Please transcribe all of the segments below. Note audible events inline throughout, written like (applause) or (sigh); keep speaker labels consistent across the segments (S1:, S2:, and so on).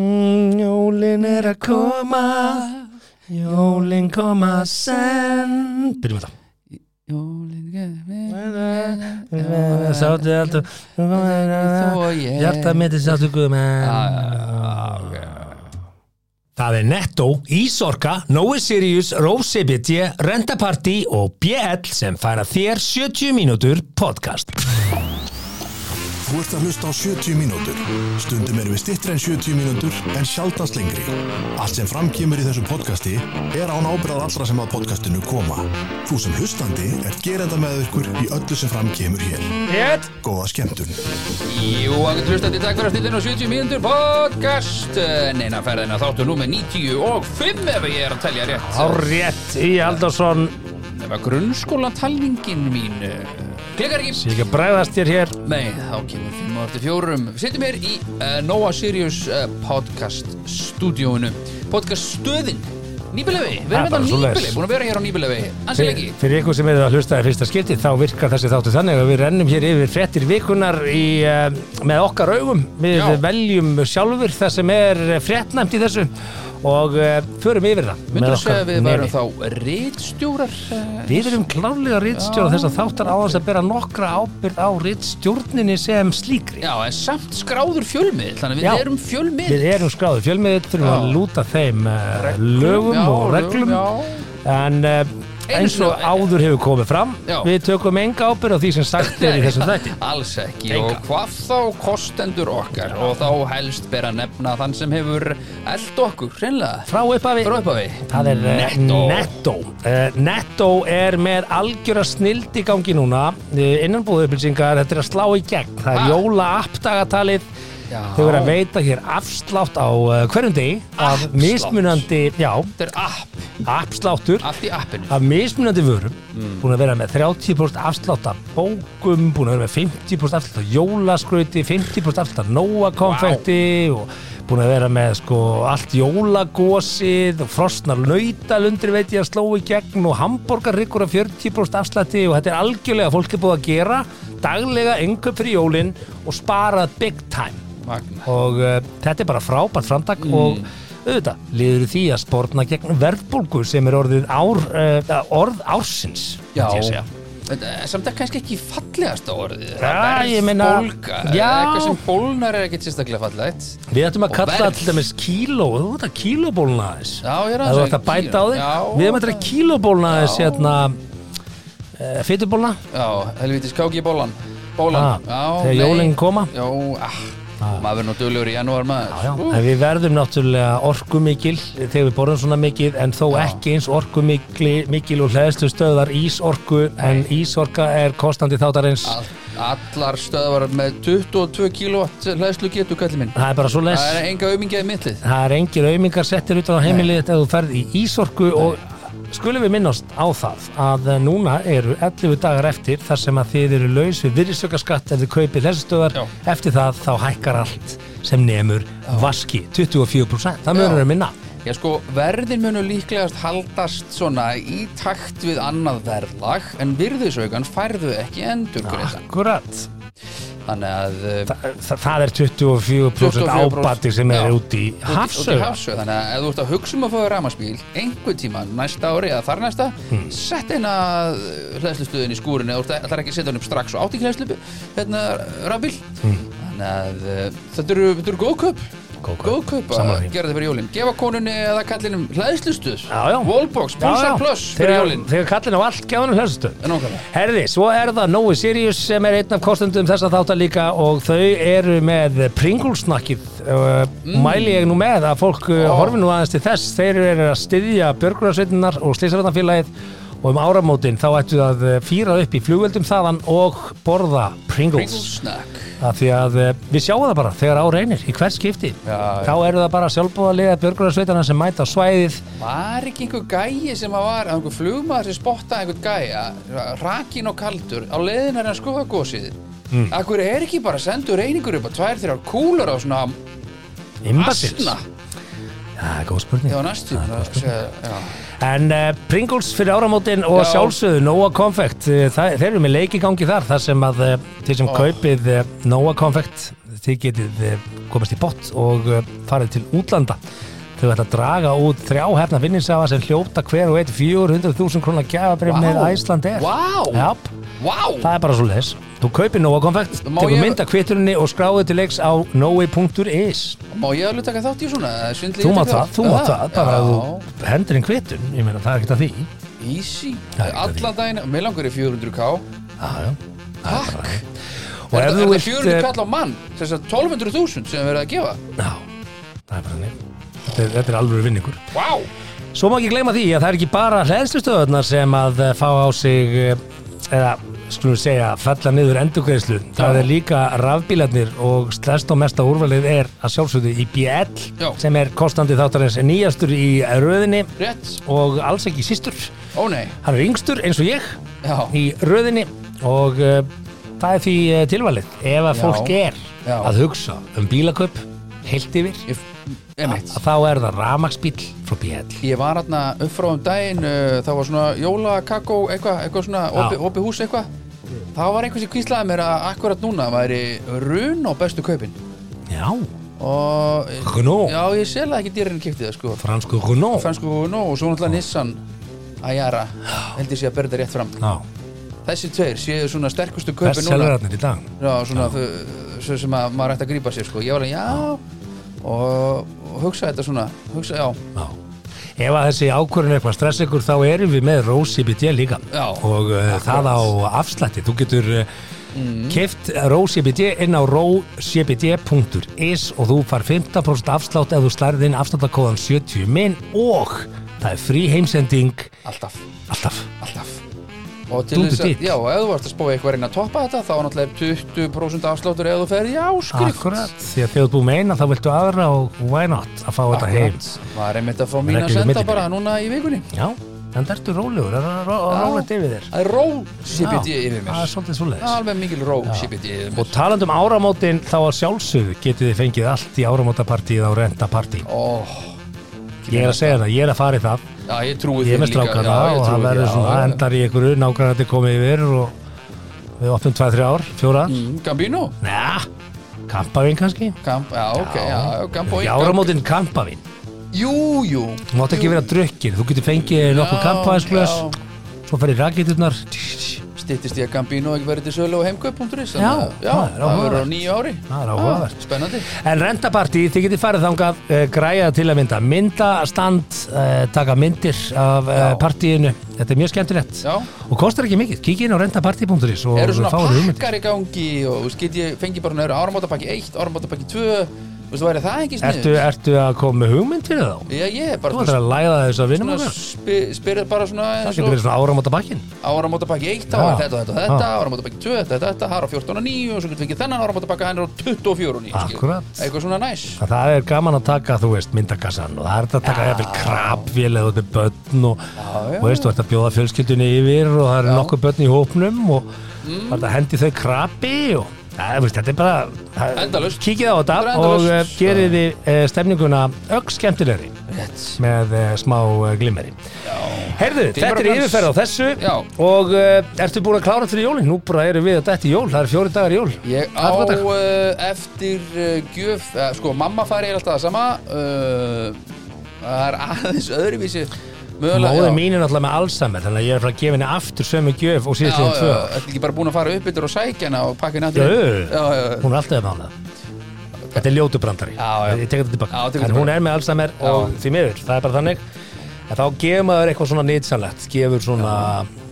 S1: Mm, jólin er að koma Jólin koma sen Byrjum þetta
S2: Jólin
S1: Sáttu alltaf
S2: Þú og ég
S1: Hjarta mitt er sáttu guðum Það er Netto, Ísorka, Nói Sirius, Rósebiti, Rentaparty og BL sem færa þér 70 mínútur podcast.
S3: Þú ert að hlusta á 70 mínútur. Stundum erum við stittri en 70 mínútur en sjaldast lengri. Allt sem framkýmur í þessu podcasti er án ábyrðað allra sem að podcastinu koma. Þú sem hlustandi er gerenda með ykkur í öllu sem framkýmur hér.
S1: Rétt.
S3: Góða skemmtun.
S2: Jú, að getur hlustandi takk fyrir að stillin á 70 mínútur podcast Eh, Neina ferðina þáttu nú með 95 ef ég er að telja rétt
S1: Árétt í Aldarsson.
S2: Ef að grunnskóla talningin mín eh, klikkar ekki
S1: Sér ekki að bregðast þér hér.
S2: Nei, þá kemur fimm á eftir fjórum Við sittum hér í uh, Nóa Sirius uh, podcast stúdíóinu Podcast stöðin Nýbilefi, við
S1: Það er
S2: erum
S1: Ah, bara
S2: þetta
S1: svoleiðis.
S2: nýbilefi Búin að vera hér á nýbilefi Ansi
S1: Fyrir,
S2: lengi
S1: fyrir ykkur sem eru að hlusta í fyrsta skipti þá virkar þessi þáttu þannig að við rennum hér yfir frettir vikunar í, eh, með okkar augum við
S2: Já.
S1: veljum sjálfur það sem er frettnæmt í þessu og uh, förum yfir það
S2: Myndur þú segja að við værum
S1: nefi.
S2: þá eh, reitstjórar?
S1: Við erum klárlega rittstjóra þess að þáttar á þess að bera nokkra ábyrð á rittstjórninni sem slíkri
S2: Já, en samt skráður fjölmið Þannig að við
S1: Já.
S2: erum fjölmið
S1: Við erum skráður fjölmiðið, þurfum
S2: Já.
S1: að lúta þeim uh, lögum
S2: já,
S1: og reglum
S2: já.
S1: en uh, eins og
S2: sinni-
S1: áður hefur komið fram
S2: Já.
S1: við tökum enga ábyrð á því sem sagt er í þessum þætti
S2: Alls ekki
S1: Enga.
S2: og hvað þá kostendur okkar og þá helst ber að nefna þann sem hefur eld okkur, hreinlega
S1: frá upphafi
S2: Frá upp við
S1: Það er eh,
S2: Netto.
S1: Netto Eh, Netto er með algjöra snild í gangi núna Eh, innanbúðu upplýsingar, þetta er að slá í gegn það er
S2: Ha?
S1: jóla appdagatalið
S2: Já.
S1: þau verða að veita hér afslátt á eh, hverjum degi af
S2: Afslátt?
S1: mismunandi, já,
S2: Þetta er app,
S1: afsláttur
S2: allt í appinu
S1: af mismunandi vörum búin að vera með 30% afslátt af bókum, búin að vera með 50% afslátt af jólaskrauti, 50% afslátt af nóakonfekti og búin að vera með sko allt jólagosið og frosnar nautalundir veit ég að sló í gegn og hambúrgarryggur af 40% afslætti og þetta er algjörlega fólk er búið að gera daglega yngöp fyrir jólin og sparað big time
S2: Magna.
S1: og uh, þetta er bara frábært framtak
S2: Mm.
S1: og auðvitað liður því að spórna gegn verðbólgu sem er orðið ár, uh, orð ársins
S2: Já,
S1: myndi ég segja.
S2: en, eh, samt er kannski ekki fallegast á orðið
S1: Já, ég meina-
S2: Verðbólga,
S1: Já.
S2: eitthvað sem bólnar er ekkert sérstaklega fallegt
S1: Við ættum að
S2: Og
S1: kalla
S2: verð.
S1: til dæmis kíló, þú veit að kílóbólna aðeins
S2: Já, ég er
S1: að þú ætti að bæta á þig
S2: Já.
S1: Við ættum að þetta kílóbólna aðeins hérna, uh, fytubólna
S2: Já, helvitis káki í bólan Bólan, já,
S1: Ah, þegar
S2: nei.
S1: jólinn koma
S2: Já, ah, maður er nú dölur í janúar maður
S1: Já, já. En við verðum náttúrulega orkumikil þegar við borðum svona mikið en þó ekki eins orkumikil mikil og hlæðstu stöðar ísorku en ísorka er kostandi þáttarins
S2: All- Allar stöðvar með 22 kílótt hlæðslu getu kallið minn
S1: Það er bara svo les
S2: Það er enga auðmingið mittlið
S1: Það er engir aumingar settir utan á heimilið þetta ef þú ferð í Ísorku og skulum við minnast á það að núna eru 11 dagar eftir þar sem að þið eru laus við virðisaukaskatt ef þið kaupið þessi stöðar
S2: Já.
S1: eftir það þá hækkar allt sem nemur vaski 24% það mörður
S2: Já.
S1: að minna
S2: Já sko, verðin munu líklegast haldast svona í takt við annað verðlag en virðisaukan færðu ekki endur
S1: Akkurat Ah.
S2: Þannig að eh,
S1: Þa, það er 24%
S2: 24%
S1: ábati sem er
S2: Já.
S1: út í
S2: út í- út í
S1: hafsöga
S2: hafsög þannig að ef þú ert að hugsa um að fá ramaspíl einhver tíma næsta ári eða þar næsta
S1: Hmm.
S2: sett eina hlæðslustöðin í skúrinu eða þú ert- ætlar ekki að setja hann upp strax og átt ekki hlæðslu hérna rafbíl þannig að uh, þetta eru, þetta eru góð kaup
S1: Hmm. Góð kaup.
S2: góð kaup að
S1: Sammála því.
S2: gera þetta fyrir jólin gefa konunni eða kallinum hlæðslustöð
S1: Já, já.
S2: wallbox,
S1: Já, já.
S2: pulsar plus fyrir
S1: Þegar-
S2: jólin
S1: Þegar kallin á allt um gefanum hlæðstöð
S2: Nákvæmlega.
S1: Herði, svo er það Nói Sirius sem er einn af kostendum þessa þáttar líka og þau eru með Pringlesnakkið uh, mæli ég nú með að fólk uh,
S2: Mm. Ó.
S1: horfi nú aðeins til þess þeir eru að styðja björgunarsveitinnar og slýsarvartanfélagið og um áramótin þá ættu að uh, fýra upp í flugveldum þaðan og borða Pringles,
S2: Pringles snack
S1: af því að eh, við sjáum það bara þegar á reynir í hvers skipti
S2: Já, já.
S1: þá eru það bara sjálfbúðarlega björgunarsveitana sem mæta á svæðið
S2: Var ekki einhver gæi sem að var, einhver flugmaður sem spottaði einhvern gæja, rakin og kaldur, á leiðin er hann skoða gósið. Mm.
S1: Hmm.
S2: Akkur er ekki bara sendur reyningur upp á tvær, þrjár kúlur á svona
S1: Imbacils
S2: asna?
S1: Já, góð spurning
S2: Já, næstu. Já,
S1: En uh, Pringles fyrir áramótin og
S2: Já.
S1: sjálfsögðu eh, Nóa eh, Konfekt, uh, það, þeir eru með leikigangi þar þar sem að uh, þeir sem kaupið uh, Nóa Konfekt eh, þið getið eh, komast í bott og eh, farið til útlanda þau ætla að draga út þrjá hefna vinningsafa sem hljóta hver og eitt 400.000 krónar gjafabrif
S2: Vá.
S1: með Æsland er
S2: Vá. Vá,
S1: það er bara svo leis þú kaupir Nóa konfekt,
S2: Má
S1: tekur
S2: ég-
S1: mynd af kvitturinni og skráðu til leiks á noi.is
S2: má ég alveg taka þátt í svona svindli
S1: þú
S2: ég
S1: mátt
S2: taka
S1: það, þú
S2: þátt?
S1: mátt
S2: Já,
S1: það bara að
S2: já.
S1: þú hendur inn kvittun, ég meina það er ekkert að því
S2: Easy
S1: Það er ekki
S2: Alla daginn, mig langar í 400k
S1: já, já
S2: Takk
S1: og ef þú
S2: Er það er það
S1: vilt,
S2: 400
S1: eh,
S2: kall á mann Þess að 1200.000 sem við erum að gefa
S1: já, það er bara nefn þetta er, þetta er alveg vinningur
S2: Vá
S1: Svo má ekki gleyma því að það er ekki bara hlæðslustöðunar sem að eh, fá á sig eh, eða skulum við segja fella niður endurgreðslu. Það
S2: Já.
S1: er líka rafbílarnir og stærst og mesta úrvalið er að sjálfsögðu í BL
S2: Já.
S1: sem er kostandi þáttarins nýjastur í röðinni
S2: Rétt
S1: og alls ekki sístur.
S2: Ó nei
S1: Hann er yngstur eins og ég
S2: Já
S1: í röðinni og uh, það er því uh, tilvalið ef að
S2: Já.
S1: fólk er
S2: Já.
S1: að hugsa um bílaköp heilt yfir
S2: Ég, einmitt
S1: að þá er það ramaksbíl frá BL
S2: Ég var hérna upp frá um daginn uh, Það var svona jóla, kakó, eitthvað Eitthvað svona opi,
S1: Já.
S2: opi hús eitthvað Það var einhver sem kvíslaði mér að akkurat núna væri run á bestu kaupin
S1: Já,
S2: og
S1: Renault.
S2: Já, ég selaði ekki dýrinn kipti það sko
S1: fransku Renault
S2: Fransku Renault og svo náttúrulega Nissan Ayara held ég sé að berða rétt fram
S1: Já,
S2: Þessi tveir séu svona sterkustu
S1: best
S2: kaupin núna
S1: selverarnir í dag
S2: Já, svona þau, svo sem að maður ætti að grípa sér sko. Ég var alveg, já og, og hugsa þetta svona hugsa, já,
S1: Já Ef að þessi ákvörðun er eitthvað stress ykkur þá erum við með Rósi BD líka
S2: Já,
S1: og uh, það á afslætti þú getur uh,
S2: Mhm.
S1: keft Rósi BD inn á rósibd.is og þú far 15% afslátt ef þú slærið inn afsláttakóðan 70 minn og það er frí heimsending
S2: alltaf,
S1: alltaf
S2: alltaf og til
S1: Dúndu
S2: þess að,
S1: dill.
S2: já, ef þú varst að spóa eitthvað að reyna að toppa þetta þá er náttúrulega 20% afsláttur ef þú ferð í áskrift
S1: Akkurat, því að þegar þú búið með eina þá viltu aðra og why not að fá þetta heim
S2: Var einmitt að fá mín að
S1: Reglur
S2: senda
S1: millibili.
S2: bara núna í vikunni
S1: Já, en það ertu rólegur, það er rólegt yfir þér
S2: Það er ró CBD
S1: Já,
S2: yfir
S1: Það er
S2: mér
S1: svolítið svoleiðis
S2: Alveg mikil ró CBD yfir
S1: Og
S2: mér
S1: taland um áramótin þá að sjálfsögðu getið þið fengið allt í áramótapartíð á rentapartí.
S2: Ó,
S1: Ég er að segja það, ég er að fara í það,
S2: Oh, já, ég trúi
S1: ég
S2: því
S1: er með strákana og það verður svona, endar í einhverju, nákvæmlega komið yfir og við opnum 2-3 ár, 4
S2: Mm.
S1: ár.
S2: Gambino?
S1: Næ, kampavín kannski?
S2: Kamp, já, ok, já, já, Gambo
S1: Í áramótin kampavín.
S2: Jú, jú
S1: Þú mátt ekki vera drukkin, þú getur fengið nokkuð kampavinsglös,
S2: já.
S1: svo ferði rakiturnar.
S2: Styttist ég að Gambino ekki verið til sölu á heimkaup.is
S1: Já,
S2: já,
S1: það er
S2: það verður á
S1: áhugavert.
S2: nýju ári
S1: Það er áhugavert.
S2: Já, Spennandi
S1: En rentapartí, þið getið farið þangað, uh, græjað til að mynda myndastand, uh, taka myndir af uh, partíinu. Þetta er mjög skemmtilegt.
S2: Já.
S1: Og kostar ekki mikið. Kikið inn á rentapartí.is og
S2: Eru svona
S1: fáið hugmyndir.
S2: pakkar í gangi og þú veist, get ég fengi bara nöður áramótapakki 1, áramótapakki 2 Þú veist, væri það ekki snið
S1: Ertu, ertu að koma með hugmynd fyrir þá?
S2: Já, ég er
S1: Þú
S2: bara
S1: ætlar að læða þess að vinna
S2: svona,
S1: með það.
S2: spi- spyrir bara svona
S1: Það getur verið svona áramóta bakkin.
S2: áramótapakki 1
S1: Já.
S2: þá er þetta og þetta og þetta
S1: Já.
S2: áramótapakki 2, þetta og þetta, það er á 14 og 9 og svo getur fengið þennan áramótapakka, hann er á 24 og 9 skilur.
S1: Akkurat.
S2: Eitthvað svona næs
S1: Það er gaman að taka, þú veist, myndakassan og það er hægt að taka eftir krabvél eða út með börn og,
S2: já.
S1: og veist, þú ert að bjóða fjölskyldunni yfir og það eru nokkuð börn í hópnum og mm. það er að hendi þau krabi og það, veist, þetta er bara það-
S2: Endalaust.
S1: Kíkið á þetta
S2: Þetta er
S1: og
S2: endalaust.
S1: uh, gerið þið uh, stemninguna ögg skemmtilegri
S2: Rétt
S1: með uh, smá uh, glimmeri. Heyrðu, þetta er
S2: Timberlands.
S1: yfirferð á þessu
S2: Já.
S1: og uh, ertu búin að klára fyrir jólin? Nú bara erum við að detta í jól, það eru fjóri dagar í jól.
S2: Ég á
S1: Aðfangadag.
S2: uh, eftir uh, gjöf, uh, sko mamma fari er alltaf það sama uh, Það er aðeins öðruvísi mögulega
S1: Móðin
S2: já.
S1: mín er náttúrulega með Alzheimer þannig að ég er að fara að gefa henni aftur sömu gjöf og
S2: Já,
S1: síðan síðan
S2: já,
S1: tvö.
S2: ertu ekki bara búin að fara upp yfir og sækja hana og pakka henni aftur
S1: Jú, jú,
S2: inn?
S1: jú.
S2: já, já, já.
S1: Hún er alltaf með hana. Þetta er ljótu brandari.
S2: Já, já.
S1: Ég tek þetta
S2: Já,
S1: tilbaka. en
S2: tekur tilbaka.
S1: hún er með Alzheimer og því miður, það er bara þannig. En þá gefur maður eitthvað svona nýtsanlegt, gefur svona,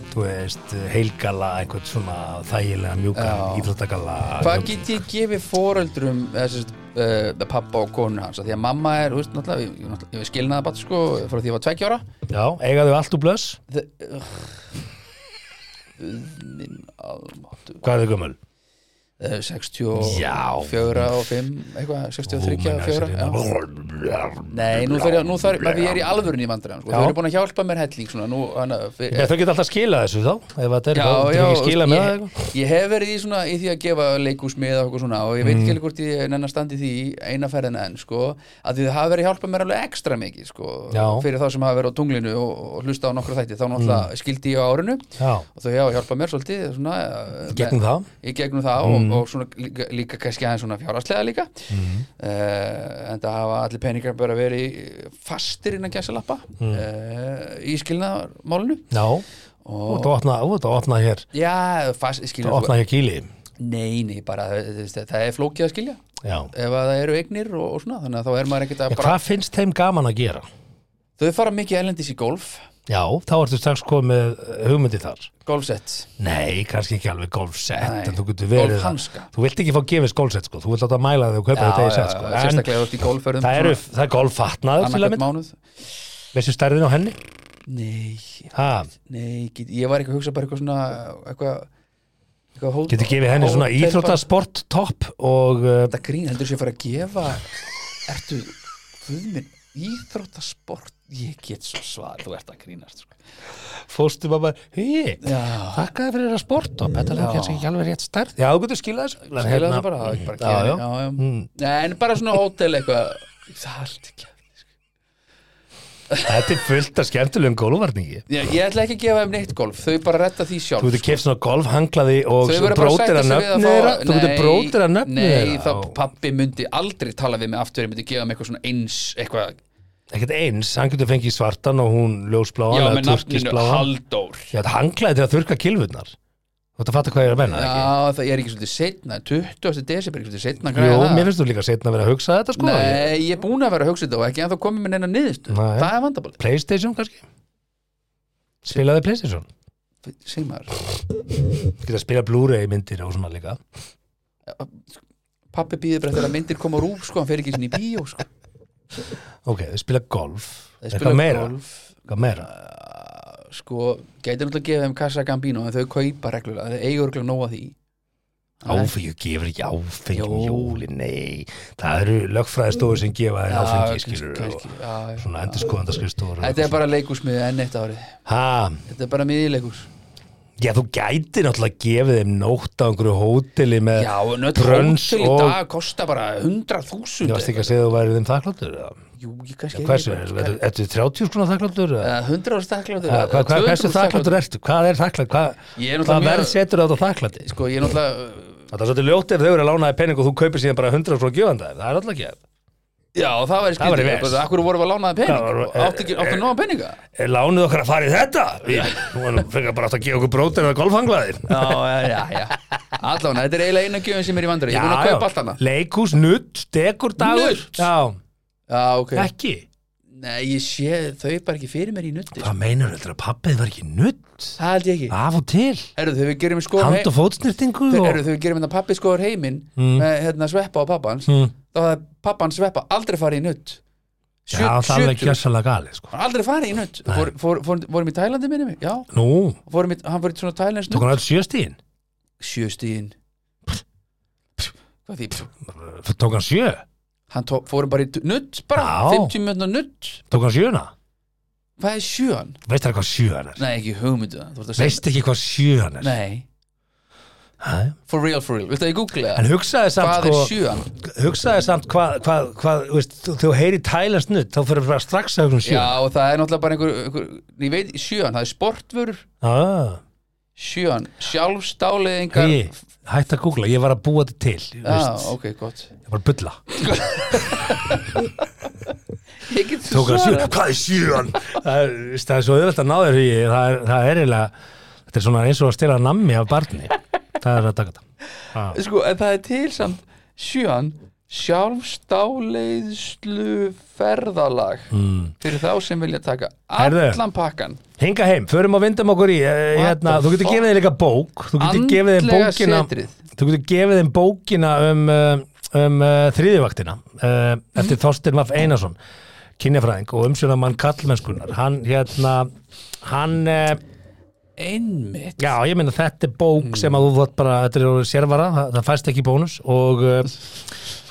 S1: þú veist, heilgala, einhvern svona þægilega mjúkan,
S2: Já.
S1: íþróttagala.
S2: Hvað get ég gefið foreldrum eða, uh, pappa og konu hans Af því að mamma er, þú veist, náttúrulega ég- ég, náttúrulega- ég var skilnaða bara sko frá því ég var tveggja ára
S1: Já, eiga þau allt úr blöss?
S2: Þe- Ugh. Guð minn almáttugur.
S1: Hvað er þau gömul?
S2: Eh, 64
S1: Já.
S2: og 5 eitthvað, 63 og
S1: Ó,
S2: 4
S1: menn, þessi er hérna.
S2: Nei, nú þarf ég, nú þarf ég, ég er í alvörun í vandræðan sko.
S1: Já.
S2: Þau eru búin að hjálpa mér helling svona, nú, hana, fyrir,
S1: Ég, þau geta alltaf skilað þessu þá ef þetta er
S2: Já,
S1: það,
S2: já,
S1: þau ekki skilað með það sko.
S2: ég, ég hef verið í, svona, í því að gefa leikúsmið og okkur svona og ég veit
S1: Mm.
S2: ekki alveg hvort ég nennan standi því eina ferðina enn sko, að því það hafa verið að hjálpa mér alveg ekstra mikið sko,
S1: Já. Mm.
S2: fyrir þá sem hafa verið á tunglinu og, og hlusta á nokkra þætti þá náttúrulega skildi ég á árinu
S1: Já.
S2: og þau hafa hjálpað mér svolítið svona, eh,
S1: Gegnum
S2: með-
S1: það. Mm.
S2: í gegnum það og, og svona líka, líka kannski aðeins svona fjárhagslega líka mm. en það hafa allir peningar bara verið fastir innan gæsalappa mm. í skilnaðarmálinu
S1: Já, og
S2: og
S1: þetta opna, og þetta opna hér
S2: Já, fast, skilur
S1: þetta opna hér kýli
S2: Nei, nei, bara þú veist, það er flókið að skilja
S1: Já,
S2: ef að það eru eignir og, og svona þannig að þá er maður ekkert að
S1: Ég,
S2: bara
S1: hvað finnst þeim gaman að gera?
S2: þau fara mikið ellendis í golf,
S1: Já, þá ertu strax komið hugmyndi þar
S2: golfsett
S1: Nei, kannski ekki alveg golfsett
S2: Nei,
S1: en þú getur verið það.
S2: golfhanska.
S1: Þú vilt ekki fá gefis golfsett sko, þú vilt láta mæla þau og kaupa þetta í sett sko En
S2: sérstaklega út í golförðum
S1: það, eru, það er golffatnaður til að
S2: annarkvæmt
S1: mynda
S2: mánuð
S1: Veistu stærðin á henni?
S2: Nei,
S1: Ha,
S2: nei, get, ég var ekki að hugsa bara eitthvað svona eitthvað, eitthvað hó,
S1: getur gefið henni svona
S2: hótel-
S1: íþróttasport topp og uh,
S2: Þetta grín, heldur sér að fara að gefa Ertu, þú minn íþróttasport, ég get svo svar þú ert að grínast sko.
S1: fóstu bara hei,
S2: Já,
S1: þakkaði fyrir það sport og þetta er kannski ekki alveg rétt stærð Já, þú getur skilað þessu
S2: Skilja
S1: Hérna-
S2: þetta bara, það er ekki bara
S1: Já, Mm.
S2: að
S1: já.
S2: gera já, já. Nei, en bara svona hótel eitthvað Það er allt ekki að-
S1: Þetta er fullt af skemmtilegum golfvarningi
S2: ég, ég ætla ekki að gefa þeim neitt golf Þau bara retta því sjálf
S1: Þú getur keft svona golfhanglaði og
S2: Þau
S1: svo
S2: verða bara að
S1: brótir að
S2: sætta sig við
S1: nöfni
S2: fá-
S1: þeirra Þú getur
S2: Nei,
S1: brótir að nöfni
S2: Nei, þá
S1: þeirra og-
S2: pappi myndi aldrei tala við mig aftur Ég myndi gefa þeim eitthvað svona eins eitthvað,
S1: Ekkert eins, hann getur fengið svartan og hún
S2: Já,
S1: ljósbláan
S2: með
S1: eða
S2: nafninu
S1: turkisbláan
S2: Halldór
S1: Já, þetta hanglaði til að þurka kilvurnar Þú ætti að fatta hvað ég er að menna, ekki?
S2: Já, það er ekki svolítið setna 20. desember, er ekki svolítið setna
S1: Jú, mér finnst þú líka setna að vera að hugsa þetta sko
S2: Nei, ég er búin að vera að hugsa þetta og ekki en þá komið mér neina niðurstu
S1: Nei.
S2: Það er vandabóli
S1: Playstation kannski Spilaði Playstation
S2: Segir maður,
S1: Þú getur að spila Blu-ray myndir og svona líka
S2: pappi býður bara þegar myndir koma á rúf sko, hann fer ekki sinni í bíó sko.
S1: Ok, þau spila golf
S2: Þeir
S1: Eitthvað
S2: spila
S1: meira,
S2: golf.
S1: eitthvað meira
S2: sko, gæti náttúrulega að gefa þeim kassa Gambino en þau kaupa reglulega, þau eigur reglulega nóg að því
S1: Áfengi gefur ekki áfengi
S2: Jó.
S1: um jóli, nei Það eru lögfræðistofur sem gefa þér áfengi skilur og
S2: kannski, já, já.
S1: svona endurskoðandarskristofur
S2: Þetta er bara leikusmiði enn eitt árið
S1: Ha,
S2: Þetta er bara miðileikus
S1: já þú gæti náttúrulega gefið þeim nótt á einhverju hóteli með
S2: Já, en öll
S1: brönns
S2: hótel í
S1: Eh, og-
S2: dag kosta bara
S1: Ég
S2: 100.000
S1: varst ekki að segja að þú værið þeim þakkláttur eða?
S2: Jú, ég kannski Eh,
S1: Hversu, ertu ertu 30 skona þakkláttur? eða?
S2: 100 þakkláttur
S1: Hva- hva- hva- Hversu þakkláttur ertu? Hvað er þakklátt? Hvað,
S2: Ég er náttúrulega
S1: hvað
S2: mjög-
S1: verð setur þetta þakklátti?
S2: Sko, ég er náttúrulega
S1: Það er svolítið ljótt ef þau eru að lána þér pening og þú kaupir síðan bara 100 skona gefanda Það er alltaf ekki
S2: Já, það væri
S1: væri
S2: skriðið
S1: ves.
S2: Akkur vorum við að lánaði
S1: Það eh,
S2: pening
S1: var-
S2: Áttu ekki- áttu nóg að peninga
S1: Er Lánuð okkar að fara í þetta? Við, nú erum fyrir bara átt að gefa okkur brótir eða golfanglaðir
S2: Já, já, já Allána, þetta er eiginlega eina gjöfum sem er í vandri Ég mun að kaupa allt hana
S1: leikús, nutt, dekurdagur
S2: Nudd?
S1: Já,
S2: Já, ok
S1: ekki
S2: Nei, ég sé þau bara ekki fyrir mér í nutti
S1: Hvað meinar þetta að pappið var ekki nutt?
S2: Það held ég ekki
S1: Af og til,
S2: Herru, þegar við gerum í skóður
S1: Ah. hand-
S2: heim
S1: og fótsnýrtingu
S2: Þegar
S1: og...
S2: þegar við gerum þetta pappi skóður heiminn með hérna sveppa og pappans
S1: Mm.
S2: þá hafði pappans sveppa aldrei farið í nutt
S1: Já, það er alveg
S2: 70.
S1: gjössalega gali sko.
S2: Hann aldrei farið í nutt fór, fór, fór, Vorum í Tælandi minni mig? Já,
S1: Nú,
S2: vorum í, hann fór í svona Tælandi
S1: tók hann öll sjöstíðin
S2: Sjöstíðin Hvað því?
S1: Tók hann sjö,
S2: Hann tó, fórum bara í nutt bara,
S1: Já.
S2: 50 minna nutt
S1: tók hann sjöna
S2: Hvað er sjöan?
S1: Veist það hvað sjöan er?
S2: Nei, ekki hugmyndu það þú ert að segja-
S1: Veist ekki hvað sjöan er?
S2: Nei,
S1: Ha?
S2: for real, for real Viltu að ég googla það?
S1: En hugsaði samt,
S2: Hvað er
S1: sko,
S2: sjöan?
S1: hugsaði samt hvað, hvað, hvað, þú veist, þú- þú heyri Thailands nutt, þá fyrir bara strax að hugsa um sjö
S2: Já, og það er náttúrulega bara einhver, einhver ég veit, sjöan, það er sportvörur
S1: ah,
S2: sjöan, sjálfstáleðingar
S1: hey, Hætt að googla, ég var að búa þetta til
S2: Já,
S1: ah,
S2: ok, gott
S1: Ég var að bulla
S2: Ég get svo
S1: tók hann sjö,
S2: svarað
S1: hvað er sjöan það er, veist, það er svo auðvelt að ná þér í það er, það er eiginlega, þetta er svona eins og að stela nammi af barni, það er að taka þetta ah.
S2: Sko, en það er til samt sjöan, sjálfstáleiðslu ferðalag mm. fyrir þá sem vilja taka
S1: Herðu.
S2: allan pakkan
S1: hinga heim, förum og vindum okkur í eh,
S2: What
S1: hérna,
S2: the
S1: þú getur
S2: fuck?
S1: gefið þeim líka bók þú getur gefið þeim
S2: Andlega
S1: bókina
S2: setrið.
S1: þú getur gefið þeim bókina um, eh, um uh, þriðivaktina uh, eftir Þorstein Vaff Einarsson kynjafræðing og umsjónamann kallmennskunnar hann hérna hann uh,
S2: Einmitt
S1: Já, ég meina þetta er bók sem að þú vart bara, þetta er orðið sérvara, það, eh, það fæst ekki bónus og uh,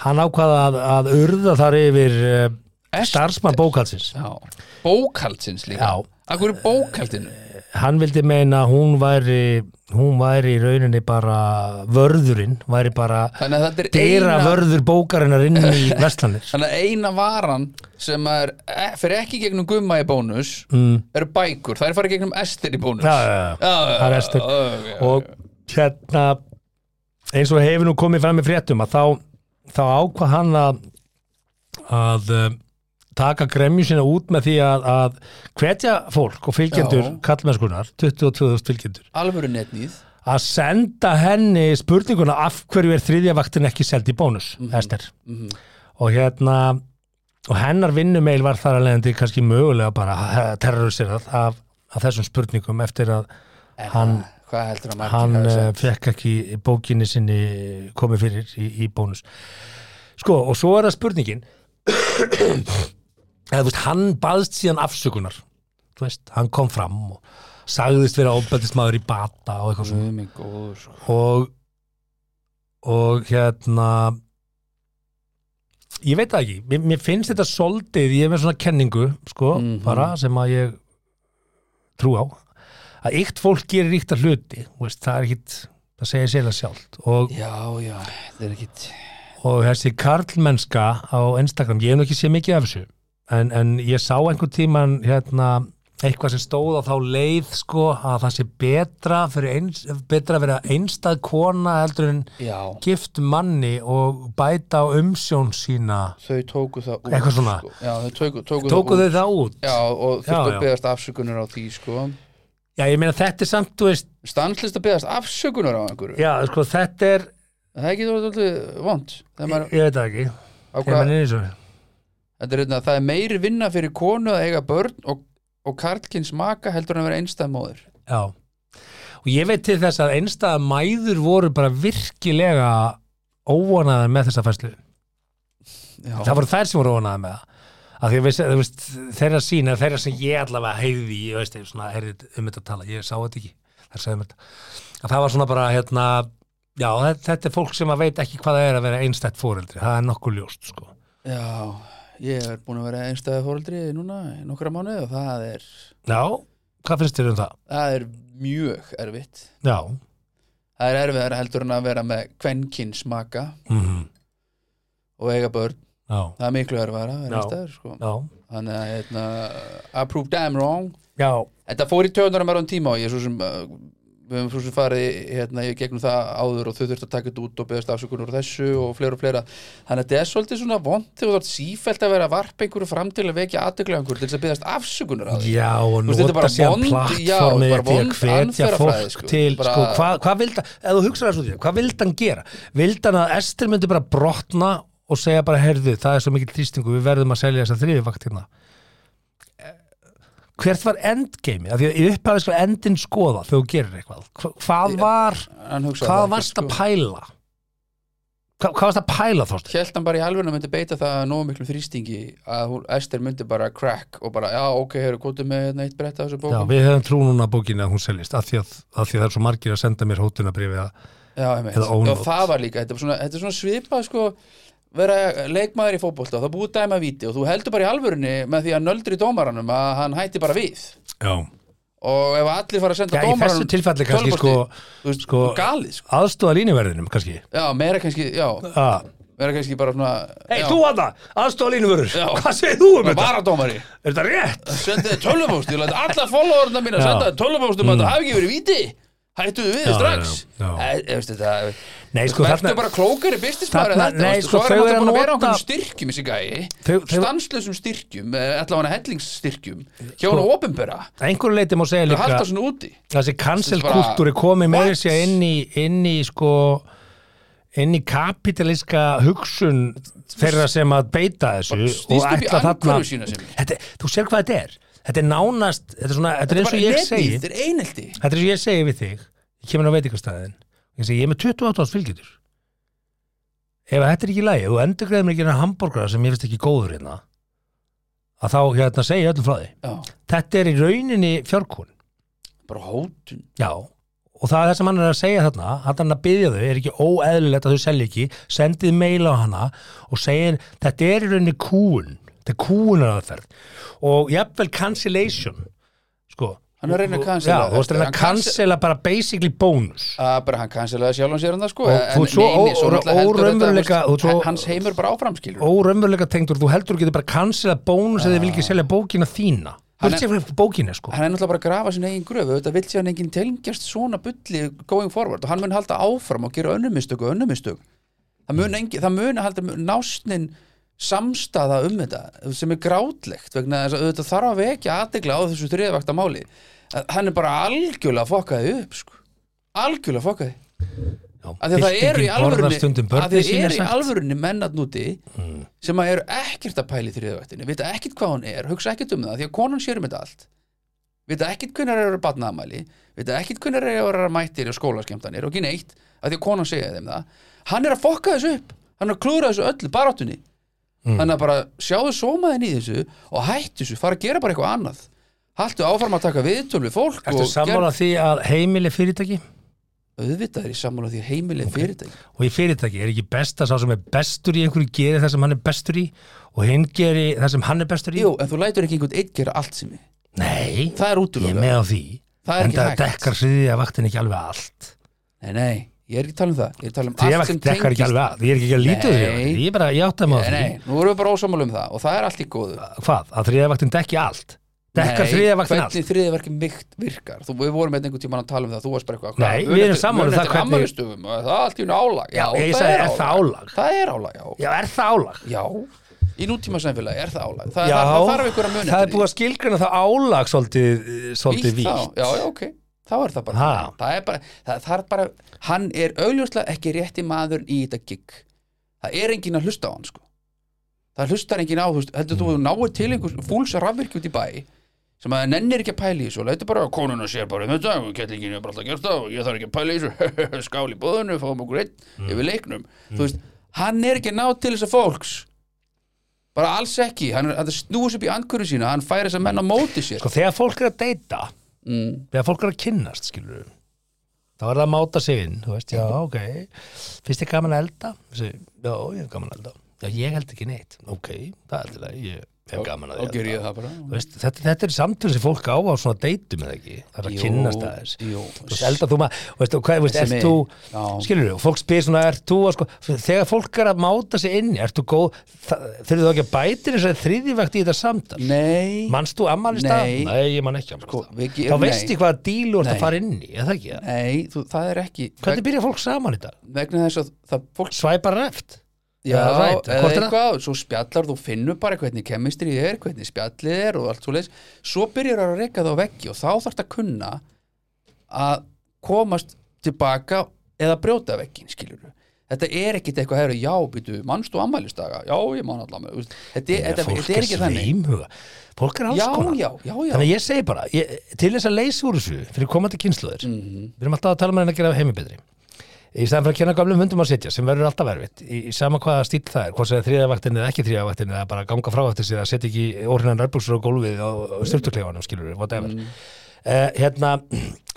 S1: hann ákvað að, að urða þar yfir uh, starfsmann bókalsins
S2: Já, bókaldsins líka
S1: Já.
S2: Akkur er bókaldinu
S1: hann vildi meina að hún væri hún væri í rauninni bara vörðurinn, væri bara
S2: Þannig að þetta er
S1: deyra
S2: eina-
S1: vörður bókarinnar inn í verslanir
S2: Þannig að eina varan sem er, e- fer ekki gegnum gumma í bónus mm. eru bækur, það er farið gegnum estir í bónus
S1: Já, já, já. Það er Ester.
S2: já, já.
S1: og hérna eins og hefur nú komið fram í fréttum að þá, þá ákvað hann að að um, taka gremju sína út með því að, að hvetja fólk og fylgjendur
S2: Já.
S1: kallmennskunar, 22.000 fylgjendur
S2: alvöru netnýð
S1: að senda henni spurninguna af hverju er þriðja vaktin ekki seld í bónus Ester og hérna og hennar vinnumeil var þar að leiðandi kannski mögulega bara terrorisirað af, af þessum spurningum eftir að hann
S2: Hvað heldur að
S1: hann
S2: margir
S1: uh, fekk ekki bókinni sinni komið fyrir í, í bónus sko og svo er það spurningin eða þú veist hann baðst síðan afsökunar þú veist, hann kom fram og sagðist vera ofbeldismadur í bata og eitthvað svona
S2: Guð minn góður sko.
S1: og og hérna ég veit það ekki mér, mér finnst þetta soldið, ég er með svona kenningu sko,
S2: Mhm.
S1: bara sem að ég trú á að ykt fólk gerir ykta hluti þú veist, það er ekkit, það segir sérlega sjálft og,
S2: Já, já, þetta er ekkit
S1: og þessi karlmennska á Instagram, ég hef nú ekki séð mikið af þessu en, en ég sá einhvern tíman hérna, eitthvað sem stóð á þá leið sko, að það sé betra fyrir eins, betra að vera einstað kona heldur en
S2: Já,
S1: gift manni og bæta á umsjón sína
S2: þau tóku það út
S1: Eitthvað svona.
S2: sko. Já, þau tóku, tóku,
S1: tóku
S2: það
S1: þau það
S2: út
S1: út
S2: Já, og
S1: Já,
S2: þurftu
S1: já.
S2: að beðast afsökunar á því sko.
S1: já ég meina þetta er samt þú veist
S2: Stanslist að beðast afsökunar á einhverju
S1: já sko þetta er
S2: Það er ekki þú alltaf vond Þegar maður
S1: ég veit það ekki ég
S2: ákvað
S1: meina eins og
S2: Þetta er hérna, það er meiri vinna fyrir konu að eiga börn og, og karlkins maka heldur en að vera einstæð móður.
S1: já og ég veit til þess að einstæða mæður voru bara virkilega óvanaðar með þessa fæslu
S2: Já,
S1: það voru þær sem voru óvanaðar með það að því að veist, þú veist, þeirra sína, þeirra sem ég allavega heyrði í, ég veist, ég svona heyrði um þetta að tala, ég sá þetta ekki, þær sagði um þetta að það var svona bara, hérna já, þetta, þetta er fólk sem að veit ekki hvað það er að vera einstætt fóreldri, það er nokkuð ljóst, sko
S2: já ég er búin að vera einstæð fóreldri núna í nokkra mánuði og það er,
S1: Já, hvað finnst þér um það?
S2: það er mjög erfitt.
S1: Já,
S2: Það er erfiðar heldur en að vera með kvenkins maka
S1: mm
S2: og eiga börn.
S1: já,
S2: Það er miklu erfiðar að vera
S1: Já.
S2: einstæður, sko.
S1: já
S2: Þannig að, hérna, I prove damn wrong.
S1: Já,
S2: Þetta fór í töðunar að maður án tíma og ég er svo sem uh, við höfum svo sem farið hérna, í gegnum það áður og þau þurft að taka þetta út og beðast afsökunar úr þessu og fleira og fleira þannig að þetta er svolítið svona vond þegar þú þarf sífælt að vera að varpa einhverju fram til að vekja aðdeglega einhverju til þess að beðast afsökunar á því
S1: já og
S2: Þú veist, þetta er
S1: nota
S2: bara
S1: síðan
S2: vond-
S1: plattformið
S2: já, bara
S1: því að
S2: vond
S1: hvetja
S2: aðferðafræði,
S1: fólk
S2: sko.
S1: til,
S2: Bara-
S1: sko, hvað, hvað vildi, ef þú hugsaði þessu því, hvað vildi hann gera? Vildi hann að Ester myndi bara brotna og segja bara, heyrðu, það er svo mikil trýstingu, við verðum að selja þessa þriðivaktina. Eh, Hvert var endgame? Því að í upphafið sko endin skoða þegar þú gerir eitthvað. Hva- Hvað var,
S2: Hann hugsaði sko,
S1: hvað
S2: það
S1: varst að
S2: ekki,
S1: pæla? Hvað, hvað varst að pæla, Þorstein?
S2: Hjælt hann bara í alveg að myndi beita það nógu miklum þrýstingi að hún, Esther myndi bara crack og bara, já, ok, hefur kótið með hérna, eitt brett af þessu
S1: Já,
S2: bókum
S1: við hefum trú núna á bókinni að hún seljist af því að, af því að það er svo margir að senda mér hótunabrifi að
S2: Já, einmitt.
S1: Eða ónót.
S2: og það var líka, þetta er svona, þetta er svona svipað sko, vera leikmaður í fótbolta og það er búið að dæma víti og þú heldur bara í alvörunni með því að nöldri dómaranum að hann hætti bara við
S1: Já,
S2: og ef allir fara að senda
S1: Já í þessu
S2: dómaranum
S1: tilfelli kannski sko,
S2: tölvupósti, þú veist,
S1: sko-
S2: galið sko.
S1: aðstóða línuverðinum kannski
S2: já, meira kannski, já,
S1: ah.
S2: meira kannski bara svona
S1: Hei,
S2: já,
S1: þú aðna, aðstóða línuverður
S2: Já.
S1: Hvað segir þú um
S2: bara
S1: þetta?
S2: vara dómari
S1: Er þetta rétt?
S2: sendiði tölvupóst, ég læt alla followerna mína
S1: Já. Mm.
S2: sendaði tölvupóst um að það hafi ekki verið víti hættuðu við
S1: Já,
S2: strax
S1: já, já.
S2: Eh, ég veist þetta
S1: Nei, sko,
S2: Vertu
S1: þarna
S2: bara klókari businessmaður en
S1: þarna-
S2: þetta
S1: nei,
S2: veistu,
S1: sko,
S2: Svo er
S1: þau
S2: hann
S1: eru
S2: alltaf
S1: að
S2: búin að vera
S1: nota-
S2: okkur styrkjum þessi gæi
S1: Þau- þau-
S2: Stanslausum styrkjum, eh, allavega hætlingsstyrkjum Hjá hann ofinbera
S1: einhverju leiti má segja
S2: Það
S1: Sko- líka
S2: halda svona úti
S1: þessi
S2: Þú
S1: kanselkultúri
S2: veist bara-
S1: komið með
S2: What?
S1: þessi inn í, inn í sko inn í kapitalíska hugsun þeirra sem að beita þessu og
S2: Snýst upp í
S1: ætla þarna
S2: angurðu sína sem
S1: þetta, þú sér hvað þetta er þetta er nánast, þetta er, svona, þetta er eins
S2: Bara
S1: og ég segi
S2: netnýtt, er einelti
S1: Þetta er eins og ég segi við þig Ég kemur inn á veitingastæðin Ég segi, ég er með 28 árs fylgjendur Ef þetta er ekki í lagi, þú endurgreðir mér ekki hérna hambúrgara sem ég finnst ekki góður hérna að þá hérna segi ég öllum frá því
S2: Já,
S1: Þetta er í rauninni fjárkún
S2: bara hótun
S1: Já, og það er það sem hann er að segja þarna að hann að byggja þau, er ekki óeðlilegt að þau selja ekki, sendið mail á hana og segir, þetta er í rauninni kún þetta er kúunaraðferð og jafnvel cancellation sko
S2: Hann er að reyna að
S1: Og-
S2: cancela
S1: já, þú varst að reyna
S2: Hann
S1: að
S2: cancel-
S1: cancela bara basically bónus
S2: að bara hann cancelaði sjálfan sér hann það
S1: Og
S2: sko en
S1: þú ert svo
S2: nei, nei,
S1: ó-
S2: náttúrulega heldur þetta,
S1: óraunveruleika-
S2: veist,
S1: þú ert svo-
S2: hans heimur bara áfram skilur
S1: óraunveruleika tengdur, þú heldur þú getur bara cancela bónus eða þið vil ekki selja bókina þína
S2: Ah. Hann
S1: þú
S2: er-
S1: sé fyrir bókina sko
S2: hann er náttúrulega bara að grafa sinna eigin gröfu auðvitað vill sér hann enginn tengjast svona bulli going forward og hann mun halda áfram og gera önnumistök og önnumistök það mun, engi, það mun halda násnin samstaða um þetta sem er grátlegt vegna þess að auðvitað þarf að vekja aðdegla á þessu þriðvakta máli hann er bara algjörlega fokkaði upp sko. algjörlega fokkaði
S1: Já,
S2: af því að það eru í
S1: byltingin borðar
S2: alvörunni
S1: stundum
S2: af því
S1: börnin
S2: að
S1: sín er
S2: eru í
S1: sagt
S2: alvörunni mennatnúti mm. sem að eru ekkert að pæli þriðavaktinni, vita ekkert hvað hún er hugsa ekkert um það, því að konan sér um þetta allt vita ekkert hvernig eru barnaðamæli vita ekkert hvernig eru að mættir og skólaskemtanir og ekki neitt, af því að konan segja þeim það hann er að fokka þessu upp hann er að klúra þessu öllu baráttunni
S1: Mm.
S2: þannig að bara sjáðu sómaðin í þessu og hættu þessu, fara að gera bara eitthvað annað haltu áfram að taka viðtöl við fólk
S1: Ertu
S2: og
S1: sammála því að heimili fyrirtæki
S2: auðvitað er í sammála því heimileg okay. fyrirtæki
S1: og í fyrirtæki er ekki best að sá sem er bestur í einhverju geri það sem hann er bestur í og hinn geri það sem hann er bestur í
S2: Jú, en þú lætur ekki einhvern eitt gera allt sem ég
S1: Nei,
S2: Það er
S1: ég er
S2: útlokað
S1: með á því
S2: Það er
S1: en
S2: ekki
S1: það
S2: hægt.
S1: dekkar þriðja vaktin ekki alveg allt
S2: Nei, nei, ég er ekki að tala um það Ég er að tala um
S1: þriðja
S2: allt sem
S1: vakt dekkar ekki
S2: tengist
S1: alveg allt ég er ekki að líta því
S2: Nei.
S1: ég er bara, ég átta mig á
S2: Nei,
S1: því
S2: nei, nú erum við bara ósamála um það og það er allt í góðu
S1: hvað, að þriðja vaktin dekki allt dekkar
S2: Nei,
S1: þriðja vaktin allt
S2: Hvernig þriðja verkin vikt virkar Þú, Við vorum einhvern tímann að tala um það Þú varst bara eitthvað
S1: Nei, við erum sammála um það
S2: það
S1: hvernig-
S2: hvernig Það er allt í unni álag Já,
S1: ég
S2: það
S1: sagði,
S2: er
S1: er það álag?
S2: Það er álag, já
S1: já, er það álag?
S2: Já, í nútíma samfélagi er það álag Það,
S1: já,
S2: það, það þarf ykkur að muni
S1: það er búið að skilgrina það álag svolítið, svolítið
S2: Vítt
S1: vítt
S2: þá, já, já, ok þá er það bara,
S1: Ha.
S2: það er bara, það, það er bara hann er augljóslega ekki rétti maður í þetta gig það er enginn að hlusta á hann sko. það hlustar enginn á þú veist, heldur
S1: Mm.
S2: þú að þú náir til einhvers fúls rafvirkjum út í bæ sem að nennir ekki að pæla í þessu og leitur bara að konuna sér bara um þetta og kettlingin er bara alltaf gert það og ég þarf ekki að pæla í þessu (laughs) skál í bóðinu, fáum okkur einn
S1: Mm.
S2: yfir leiknum þú veist, hann er ekki að ná til þessa fólks bara alls ekki, hann, er- hann snús upp í andkurinn sína hann færi þess að menna móti sér
S1: sko, þegar fólk er að deyta
S2: mm.
S1: þegar fólk er að kynnast, skilur við þá er það að máta sig inn, þú veist, já, ok finnst þið gaman að elda? Þessi, já, ég er gaman að elda já, ég held ekki neitt, ok, það er alltaf ég er gaman að
S2: og ger
S1: elda
S2: ég það bara
S1: Þú veist, þetta, þetta er samtöl sem fólk á á svona deytum eða ekki, það er að
S2: Jú,
S1: kynnast aðeins
S2: jú.
S1: Þú veist, elda þú maður, veist, og hvað, veist,
S2: Þessi mig.
S1: ert þú
S2: Já.
S1: skilur þú, fólk spyr svona, ert þú að sko, þegar fólk er að máta sig inn ert þú góð, þurfið þú ekki að bæti þess að þriðivægt í þetta samtal
S2: Nei,
S1: manst þú ammali stað?
S2: Nei.
S1: Nei, ég man ekki ammali
S2: Sko,
S1: stað
S2: við ge-
S1: þá
S2: nei.
S1: veist ég hvaða díl þú ert
S2: Nei.
S1: að fara inn í, eða ekki það?
S2: nei þú, það er ekki
S1: hvernig byrja fólk saman í dag?
S2: vegna þess að það fólk
S1: svæpa reft?
S2: já,
S1: eða rætt,
S2: eða
S1: hvort er það?
S2: eitthvað, svo spjallar þú finnur bara hvernig kemistrið er, hvernig spjallið er og allt svo leis, svo byrjar að reyka það á veggi og þá þarf að kunna að komast tilbaka eða brjóta veggin, skilur við Þetta er ekkit eitthvað hefur, já, býtu, mannst þú ammælistaga? Já, ég man allan með, þú veist, þetta, er- þetta,
S1: fólk
S2: þetta er
S1: er
S2: ekki þannig.
S1: sveimhuga fólk er alls
S2: Já,
S1: konar
S2: já, já, já.
S1: þannig að ég segi bara, ég, til þess að leysa úr þessu fyrir komandi kynsluður, við erum alltaf að tala með henni að gera heimi betri í staðan fyrir að kenna gamlum hundum að sitja sem verður alltaf erfitt í, í sama hvaða stíl það er, hvort sem það er þriðavaktin eða ekki þriðavaktin eða bara ganga frá eftir sér að setja ekki orðinan rærbúksur á gólfið og, og styrtukleifanum skilur við, whatever mm. hérna,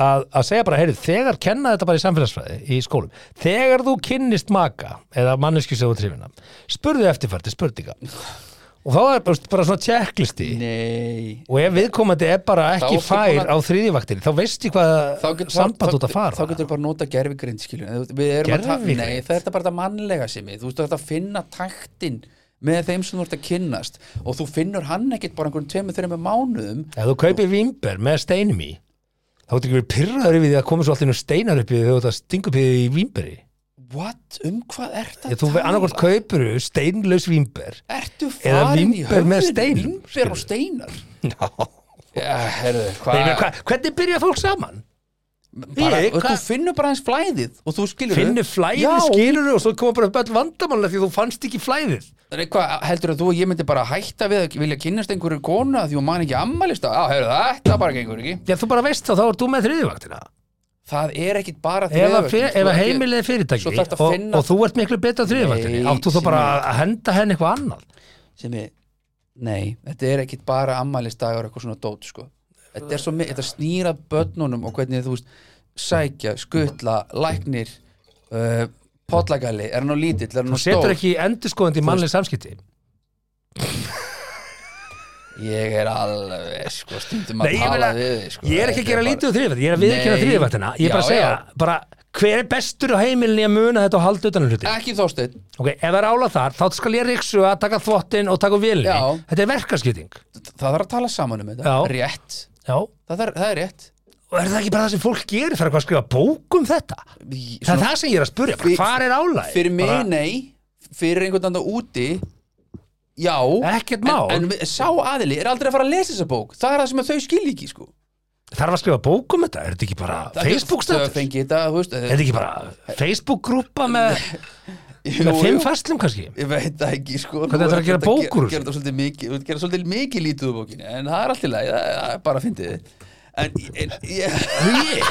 S1: að, að segja bara heyrðu, þegar kenna þetta bara í samfélagsfræði í skólum, þegar þú kynnist maka eða manneski sem þú trifina spurðu eftirfærti spurninga og þá er bara- bara svona checklisti
S2: Nei,
S1: og ef viðkomandi er bara ekki
S2: ertu
S1: fær
S2: búin
S1: á þriðivaktinni, þá veist ég hvað
S2: þá getur
S1: samband
S2: þá-
S1: út að fara
S2: þá getur bara nota gerfigrind skilur við erum að ta-
S1: Gervigreind?
S2: nei, það er þetta bara það mannlega sem ég þú veist þú ert að finna taktin með þeim sem þú ert að kynnast og þú finnur hann ekkit bara einhvern tveimur þreimur mánuðum
S1: Ef þú kaupir vimber með steinum í þá getur ekki verið pyrraður yfir því að koma svo allir steinar upp í því þegar þú ert að stinga upp í því í vimberi
S2: what, um hvað ert
S1: Ég,
S2: að
S1: þú
S2: tala
S1: annarkort kaupir steinlaus vimber
S2: ertu
S1: Eða
S2: farin í
S1: vínber með
S2: höfðin?
S1: steinum,
S2: vínber og steinar já, herðu,
S1: Nei,
S2: hvað
S1: hva, hvernig byrja fólk saman?
S2: bara,
S1: ég,
S2: og
S1: hvað-
S2: þú finnur bara eins flæðið og þú skilur
S1: Finnir flæðið,
S2: já,
S1: skilur og svo koma bara upp öll vandamálna því þú fannst ekki flæðið
S2: Nei, Hvað, heldur að þú og ég myndi bara hætta við að vilja kynnast einhverju konu af því hún man ekki ammælist að, já, heyrðu, þetta bara gengur ekki
S1: Já, þú bara veist þá, þá ert þú með þriðivaktina
S2: það er ekkit bara
S1: Ef, að
S2: þriðavögt,
S1: fe-
S2: þú
S1: ef að
S2: ekki-
S1: heimilið er
S2: Svo
S1: fyrirtæki
S2: þarftu að
S1: og,
S2: finna-
S1: og þú ert miklu betur á þriðivaktinni
S2: Nei,
S1: áttu þú bara
S2: Simmi.
S1: að henda henni eitthvað annað
S2: sem er, nei, þetta er ekkit bara ammælisdagur eitthvað svona dót sko. þetta er svo mikið, þetta snýra börnunum og hvernig þú veist, sækja skutla, læknir uh, potlagali, er hann á lítill er hann á
S1: Þú setur
S2: stór,
S1: ekki endurskoðandi í mannleg samskipti
S2: Ég er alveg, sko, stundum að
S1: Nei, ég,
S2: tala
S1: meina,
S2: við þig, sko.
S1: ég er ekki að gera lítið úr þriðvætt ég er að viðkjöna
S2: Nei.
S1: þriðvættina ég er bara að
S2: Já,
S1: segja,
S2: já.
S1: bara, hver er bestur á heimilin í að muna þetta og halda utan um hluti
S2: Ekki þósteinn,
S1: ok, ef það er ála þar, þá skal ég ríksu að taka þvottin og taka úr vélinni
S2: Já.
S1: þetta er verkaskipting
S2: það þarf að tala saman um þetta
S1: Já.
S2: Rétt,
S1: Já. og
S2: það, þarf, það er rétt
S1: er það ekki bara það sem fólk gerir þarf eitthvað að skrifa bók um þetta það
S2: Í-
S1: er
S2: svona-
S1: það sem ég er að spurja, bara,
S2: Fyr-
S1: hvar er ála
S2: Fyrir mig, nei, fyrir einhvern andan úti Já
S1: Ekkert mál.
S2: En, en sá aðili er aldrei að fara að lesa þessa bók Það er það sem að þau skilji ekki, sko
S1: þarf að skrifa bók um þetta, er þetta ekki bara Facebook
S2: Það
S1: stöndur,
S2: fengi þetta, þú veist eh,
S1: er þetta ekki bara Facebook grúpa með,
S2: jú,
S1: með fimm
S2: jú.
S1: fæslum kannski
S2: Ég veit það ekki sko
S1: Hvernig ætlarðu að gera bók úr þessu?
S2: Gerða svolítið mikið, þú ert að gera svolítið mikið lítið úr bókinni En það er allt í lagi, það það er bara að fyndið En, en ég,
S1: Hugi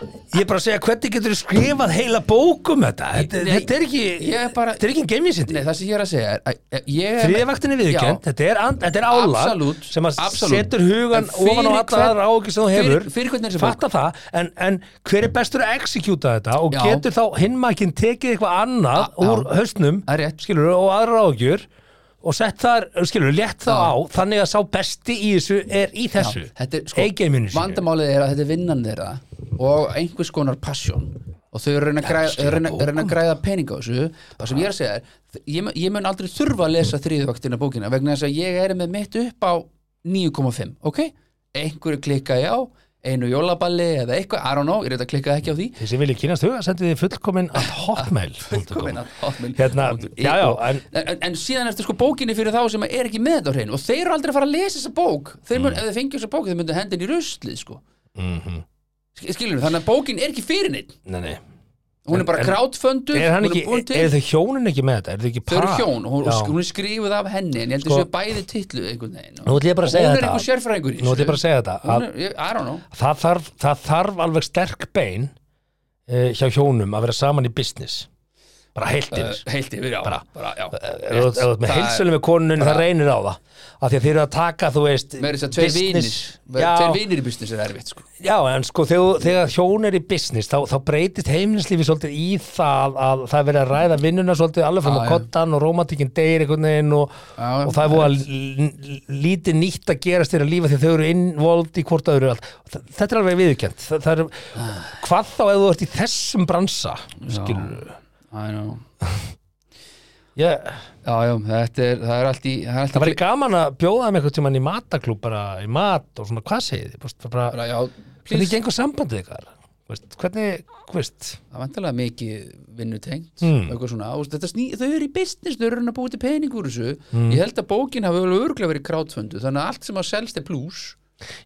S1: Ég er bara að segja hvernig getur skrifað heila bók um þetta Þetta,
S2: Nei,
S1: þetta er ekki
S2: ég er bara-
S1: Þetta er ekki geimvísindi
S2: nei, það sem ég er að segja er að- að ég
S1: Þriðavaktin er viðurkend, þetta er, and- þetta er álag
S2: Absolút,
S1: sem að
S2: absolút.
S1: setur hugan
S2: En fyrir
S1: ofan á alla
S2: hvern-
S1: aðra áhugi sem þú
S2: fyrir-
S1: hefur
S2: fyrir hvern er þessi
S1: Fatta það, en, en hver er bestur að exekjúta þetta og
S2: Já.
S1: getur þá hinmakinn tekið eitthvað annað
S2: A- já.
S1: úr hausnum
S2: Það er rétt.
S1: skilur, og aðra áhugjur og sett þar, skilur, létt þá
S2: Já.
S1: á þannig að sá besti í þessu er í þessu
S2: þetta er, sko,
S1: Eigeiminu sínu.
S2: vandamálið er að þetta er vinnan þeirra og einhvers konar passion og þau eru að reyna að græða,
S1: skrifa
S2: reyna,
S1: bók
S2: reyna að græða pening á þessu það sem ég er að segja er, ég, mun- ég mun aldrei þurfa að lesa þriðvaktina bókina vegna þess að ég er með mitt upp á 9,5 ok, einhverju klikka ég á einu jólaballi eða eitthvað, I don't know, ég reyta að klikka ekki á því
S1: Þið sem viljið kynast huga, sendið þið fullkominn að hotmail
S2: Komin að hotmail.
S1: Hérna, já, já,
S2: Og-
S1: en-
S2: en, en síðan ertu sko bókinni fyrir þá sem er ekki með þetta á hreinu og þeir eru aldrei að fara að lesa þessa bók þeir
S1: Mm.
S2: mun, ef þeir fengja þessa bók, þeir myndu hendin í ruslið sko. mm -hmm. skilur þannig að bókin er ekki fyrir neitt
S1: mhm, Nei, nei
S2: hún er bara
S1: En- en-
S2: krátföndu
S1: Er, hann
S2: hún
S1: ekki,
S2: búin til,
S1: er þau hjónin ekki með þetta? Er þau ekki
S2: þau
S1: par?
S2: eru hjón og hún,
S1: Já.
S2: og hún er skrifuð af henni en ég held
S1: Sko-
S2: þessu bæði titlu einhvern veginn
S1: Nú ætlum ég bara að
S2: Og
S1: segja
S2: hún er
S1: þetta.
S2: einhver sérfræðingur í
S1: Nú ætlum ég bara að segja þetta
S2: hún
S1: að
S2: er, ég, I don't know
S1: það, þarf, það þarf alveg sterk bein uh, hjá hjónum að vera saman í business bara heilt
S2: uh,
S1: yfir uh,
S2: heilt yfir, já, bara, já,
S1: Ef þú ert með
S2: eh, Það er-
S1: heilsölu með konunni, það reynir á það af því að þeir eru að taka, þú veist
S2: meira þess að tveir vinir tveir
S1: já,
S2: vinir í business er erfitt sko.
S1: já, en sko þegar, þegar hjón er í business þá, þá breytist heimilislífi svolítið í það að það er verið að ræða vinnuna svolítið alveg fram á
S2: Já, já.
S1: kottan og romantikinn deyr einhvern veginn og,
S2: Já,
S1: og það er búið að lítið nýtt að gerast þeirra lífa þegar þau eru involvd í hvort öðru og allt. Þa- þetta er alveg viðurkend það, það er, hvað þá ef þú ert í þessum bransa skilur
S2: I know
S1: yeah.
S2: Já, já, þetta er, það er allt í Það er allt
S1: það
S2: í
S1: væri gaman að bjóða þeim einhvern tímann í mataklúb bara í mat og svona hvað segið þið Bara- bara,
S2: bara, já,
S1: hvernig
S2: please
S1: gengur sambandið ykkar Þú veist, hvernig, þú veist
S2: Það er vantilega mikið vinnutengt
S1: Mm.
S2: eitthvað svona, og þetta sný, þau eru í business þau eru að reyna að búið til pening úr þessu
S1: Hmm.
S2: Ég held að bókin hafi alveg örgulega verið krátföndu þannig að allt sem að selst er plus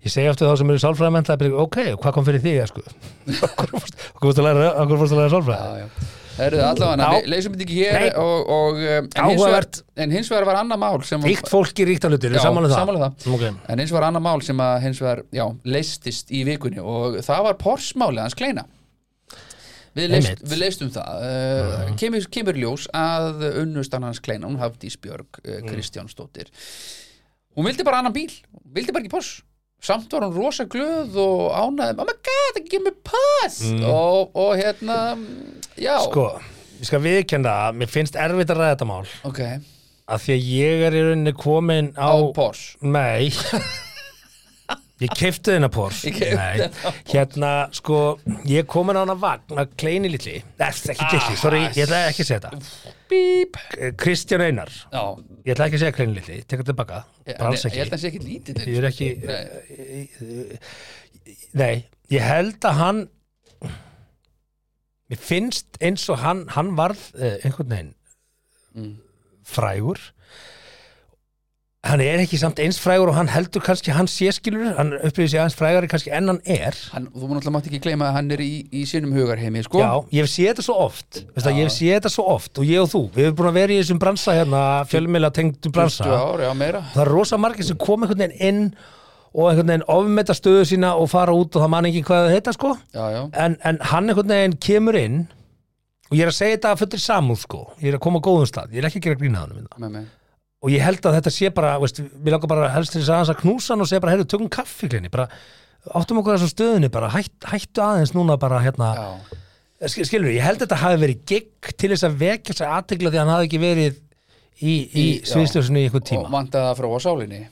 S1: Ég segi eftir þá sem eru sálfræðamenta ok, hvað kom fyrir því, sko
S2: (laughs)
S1: okkur fórst okkur fórstu að læra, okkur fórstu að læra sálfræði
S2: Já, já Það eru allavega,
S1: Já.
S2: við leysum þetta ekki hér
S1: Nei.
S2: og, og, um, en, hins vegar,
S1: Áhugavert.
S2: en hins vegar var annað mál sem
S1: Ríkt fólk í ríkta hlutir,
S2: Já,
S1: við samanlega það
S2: sammála um það.
S1: okay.
S2: En hins vegar annað mál sem að hins vegar, já, leistist í vikunni og það var porsmálið hans kleina. Við, leist,
S1: Einmitt.
S2: við leistum það. Uh, kemur, kemur ljós að unnustan hans kleina, hún Hafdís Björg uh,
S1: Mm.
S2: Kristjánsdóttir. Hún vildi bara annan bíl, hún vildi bara ekki porsm. Samt var hún rosa glöð og ánaði, oh my god, ekki með pass! Og, og hérna, já,
S1: Mm. Sko, ég skal viðkenda að mér finnst erfitt að ræða þetta mál
S2: ok,
S1: af því að ég er í rauninni komin á,
S2: á porsm. (laughs)
S1: Nei Ég keipti þennan Porsche
S2: Ég keypti
S1: Nei. Hérna, sko, ég er komin á hana vagn að kleini litli Nei, ekki litli, sorry, ég ætla ekki að segja þetta
S2: Ah, Bíp!
S1: Kristján Einar,
S2: Já,
S1: ég ætla ekki að segja kleini litli Tekur tilbaka,
S2: ég,
S1: bara alls
S2: ég
S1: ekki
S2: held að það sé ekki lítið.
S1: ég er ekki
S2: Nei.
S1: nei, ég held að hann mér finnst eins og hann hann varð uh, einhvern veginn Mm. frægur hann er ekki samt eins frægur og hann heldur kannski að hann sé skilur, hann upplýði sig aðeins frægari kannski enn hann er
S2: hann, þú náttúrulega mátt ekki gleyma að hann er í, í sínum hugarheimi sko.
S1: Já, ég hef séð þetta svo oft veist að, ég hef séð þetta svo oft og ég og þú við hefum búin að vera í þessum bransa hérna fjölmiðla tengdu bransa
S2: 20 ár, já meira
S1: það er rosa margir sem kom einhvern veginn inn og einhvern veginn ofmeta stöðu sína og fara út og það man ekki hvað það heita sko
S2: já, já.
S1: en, en hann einhvern veginn kemur inn og ég er að segja þetta að fullir samúð sko ég er að koma á góðum stað, ég er ekki að gera grína hann
S2: Með, með.
S1: og ég held að þetta sé bara veist, við langar bara helst til þess aðeins að knúsa hann og segja bara, heyrðu, tökum kaffi klinni bara, áttum okkur á þessum stöðunni bara, hætt, hættu aðeins núna bara hérna,
S2: Já.
S1: Sk- skilur, ég held að þetta hafi verið gigg til þess að vekja þess að aðtegla því að hann hafi ekki verið í, í, í
S2: Í- já.
S1: sviðsljósinu í einhvern
S2: og
S1: tíma
S2: vantaði að fróa sálinni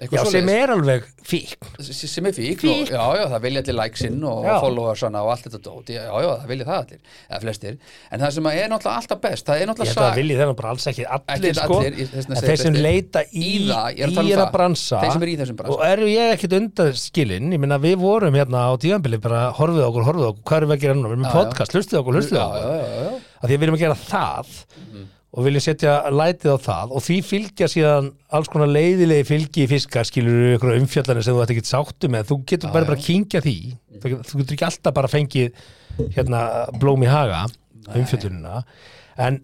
S1: Já,
S2: eitthvað
S1: sem
S2: svoleiðis.
S1: er alveg fíkn
S2: S- sem er fík,
S1: Fíkn.
S2: Og, já, já, það vilja allir likesinn og
S1: Já.
S2: followersana og allt þetta dót, já, já, það vilja það allir eða flestir, en það sem er náttúrulega alltaf best, það er
S1: Ég
S2: náttúrulega
S1: held að það
S2: sag-
S1: vilji þennan bara alls ekki allir,
S2: Ekki
S1: sko,
S2: allir, ég- þess vegna
S1: en
S2: segi ég
S1: þeir sem
S2: þetta.
S1: leita í,
S2: Í það, ég er að tala um
S1: þennan
S2: það.
S1: bransa
S2: Þeir sem eru í þessum bransa.
S1: og eru ég ekkit undaskilinn ég meina við vorum hérna á tíðanbili bara horfið á okkur, horfið á okkur, hvað erum við að gera núna við erum með
S2: Já, já.
S1: podcast, hlustið okkur, hlustið
S2: já,
S1: okkur
S2: já, já, já.
S1: að því að við erum að gera það og vilja setja lætið á það og því fylgja síðan alls konar leiðilegi fylgi í fiskar skilur ykkur umfjallanir sem þú ætti ekki sáttu með þú getur bara, bara að kynkja því þú, þú getur ekki alltaf bara fengið hérna blóm í haga umfjöllunina en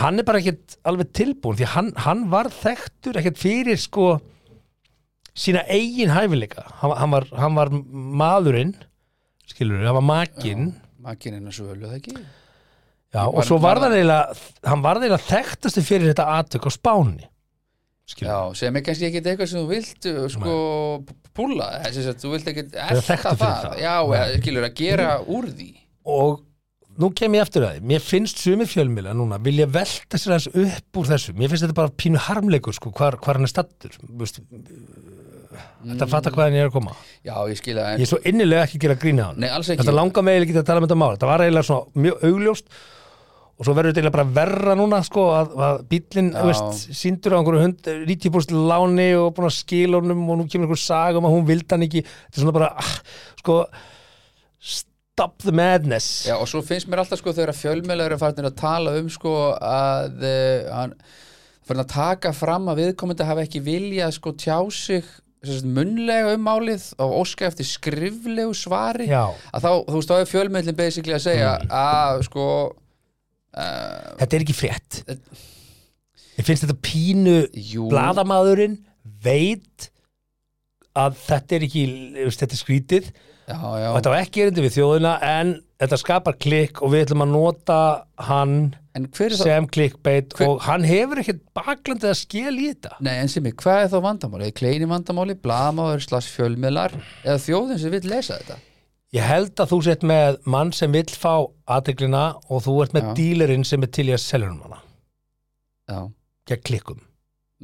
S1: hann er bara ekkert alveg tilbúin því hann, hann var þekktur ekkert fyrir sko sína eigin hæfileika hann, hann, var, hann var maðurinn skilur hann var makinn
S2: makininn að sölu, það ekki
S1: Já,
S2: Ég
S1: og
S2: var-
S1: svo var
S2: var-
S1: það eiginlega, hann var það eiginlega þekktastu fyrir þetta aðtök á Spáni.
S2: já,
S1: Skilur.
S2: sem er kannski ekkit eitthvað sem þú vilt uh, sko, p- púlla þess að þú vilt ekkit
S1: þekktur
S2: elta
S1: fyrir
S2: það,
S1: það.
S2: já, eða, skilur, að gera úr því
S1: Og nú kem ég eftir það, mér finnst sumi fjölmiðla núna, vilja velta sér aðeins upp úr þessu. Mér finnst þetta bara pínu harmleikur, sko, hvar, hvar hann er stattur. Vist, Þetta fatta hvað hann er að koma.
S2: já, ég skil að
S1: Ég er svo innilega ekki að gera grína hann.
S2: Nei, alls ekki.
S1: Þetta langa mig eiginlega ekki að tala um þetta mál. Þetta var eiginlega svona mjög augljóst og svo verður þetta eiginlega bara verra núna sko að, að bíllinn,
S2: Já.
S1: þú veist, síndur á einhverju hund, 90% láni og búin að skila honum og nú kemur einhver saga um að hún vildi hann ekki. Þetta er svona bara, ah, sko, stop the madness.
S2: Já, og svo finnst mér alltaf sko þegar fjölmjölar eru farin að tala um sko að eh, hann farin að taka fram að viðkomandi hafi ekki vilja að sko tjá sig sem sagt, munnlega um málið og óska eftir skriflegu svari
S1: Já. Mm.
S2: að þá, þú veist, þá er fjölmjölin basically að segja að sko uh,
S1: Þetta er ekki frétt. Ég finnst þetta pínu
S2: jú,
S1: bladamaðurinn veit að þetta er ekki, þú veist, þetta er skrítið
S2: já, já,
S1: Og Þetta var ekki erindi við þjóðina en þetta skapar klikk og við ætlum að nota hann
S2: en hver er það
S1: sem klikkbeitt
S2: Hver-
S1: og hann hefur ekkert baklandið að skil í þetta.
S2: Nei, en sem ég, hvað er þá vandamáli? Er Kleini vandamáli, blamaður, slags fjölmiðlar eða þjóðin sem vill lesa þetta?
S1: Ég held að þú sett með mann sem vill fá aðteglina og þú ert með
S2: Já.
S1: dílerinn sem er til í að selja um hana.
S2: Já,
S1: Gegn klikkum.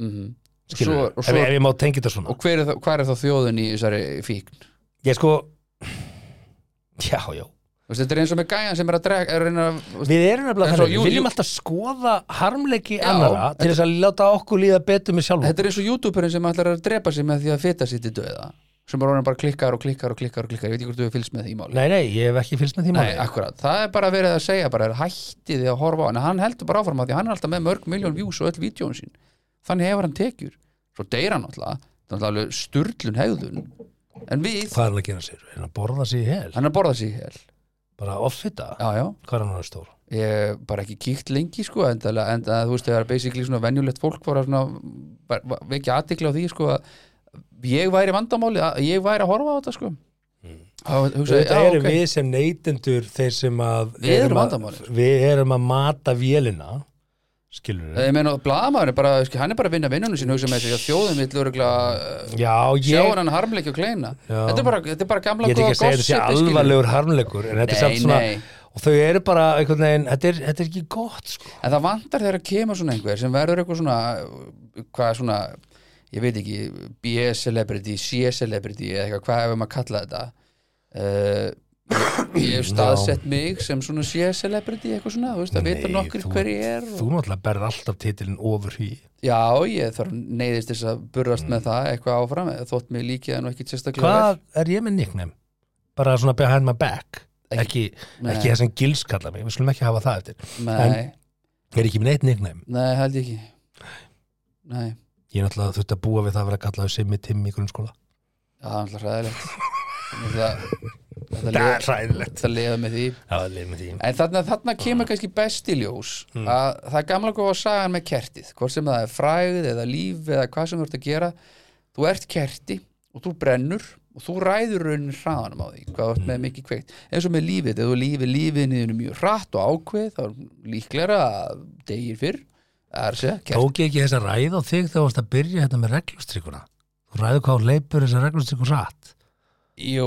S2: mhm
S1: Skilur,
S2: og,
S1: ef, ef ég má tengja þetta svona.
S2: Og hver er þá, hvað er þá þjóðun í þessari fíkn?
S1: Ég sko, já, já.
S2: Þú veist, Þetta er eins og með gæjan sem er að dreg er að reyna að, þú veist,
S1: Við erum nefnilega
S2: En svo
S1: þannig,
S2: jú-
S1: við viljum
S2: jú-
S1: alltaf skoða harmleiki
S2: Já,
S1: annara til þess að láta okkur líða betur með sjálfum.
S2: Þetta er eins og youtuberinn sem ætlar að drepa sig með því að feta sitt í döða sem bara orðin bara klikkar og klikkar og klikkar og klikkar ég veit ekki hvort þú hefur fylgst með því máli
S1: Nei, nei, ég hef ekki fylgst með því máli.
S2: akkurat, það er bara verið að segja bara hætti því að horfa á hann, En hann heldur bara áfram að því hann er alltaf með mörg miljón views og öll vídjón sín þannig hefur hann tekjur, svo deyr hann alltaf þannig alveg sturlun hegðun en við,
S1: Hvað er hann að gera sér? Er hann að borða sér í hel?
S2: hann er að borða sig í hel
S1: Bara offita?
S2: já, já,
S1: Hvað er hann að vera stór?
S2: ég bara ekki kíkt lengi sko, en, það, en það, þú veist, þegar basically svona venjulegt fólk var að svona, var, var, vekja aðtikla á því sko, að ég væri vandamáli að ég væri að horfa á þetta sko. mm. hugsa,
S1: Þetta
S2: já,
S1: Hmm. eru
S2: ok.
S1: við sem neytendur þeir sem að
S2: Við erum
S1: að,
S2: vandamálið.
S1: við erum að mata vélina skilur við
S2: ég meina, blaðamaður er bara, sk- hann er bara að vinna vinnunum sín hugsa með þessi, þjóðum vill örugla
S1: Já,
S2: sjá
S1: ég,
S2: hann harmleikja og kleina
S1: Já.
S2: þetta er, bara, þetta er bara gamla
S1: ég er ekki að segja þetta sé
S2: gossipið, skilur.
S1: alvarlegur harmleikur en þetta er
S2: Nei,
S1: samt svona
S2: nei.
S1: og þau eru bara einhvern veginn, þetta er, þetta er ekki gott sko.
S2: En það vantar þegar að kemur svona einhver sem verður eitthvað svona hvað svona, ég veit ekki B-celebrity, C-celebrity eða eitthvað, hvað hefur maður að kalla þetta uh, Ég hef staðsett mig sem svona C-celebrity eitthvað svona, þú veist, að vita
S1: Nei,
S2: nokkur
S1: þú-
S2: hver ég er
S1: Þú
S2: og,
S1: náttúrulega berð alltaf titilin ofur hví
S2: Já, ég þarf neyðist þess að burðast með það eitthvað áfram, eða þótt mér líkið en ekki sérstaklega vel.
S1: Mm. Hvað er ég með nickname? Bara svona behind my back ekki,
S2: Ekki-
S1: ekki það sem gils kalla mig, við skulum ekki hafa það eftir
S2: Nei,
S1: Ég er ekki með neitt nickname
S2: nei, held ég ekki Nei,
S1: Ég náttúrulega þurfti að búa við það að vera kallaðu Simmi Timmi í grunnskóla
S2: já, það er alltaf hræðilegt Það,
S1: (laughs)
S2: það,
S1: Það
S2: það,
S1: er hræðilegt
S2: það lefa með því
S1: Já, leið með því
S2: En þarna, þarna kemur kannski best í ljós
S1: Mm.
S2: að það er gamla góða sagan með kertið hvort sem það er fræð eða líf eða hvað sem þú ert að gera þú ert kerti og þú brennur og þú ræður raunin hraðanum á því hvað þú ert
S1: Mm.
S2: með mikið kveikt eins og með lífið, ef þú lífið lífið niður mjög hratt og ákveð þá er líklega að degir fyrr það er að segja, kerti
S1: Tók ég ekki þess að ræða á þig þegar þú varst að byrja hérna með reglustrykkuna Þú ræður hvað hún leipur þess að reglustrykkun satt
S2: Jú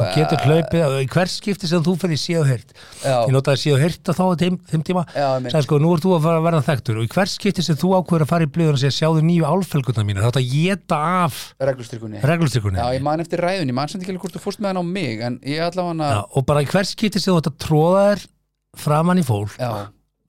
S1: Þú getur hlaupið, í hvert skipti sem þú fyrir síð og heyrt
S2: Já.
S1: ég notaði síð og heyrt að þá á þeim, þeim tíma
S2: Já, einmitt.
S1: sagði sko, nú ert þú að fara að verða þekktur og í hvert skipti sem þú ákveður að fara í blöður og segja sjáðu nýju álfelgurna mínu, þá átt að geta af
S2: Reglustyrkunni
S1: reglustyrkunni
S2: Já, ég man eftir ræðunni, ég man samt ekki alveg hvort þú fórst með hann á mig En ég
S1: Já,
S2: allavega hann
S1: og bara í hvert skipti sem þú átt að tróða þér framan í fólk
S2: Já,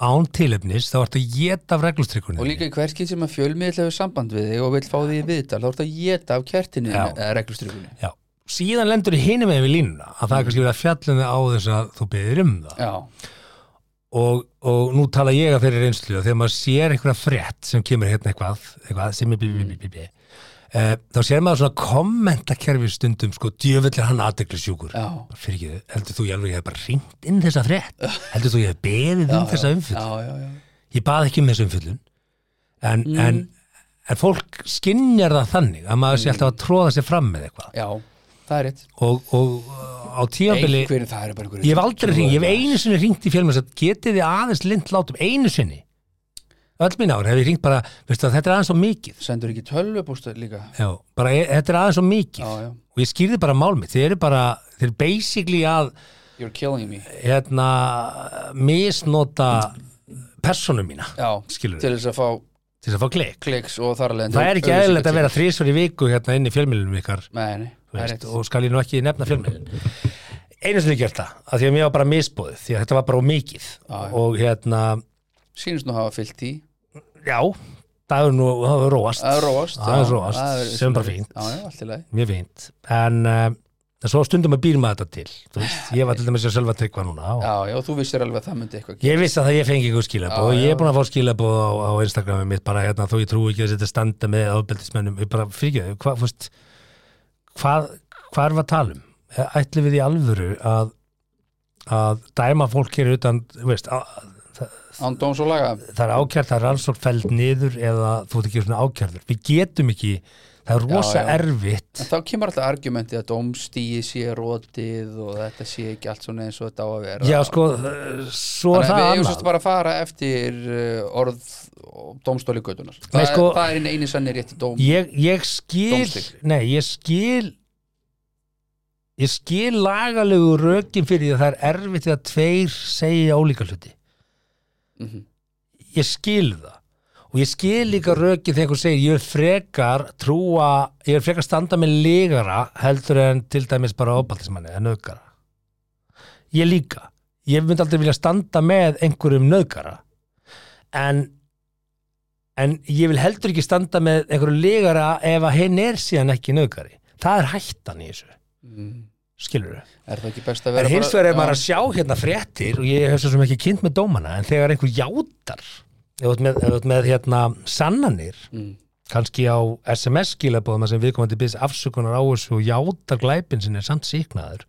S1: án tilefnis, þá ert að geta af reglustyrkunni
S2: og líka í hverskið sem að fjölmiðl hefur samband við þig og vill fá því í viðtal þá ertu að geta af kertinu
S1: Já.
S2: eða reglustyrkunni
S1: Já. síðan lendur í hinum með við línuna að
S2: Mm.
S1: það er kannski verið að fjallinu á þess að þú beðir um það
S2: Já,
S1: og, og nú tala ég að þeirri reynslu að þegar maður sér einhverja frétt sem kemur hérna eitthvað, eitthvað sem er bí, bí, bí, bí, bí. Uh, þá sér maður svona kommentakerfi stundum sko, djöfellir hann aðdekli sjúkur
S2: já,
S1: fyrir ekki, heldur þú ég alveg ég hef bara ringt inn þessa
S2: (laughs)
S1: frétt, heldur þú ég hef beðið um þessa
S2: já,
S1: umfyllun,
S2: já, já.
S1: ég bað ekki um þessa umfyllun en, en,
S2: Mm.
S1: en fólk skinjar það þannig að maður sé alltaf að tróða sér fram með eitthvað
S2: já það er rétt
S1: og, og uh, á tíabili
S2: Einhverjum það eru bara einhverjum
S1: ég hef aldrei hringt, ég hef einu sinni hringt í fjölmjöls að getið þið aðeins lind látum einu sinni öll mín ár hef ég hringt bara veistu að þetta er aðeins svo mikið
S2: Sendur ekki tölvupústa líka
S1: já, bara, e, þetta er aðeins svo mikið
S2: Já, já.
S1: og ég skýrði bara mál mitt þeir eru bara, þeir eru basically að
S2: You're killing me
S1: hérna misnota personum mína
S2: Já,
S1: Skilurðu.
S2: til þess að fá
S1: til þess að fá klik
S2: kliks og þar alveg
S1: það er ekki eðlilegt að vera þrísvar í viku hérna inn í fjölmjölunum ykkar
S2: Nei, nei,
S1: þú
S2: það er
S1: veist,
S2: rétt
S1: og skal ég nú ekki nefna fjölmiðlin einu sinni gert það, af því að mér var bara misbóðið því að þetta var bara of mikið
S2: já.
S1: og hérna,
S2: Sýnist nú hafa fyllt í
S1: já það er nú, það er róast
S2: Það er róast
S1: það er
S2: já,
S1: róast,
S2: það er-
S1: sem er bara fínt,
S2: Já, já, allt í lagi
S1: mjög fínt en uh, svo stundum að býr maður þetta til þú veist, ég var til dæmis að sjálfa tryggva núna og
S2: Já, já, þú vissir alveg að það myndi eitthvað
S1: ég vissi að það ég fengi einhver skilabóð
S2: Já,
S1: og ég er
S2: já.
S1: búin að fá skilabóð á, á Instagramið mitt bara hérna, þó ég trúi ekki að þetta standa með ábeldismennum, ég bara fyrir ekki hvað, fórst hvað, hvað er við að tala um? Ætli við í alvöru að, að dæma fólk hér utan, þú veist að,
S2: Án dóms og laga
S1: það er ákjært, það er rannsókn fæld niður eða þú ert ekki svona ákjærður við getum ekki, það er rosa
S2: já.
S1: erfitt
S2: En þá kemur alltaf argumenti að dómstíi sé rótið og þetta sé ekki allt svona eins og þetta á að vera
S1: já sko, eh, svo er
S2: Þannig að
S1: það
S2: við eigum
S1: annað
S2: sérst bara að fara eftir uh, orð og dómstóli gödunar
S1: Nei,
S2: það,
S1: sko-
S2: er- það er einn eini sannir rétti dóm
S1: ég, ég skil
S2: Dómstig.
S1: nei, ég skil ég skil lagalegu rökin fyrir því að það er erfitt þegar tveir segja ólíka hluti
S2: Mhm.
S1: ég skil það og ég skil líka rökin þegar einhver segir ég er frekar trúa ég er frekar standa með lígara heldur en til dæmis bara opaldismanni eða nöðgara ég líka ég myndi aldrei vilja standa með einhverjum nöðgara en en ég vil heldur ekki standa með einhverjum lígara ef að hinn er síðan ekki nöðgari það er hættan í þessu
S2: mm.
S1: skilur þau
S2: Er það ekki best að
S1: En
S2: vera
S1: hins vegar er
S2: Já.
S1: maður að sjá hérna fréttir og ég hef svo sem ekki kynnt með dómana en þegar einhver játar ef þú ert með, ef þú ert með hérna, sannanir
S2: mm.
S1: kannski á SMS skilabóðum þar sem viðkomandi byrðs afsökunar á þessu og játar glæpin sinni samt síknaður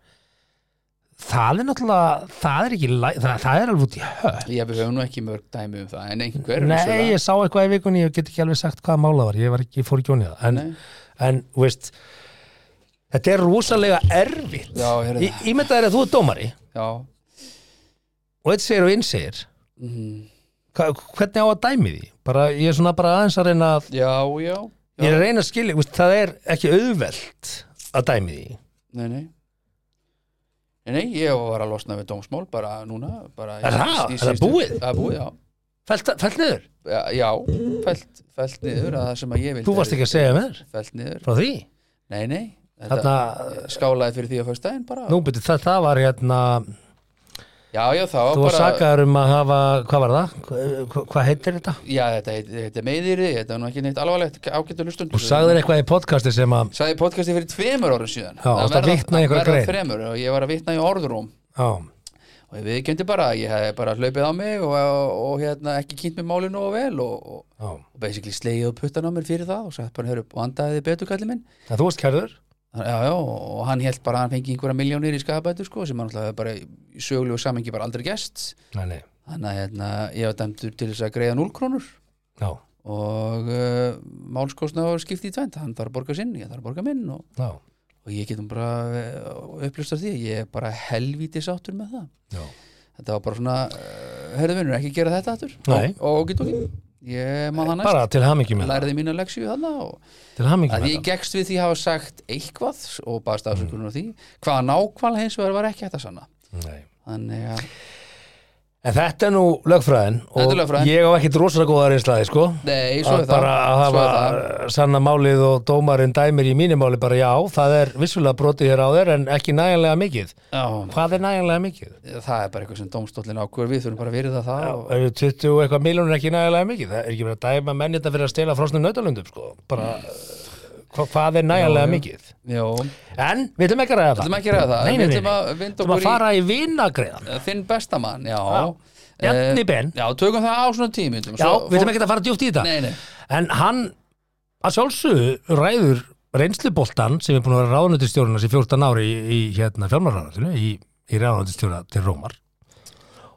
S1: það er náttúrulega það er, ekki, læ- það, það er alveg út í höf
S2: Ég við höfum nú ekki mörg dæmi um það en einhver
S1: Nei,
S2: vissulega.
S1: ég sá eitthvað í vikunni ég get ekki alveg sagt hvaða mála var ég, var ekki, ég fór ekki onið það en,
S2: Nei.
S1: en þú veist þetta er rosalega erfitt
S2: Já, heyrðu.
S1: Í- ímyndaðu þér að þú er dómari
S2: Já
S1: og eitt segir og inn segir
S2: mm.
S1: Hva, hvernig á að dæmi því? Bara, ég er svona bara aðeins að reyna að,
S2: Já, já,
S1: ég er að reyna að skilja, veist, það er ekki auðvelt að dæmi því.
S2: nei, nei Nei, nei, ég var að losna við dómsmál bara núna bara í-
S1: Er það?
S2: í
S1: Er það
S2: síðustu-
S1: búið?
S2: Það er búið, já
S1: Felt, felt niður?
S2: Já, já, fælt, fælt niður að það sem að ég vildi
S1: Þú varst ekki að segja mér
S2: Fælt niður,
S1: frá því.
S2: nei, nei þetta
S1: Þarna,
S2: Skálaði fyrir því að fyrst daginn bara
S1: nú betur það, það var hérna,
S2: Já, já, það var
S1: þú var
S2: bara
S1: sakaður um að hafa, hvað var það? Hva, hvað heitir þetta?
S2: Já, þetta, heit- þetta er meðýri, þetta er nú ekki neitt alvarlegt ágættu lustundur
S1: Þú sagðir eitthvað í podcasti sem að,
S2: Sagði í podcasti fyrir tveimur árum síðan
S1: Já, varstu að
S2: verða-
S1: vitna í einhverja
S2: verða
S1: grein?
S2: þremur og ég var að vitna í orðrúm
S1: á,
S2: og ég viðkendi bara, að ég hef bara hlaupið á mig og, og, og hérna, ekki kynnt mér málinu og vel og, og,
S1: á.
S2: og basically slegið upp puttan á mér fyrir það og sagði bara, hörru, vandaði þið betur kallið minn
S1: Það þú varst kærður?
S2: Já, já, og hann held bara að hann fengi einhverja miljónir í skabætu sko, sem hann alltaf bara í sögulegu samengi bara aldrei gest
S1: Nei, nei,
S2: þannig að hérna, ég var dæmdur til þess að greiða 0 krónur
S1: já,
S2: og uh, málskostnaður skipti í tvend hann þarf að borga sinn, ég þarf að borga minn og,
S1: já,
S2: og ég getum bara uh, upplýstar því, ég er bara helvíti sáttur með það
S1: já.
S2: þetta var bara svona, uh, herðu vinnur, eh, ekki gera þetta aftur
S1: Nei.
S2: og, og getur ekki ég maður það næst
S1: bara til hamingjum með það,
S2: lærði mína leksju þarna og
S1: til hamingjum
S2: að
S1: með
S2: ég gekkst við því að hafa sagt eitthvað og
S1: Mm.
S2: baðast afsökunar á því hvaða nákvæl hins vegar var ekki hægt að sanna
S1: það Nei.
S2: þannig að,
S1: en þetta er nú lögfræðin
S2: Þetta
S1: og
S2: er lögfræðin.
S1: ég á ekkit rosalega góða reynslaði sko
S2: nei, svo
S1: að
S2: er það
S1: bara að
S2: svo
S1: hafa
S2: er það.
S1: sanna málið og dómarinn dæmir í mínu máli bara já, það er vissulega brotið hér á þér en ekki nægjanlega mikið
S2: Já,
S1: hvað er nægjanlega mikið?
S2: það er bara eitthvað sem dómstóllin ákvör við þurfum bara að virða það og,
S1: eru 20 og eitthvað miljónir ekki nægjanlega mikið það er ekki verið að dæma menn þetta fyrir að stela frosnum nautalundum sko, bara hva, hvað er nægjanlega mikið?
S2: já,
S1: En við ætlum ekki að ræða það
S2: ætlum ekki að ræða það,
S1: Nei, nei,
S2: við
S1: nei,
S2: ætlum að
S1: nei.
S2: vinda
S1: ætlum
S2: okkur
S1: að
S2: í-
S1: fara í vinnagreðan
S2: þinn bestamann, já, já.
S1: Bjarni Ben
S2: já, tökum það á svona tímyndum
S1: Já, við ætlum ekki að fara djúpt í þetta
S2: Nei, nei.
S1: En hann, að sjálfsögðu ræður reynsluboltan sem er búin að vera ráðnöndistjórnars í 14 ári í, í hérna fjármálaráðnöndinu í, í ráðnöndistjóra til Rómar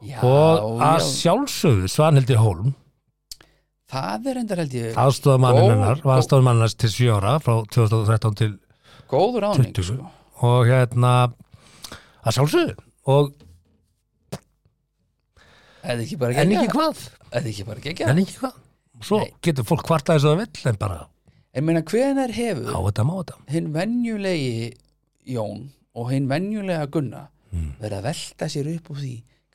S2: já,
S1: og
S2: já,
S1: að sjálfsögðu Svanhildi Hólm
S2: það er endar held ég Ó,
S1: aðstofamannin hennar,
S2: ó.
S1: var aðstofamannin hennar til 7 ára frá 2013 til
S2: góður áning
S1: 20
S2: sko.
S1: og hérna að sjálfsögðu og
S2: eða ekki bara
S1: en
S2: gegja
S1: ekki hvað
S2: eða ekki bara gegja en,
S1: en ekki hvað svo getur fólk kvartað eins og það vill en bara
S2: meina hvenær hefur
S1: á þetta má þetta
S2: hinn venjulegi Jón og hinn venjulega Gunna
S1: Hmm.
S2: verið að velta sér upp úr því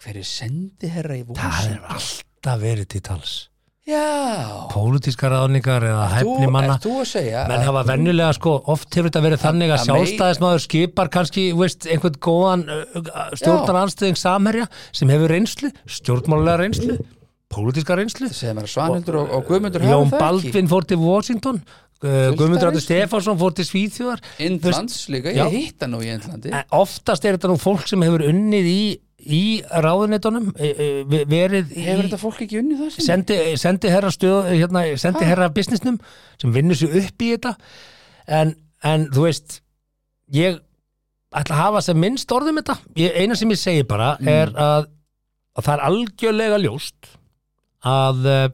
S2: hver er sendiherra í
S1: það
S2: vóðsinn
S1: er alltaf verið til tals
S2: já,
S1: pólitískar ráðningar eða hæfni
S2: þú,
S1: manna
S2: ert þú að segja
S1: menn
S2: að-
S1: hafa venjulega sko oft hefur þetta verið þannig að
S2: að
S1: sjálfstæðismadur skipar kannski þú veist, einhvern góðan stjórnar anstæðing samherja sem hefur reynslu stjórnmálega reynslu, pólitíska reynslu
S2: sem er Svanhildur og, og Guðmundur hafa
S1: Jón
S2: það ekki.
S1: Baldvin fór til Washington uh, Guðmundur Áttur
S2: reynslu.
S1: Stefánsson fór til Svíþjóðar
S2: Indlands líka,
S1: Já.
S2: ég hitt hann nú í Indlandi
S1: En oftast er þetta nú fólk sem hefur unnið í, í ráðunetunum verið í
S2: hefur þetta fólk ekki unni það sem
S1: sendi, sendi herra stöð hérna, sendi herra businessnum sem vinnur sér upp í þetta en, en þú veist ég ætla að hafa sem minnst orðum þetta ég, eina sem ég segi bara er að, að það er algjörlega ljóst að eh,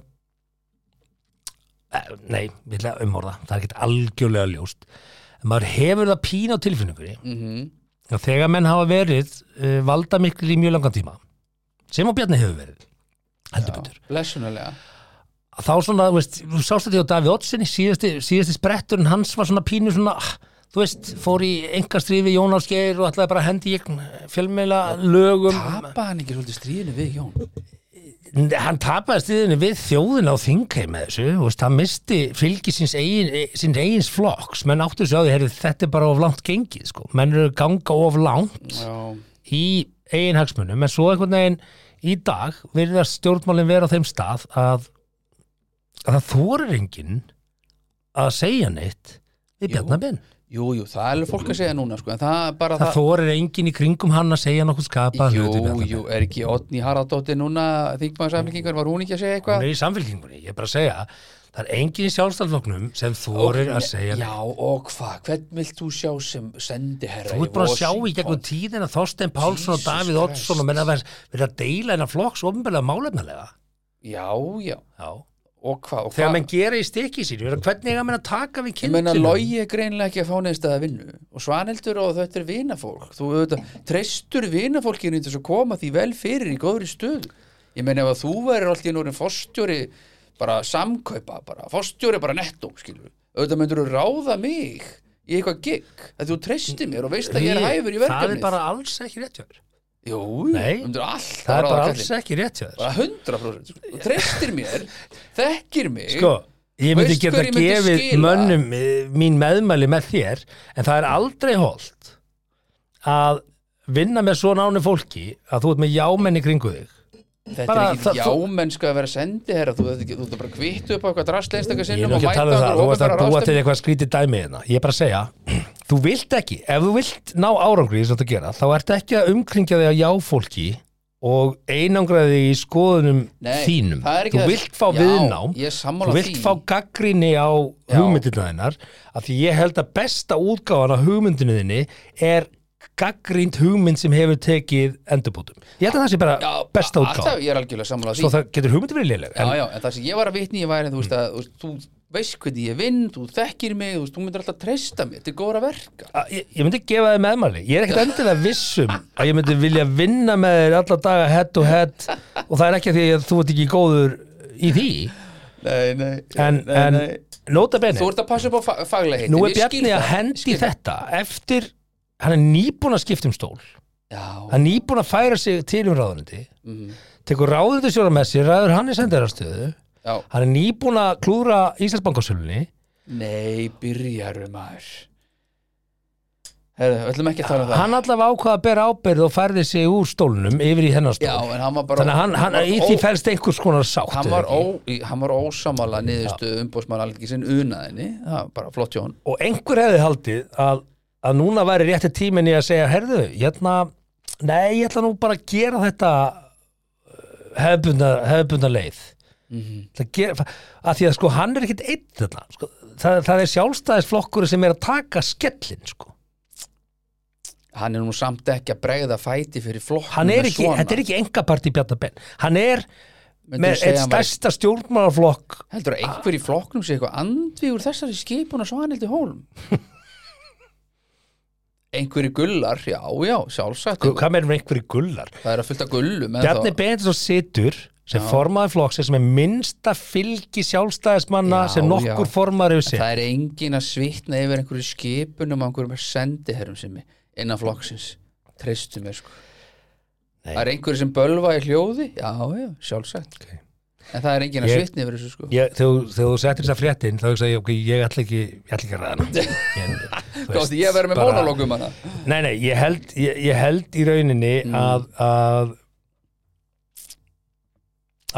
S1: eh, nei, við ætla að umorða það er ekkert algjörlega ljóst en maður hefur það pín á tilfinningunni
S2: mm
S1: Já, þegar menn hafa verið uh, valda miklir í mjög langan tíma sem á Bjarni hefur verið heldur betur
S2: blessunulega
S1: þá svona, þú veist, þú sást þetta hjá Davíð Oddsen síðasti, síðasti spretturinn hans var svona pínu svona, ah, þú veist, fór í engastrifi Jón Ásgeir og ætlaði bara að hendi í einhvern fjölmeila lögum
S2: tapa hann ekki svolítið stríðinu við Jón
S1: hann tapaði stíðinni við þjóðina á þingheim með þessu, þú veist, hann misti fylgi síns eigin, e, síns eigins flokks menn áttu sig á því, herri, þetta er bara of langt gengið, sko, menn eru að ganga of langt
S2: já,
S1: í eigin hagsmunum en svo einhvern veginn í dag virðast stjórnmálinn vera á þeim stað að, að það þorir enginn að segja neitt við Bjarnabinn
S2: jú, jú, það er alveg fólk að segja núna sko, en það er bara
S1: það þorir enginn í kringum hann að segja nokkuð skapað hlut við
S2: Jú,
S1: Bjarna Ben.
S2: jú, er ekki Otni Haraldóttir núna þingmæðsaflingingar, var hún ekki að segja eitthvað?
S1: hún er í samfélkingunni, ég er bara að segja það er enginn í sjálfstæðfloknum sem þorir að segja
S2: Já,
S1: neitt
S2: og hvað, hvern vilt þú sjá sem sendiherra
S1: Þú ert bara að sjá í gegnum tíðina Þorstein Pálsson og
S2: Jesus
S1: Davíð Oddsson og menna að vera að deila hennar flokks ofnbælega málefnilega
S2: Já, já,
S1: Já.
S2: og hvað, og
S1: Þegar
S2: hvað
S1: menn gera í stikki sín hvernig eiga menn að taka við
S2: Ég
S1: kynnsinum
S2: meina, logi er greinlega ekki að fá neðstæða vinnu og Svanhildur og þetta er vinafólk þú auðvitað, treystur vinafólkinu til þess að koma því vel fyrir í góðri stöð ég meina ef að þú verður alltaf í núrin fórstjóri bara samkaupa bara, fórstjóri bara nettó, skilur auðvitað myndur þú ráða mig í eitthvað gig, að þú treystir mér og veist að ég er hæfur í
S1: Það
S2: verkefnið
S1: er bara alls ekki rétt hjá þér
S2: Jú,
S1: Nei.
S2: myndur alltaf
S1: Það er bara
S2: ráða
S1: alls
S2: kallinn.
S1: ekki rétt hjá þér
S2: bara 100% sko. þú treystir mér, þekkir mig
S1: Sko, ég myndi
S2: Veist
S1: geta
S2: hverju ég myndi
S1: gefið
S2: skila?
S1: mönnum eh, mín meðmæli með þér en það er aldrei holdt að vinna með svo nánu fólki að þú ert með jámenni kringu þig
S2: Þetta
S1: Bara
S2: er
S1: það-
S2: ekki jámennska að vera sendiherra þú, þú, þú ert bara kvitt upp á eitthvað drast einstakar
S1: Ég
S2: sinnum
S1: er
S2: og
S1: ekki að
S2: mæta
S1: tala um það,
S2: okkur
S1: þú varst að
S2: opinbera
S1: búa til
S2: ráðstefnu.
S1: eitthvað skrítið dæmi hérna Ég er bara að segja, (clears throat) þú vilt ekki ef þú vilt ná árangri sem þú gera þá ertu ekki að umkringja þig að já fólki og einangra þig í skoðunum
S2: Nei,
S1: þínum
S2: það er ekki
S1: Þú
S2: það-
S1: vilt fá
S2: Já,
S1: viðnám
S2: ég er sammála
S1: þú vilt
S2: því.
S1: fá gaggrinni á
S2: Já.
S1: hugmyndina þinnar af því ég held að besta útgáfan á hugmyndinu þinni er gaggrind hugmynd sem hefur tekið endurbótum Ég held að það sé bara
S2: Já,
S1: besta útgáfan
S2: alltaf, ég er algjörlega sammála því
S1: Svo það getur hugmyndi verið léleg
S2: já, já, en það sem ég var að vitni í væri þú veist að þú veist, þú veist hvernig ég vinn þú þekkir mig, þú, veist, þú myndir alltaf treysta mig til góðra verka
S1: Að Ég, ég myndi gefa þið meðmæli Ég er ekkert endilega vissum að ég myndi vilja vinna með þér alla daga head to head og það er ekki af því að þú ert ekki góður í því
S2: Nei, nei,
S1: En,
S2: nei,
S1: en
S2: nei.
S1: nota bene
S2: Þú ert að passa upp á fa faglega
S1: Nú er Bjarni að hendi þetta eftir, hann er nýbúin að skipta um stól
S2: Já,
S1: hann er nýbúin að færa sig til um ráðunendi
S2: mm,
S1: tekur ráðunendi sjóra með sér, ræður hann í sendarastöðu
S2: já
S1: hann er nýbúin að klúðra Íslandsbankasölunni
S2: Nei, byrjarum maður Herðu, öllum ekki að tala um það
S1: hann allavega ákvaða að bera ábyrð og færði sig úr stólnum yfir í hennar stól
S2: Já, en hann var bara
S1: þannig að hann, hann,
S2: var
S1: í
S2: ó-
S1: því fælst einhvers konar sátt
S2: Hann
S1: eða
S2: var,
S1: ekki?
S2: ó, í- hann var ósamála niðurstu umbóðsmann alveg sinn unaðinni, það var bara flott hjón
S1: og einhver hefði haldið að, að núna væri rétti tíminn í að segja herðu, hérna, nei, ég ætla nú bara að gera þetta hefbunda, hefbunda leið mm gera, að því að sko hann er ekkit einn þarna sko, það, það er sjálfstæðisflokkur sem er að taka skellin sko.
S2: Hann er nú samt ekki að bregða fæti fyrir flokk
S1: hann er ekki, þetta er ekki engaparti Bjarnabenn, hann er með eitt stærsta stjórnmálaflokk
S2: Heldur að einhver í flokknum sé eitthvað andvígur þessari skipun og svanildi hólm
S1: (laughs)
S2: Einhverju gullar, já, já, sjálfsagt
S1: hvað meður með einhverju gullar
S2: Það er að fylta gullum en
S1: Bjarni
S2: þá-
S1: Benedinsson situr sem formaði flokksins sem er minnsta fylgi sjálfstæðismanna
S2: Já,
S1: sem nokkur
S2: já.
S1: formaður hefur sér
S2: Það er engin að svitna yfir einhverju skipunum og einhverjum sendiherrum sem er innan flokksins treystu mér sko
S1: Nei.
S2: Það er einhverju sem bölva í hljóði Já, já, sjálfsagt
S1: Ok.
S2: En það er engin að
S1: Ég-
S2: svitna yfir þessu sko
S1: Ég- Þegar þegar þú settir þess að fréttin þá hugsa ég, ok, ég ætla ekki, ég ætla ekki að
S2: (laughs)
S1: ræða hana
S2: Hvað átti ég að vera með mónalókum hana?
S1: Nei, nei, ég held, ég, ég held í rauninni
S2: Mm.
S1: að, að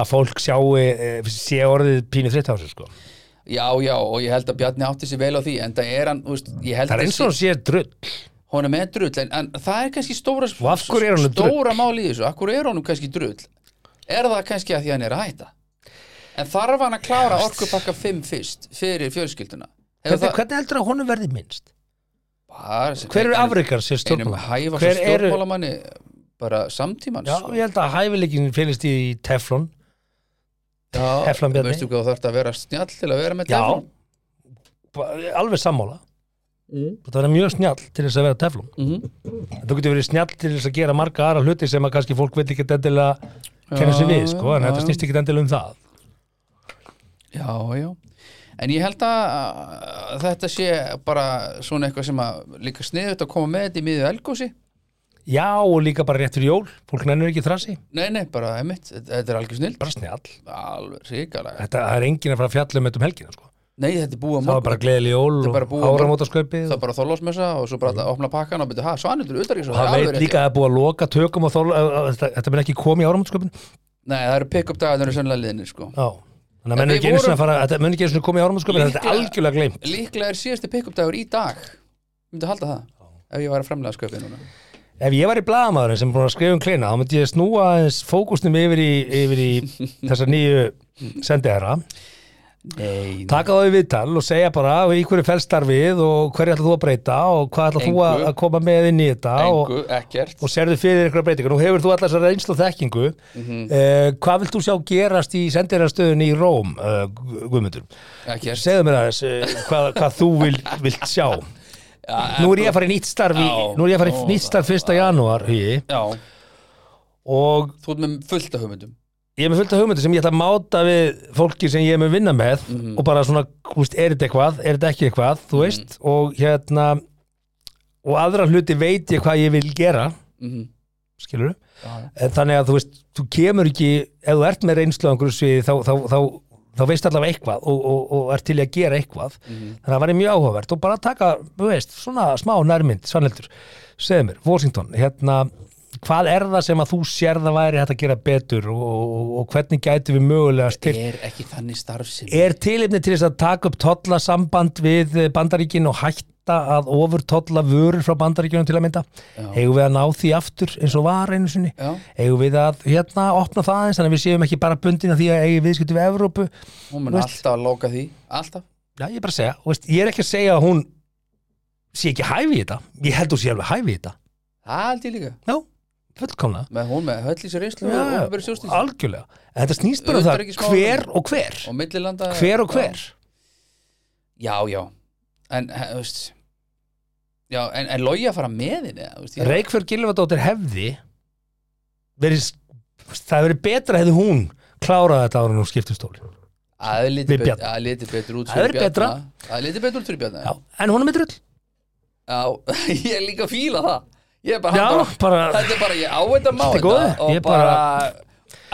S1: að fólk sjáu eh, sé orðið pínu þritt á sig sko
S2: Já, já, og ég held að Bjarni átti sér vel á því En það er hann, þú veist, ég held
S1: Það er eins og hann sé drull
S2: hún er með drull en, en það er kannski stóra
S1: Og af hverju er honum drull?
S2: stóra máli í þessu, af hverju er honum kannski drull er það kannski að því hann er að hætta en þarf hann að klára orkupakka 5 fyrst fyrir fjölskylduna Hefur
S1: Hvernig, hvernig heldur að honum verði minnst?
S2: Bara sem-
S1: Hver eru
S2: einum-
S1: afrikar sér
S2: einum
S1: stjórnmála?
S2: hæfast
S1: Hver eru-
S2: stjórnmálamanni bara samtímans sko.
S1: Já, ég held að hæfileikin finnist í teflon Teflon Bjarni.
S2: veistu hvað þú þarft að vera snjall til að vera með
S1: Já.
S2: teflon
S1: Ba- alveg sammála þetta verður mjög snjall til þess að vera teflum
S2: Mm. Mhm.
S1: en þú getur verið snjall til þess að gera marga aðra hluti sem að kannski fólk veit ekki endilega kenna sig við, sko, en
S2: já,
S1: þetta
S2: já.
S1: snýst ekki endilega um það
S2: Já, já En ég held að að þetta sé bara svona eitthvað sem að líka sniðut að koma með þetta í miðju elgósi
S1: já, og líka bara rétt fyrir jól, fólk nennir ekki þrassi
S2: Nei, nei, bara einmitt, þetta þetta er algjör snill
S1: bara snjall,
S2: Alveg ríkalega
S1: þetta það er engin að fara að fjalla um þetta um helgina, sko,
S2: Nei, þetta er búið að
S1: það var
S2: morgun
S1: bara gleðileg jól
S2: Þetta er bara
S1: og
S2: búið á morgun.
S1: áramótaskaupið
S2: Það er bara þorlásmessa og svo bara að opna pakkan og byrja, ha, svanildur,
S1: og
S2: utarriksráð
S1: það veit líka að það er búið að loka tökum og þól, að- að- að- þetta mun ekki komið í áramótasköpun
S2: Nei, það eru pick-up dagarnir í sönlega liðinni, sko
S1: já, þannig að
S2: En
S1: menn
S2: við
S1: ekki einu sinni
S2: vorum-
S1: að fara þetta mun ekki einu sinni komið í áramótasköpun, þetta er
S2: Líklega-
S1: algjörlega gleym
S2: Líklega er síðasti pick-up dagur í dag Myndi halda það, ef ég var að framlega sköpi núna
S1: Ef ég var í blaðamaðurinn sem er búin að skrifa um klina þá myndi ég snúa aðeins fókusnum yfir í, yfir í
S2: (laughs)
S1: þessar nýju sendiherra,
S2: Nei,
S1: taka þá í viðtal og segja bara í hverju felstar við og hverju ætlar þú að breyta og hvað ætlar þú að
S2: Engu.
S1: að koma með inn í þetta og,
S2: engu, ekkert
S1: og serðu fyrir einhverja breytingar. Nú hefur þú allar þessar reynslu og þekkingu. Mm
S2: Mhm,
S1: hvað vilt þú sjá gerast í sendiherrastöðunni í Róm, uh, Guðmundur?
S2: Ekkert
S1: Segðu mér aðeins uh, hvað, hvað þú vil, vilt sjá. Nú er ég að fara í nýtt starf, í,
S2: Já.
S1: nú er ég að fara í nýtt starf 1. janúar hugi
S2: Já,
S1: og
S2: þú ert með fullt af hugmyndum
S1: ég er með fullt af hugmyndu sem ég ætla að máta við fólki sem ég er með vinna með og bara svona, þú veist, er þetta eitthvað, er þetta ekki eitthvað, þú veist, og hérna og aðra hluti veit ég hvað ég vil gera,
S2: Mhm.
S1: skilur
S2: Já,
S1: en þannig að þú veist, þú kemur ekki ef þú ert með reynslu á einhverju sviði þá, þá, þá, þá veist allavega eitthvað og, og, og ert til í að gera eitthvað þannig að það var mjög áhugavert og bara taka, þú veist, svona smá nærmynd, sannheldur segðu mér, Washington, hérna hvað er það sem að þú sérð að væri hægt að gera betur og, og, og hvernig gæti við mögulega styrkt
S2: Er ekki þannig starf sem
S1: er tilefni til þess að taka upp tollasamband við eh, bandaríkin og hætta að ofur tolla vörur frá bandaríkinum til að mynda
S2: Já.
S1: eigum við að ná því aftur eins og var einu sinni
S2: Já.
S1: eigum við að hérna opna það eins þannig að við séum ekki bara bundin að því að eigum viðskipti við Evrópu
S2: Hún mun
S1: Þú veist-
S2: alltaf að lóka því, alltaf
S1: já ég er bara að segja, þú veist, ég er ekki að segja að hún sé ekki hæfi í þetta ég held hún sé alveg hæfi í þetta
S2: Það held ég líka
S1: já, fullkomna
S2: með hún með höllísi reynslu
S1: Já,
S2: og
S1: já,
S2: ofnbæri sjóstins
S1: algjörlega, en þetta snýst bara um það
S2: Utanríkismál-
S1: hver og hver,
S2: og millilanda
S1: hver og hver
S2: já, já, en he- þú veist já, en, en logi að fara með henni eða, þú veist, ég-
S1: Reykjörn Gilvardóttir hefði um verið, það hefði verið betra hefði hún klárað þetta ára nú skiptum stóli
S2: Það er
S1: Við
S2: litið bet-
S1: Bjarna.
S2: það er litið betur út
S1: Það er
S2: fyrir Bjarna.
S1: betra.
S2: Það er litið betur út fyrir Bjarna
S1: Já, en hún er með drull
S2: Já, (laughs) ég er líka að fíla það Ég er bara,
S1: Já,
S2: hann
S1: bara-
S2: Þetta er bara, ég á þetta má
S1: Allt í
S2: þetta
S1: góðu.
S2: Og
S1: Ég
S2: bara,
S1: bara- Sko.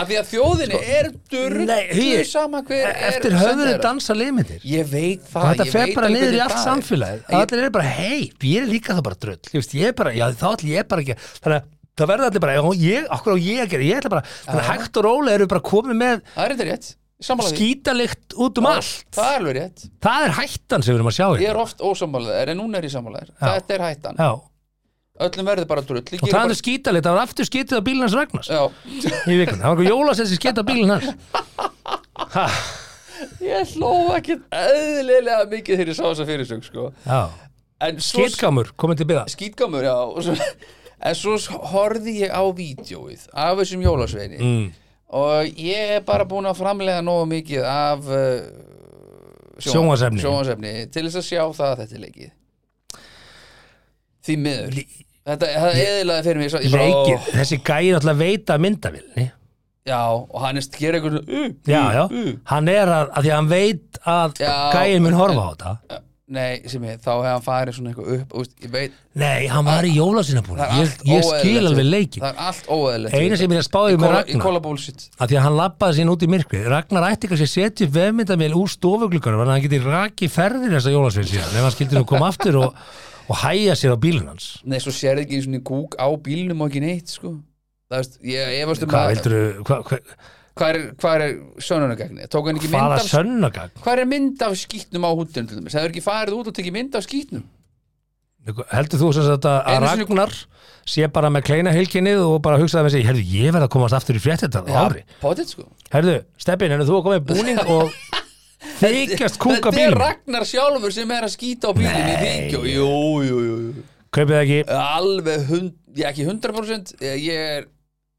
S2: Af því að þjóðinni er
S1: Nei, hugi,
S2: durdu sama hver er
S1: e- Eftir höfðu
S2: sendiherra.
S1: dansa limitir
S2: Ég veit það
S1: Þetta
S2: ég
S1: fer
S2: veit
S1: bara
S2: alveg
S1: niður í
S2: hvernig
S1: allt
S2: það er.
S1: samfélagið
S2: Ég-
S1: Það er bara, hei, ég er líka það bara drull Ég veist, ég er bara, já, þá ætlum ég bara ekki að- Þannig að það verða allir bara, já, ég, okkur á ég að gera Ég ætla bara, þannig að hægt og rólega erum við bara komið með
S2: Það er þetta rétt Sammála því
S1: skítalikt út um allt
S2: Það er alveg rétt
S1: Það er hættan sem við erum að sjá
S2: Ég
S1: hérna.
S2: er oft ósammála þér en núna er ég sammála þér Þetta er hættan
S1: Já,
S2: Öllum verður bara drull Ég
S1: og
S2: geri
S1: það
S2: bara-
S1: er skítalikt Það var aftur skítið á bílinn hans Ragnars
S2: Já,
S1: í vikun Það var einhver jólasessi skítið á bílinn hans ha,
S2: ég hló ekki eðlilega mikið þegar ég sá þessa fyrirsögn sko.
S1: Já,
S2: En svo
S1: skítkamur, komið til byggða
S2: skítgamur, já og svo, (laughs) en svo horfði ég á vídjóið af þessum jólasveini
S1: mm.
S2: og ég er bara búin að framlega nógu mikið af uh, sjón-
S1: Sjónvarpsefni.
S2: sjónvarpsefni til þess að sjá það að þetta er leikið því miður þetta það eðilaði fyrir mig svo, ég bara,
S1: Leikið,
S2: ó,
S1: þessi gæði alltaf veita myndavilni
S2: já, og hann er sker eitthvað svona, uh,
S1: Já, já,
S2: uh, uh.
S1: hann er að, að því að hann veit að
S2: Já.
S1: gæðin mun horfa á þetta
S2: Nei, sem ég, þá hefði hann farið svona eitthvað upp úst, ég veit,
S1: Nei, hann var í jólasina búin
S2: það er
S1: Ég,
S2: allt
S1: ég
S2: óeðlilegt
S1: skil
S2: við-
S1: alveg leikin
S2: það er allt óeðlilegt
S1: Eina sem ég er að spáði með
S2: Ragnar Ég
S1: Ragnar
S2: kóla bullshit
S1: að því að hann labbaði sín út í myrkrið Ragnar ætti kannski að setja upp vefmyndavél úr stofugluggarum þannig að hann geti rakið ferðir þessa jólasvein síðan ef hann skildi nú koma aftur og, og hæja sér á bílun hans
S2: Nei, svo sérði ekki svona kúk á bílnum og ekki neitt, sko Það veist, ég efast um
S1: Hvað
S2: að
S1: vildur hva,
S2: Hvað er, hvað er sönunagagni? Tók hann ekki mynd
S1: hvaða
S2: af
S1: sönnagagn
S2: Hvað er mynd af skýtnum á húttinu til dæmis? Það er ekki farið út og tekið mynd af skýtnum
S1: heldur þú sem sagt að, að
S2: Einu sinni-
S1: Ragnar sé bara með kleina hilkinnið og bara hugsaði með sig herðu, ég verð að komast aftur í fréttetar á ári
S2: potið sko
S1: herðu, Steppin, en þú að koma í búning
S2: (laughs)
S1: og þykjast kúka
S2: Þetta er
S1: bíl
S2: Ragnar sjálfur sem er að skýta á bílinni í víkjó Jú, jú, jú, jú
S1: kaupið það ekki
S2: Alveg hund, ég ekki 100% Ég er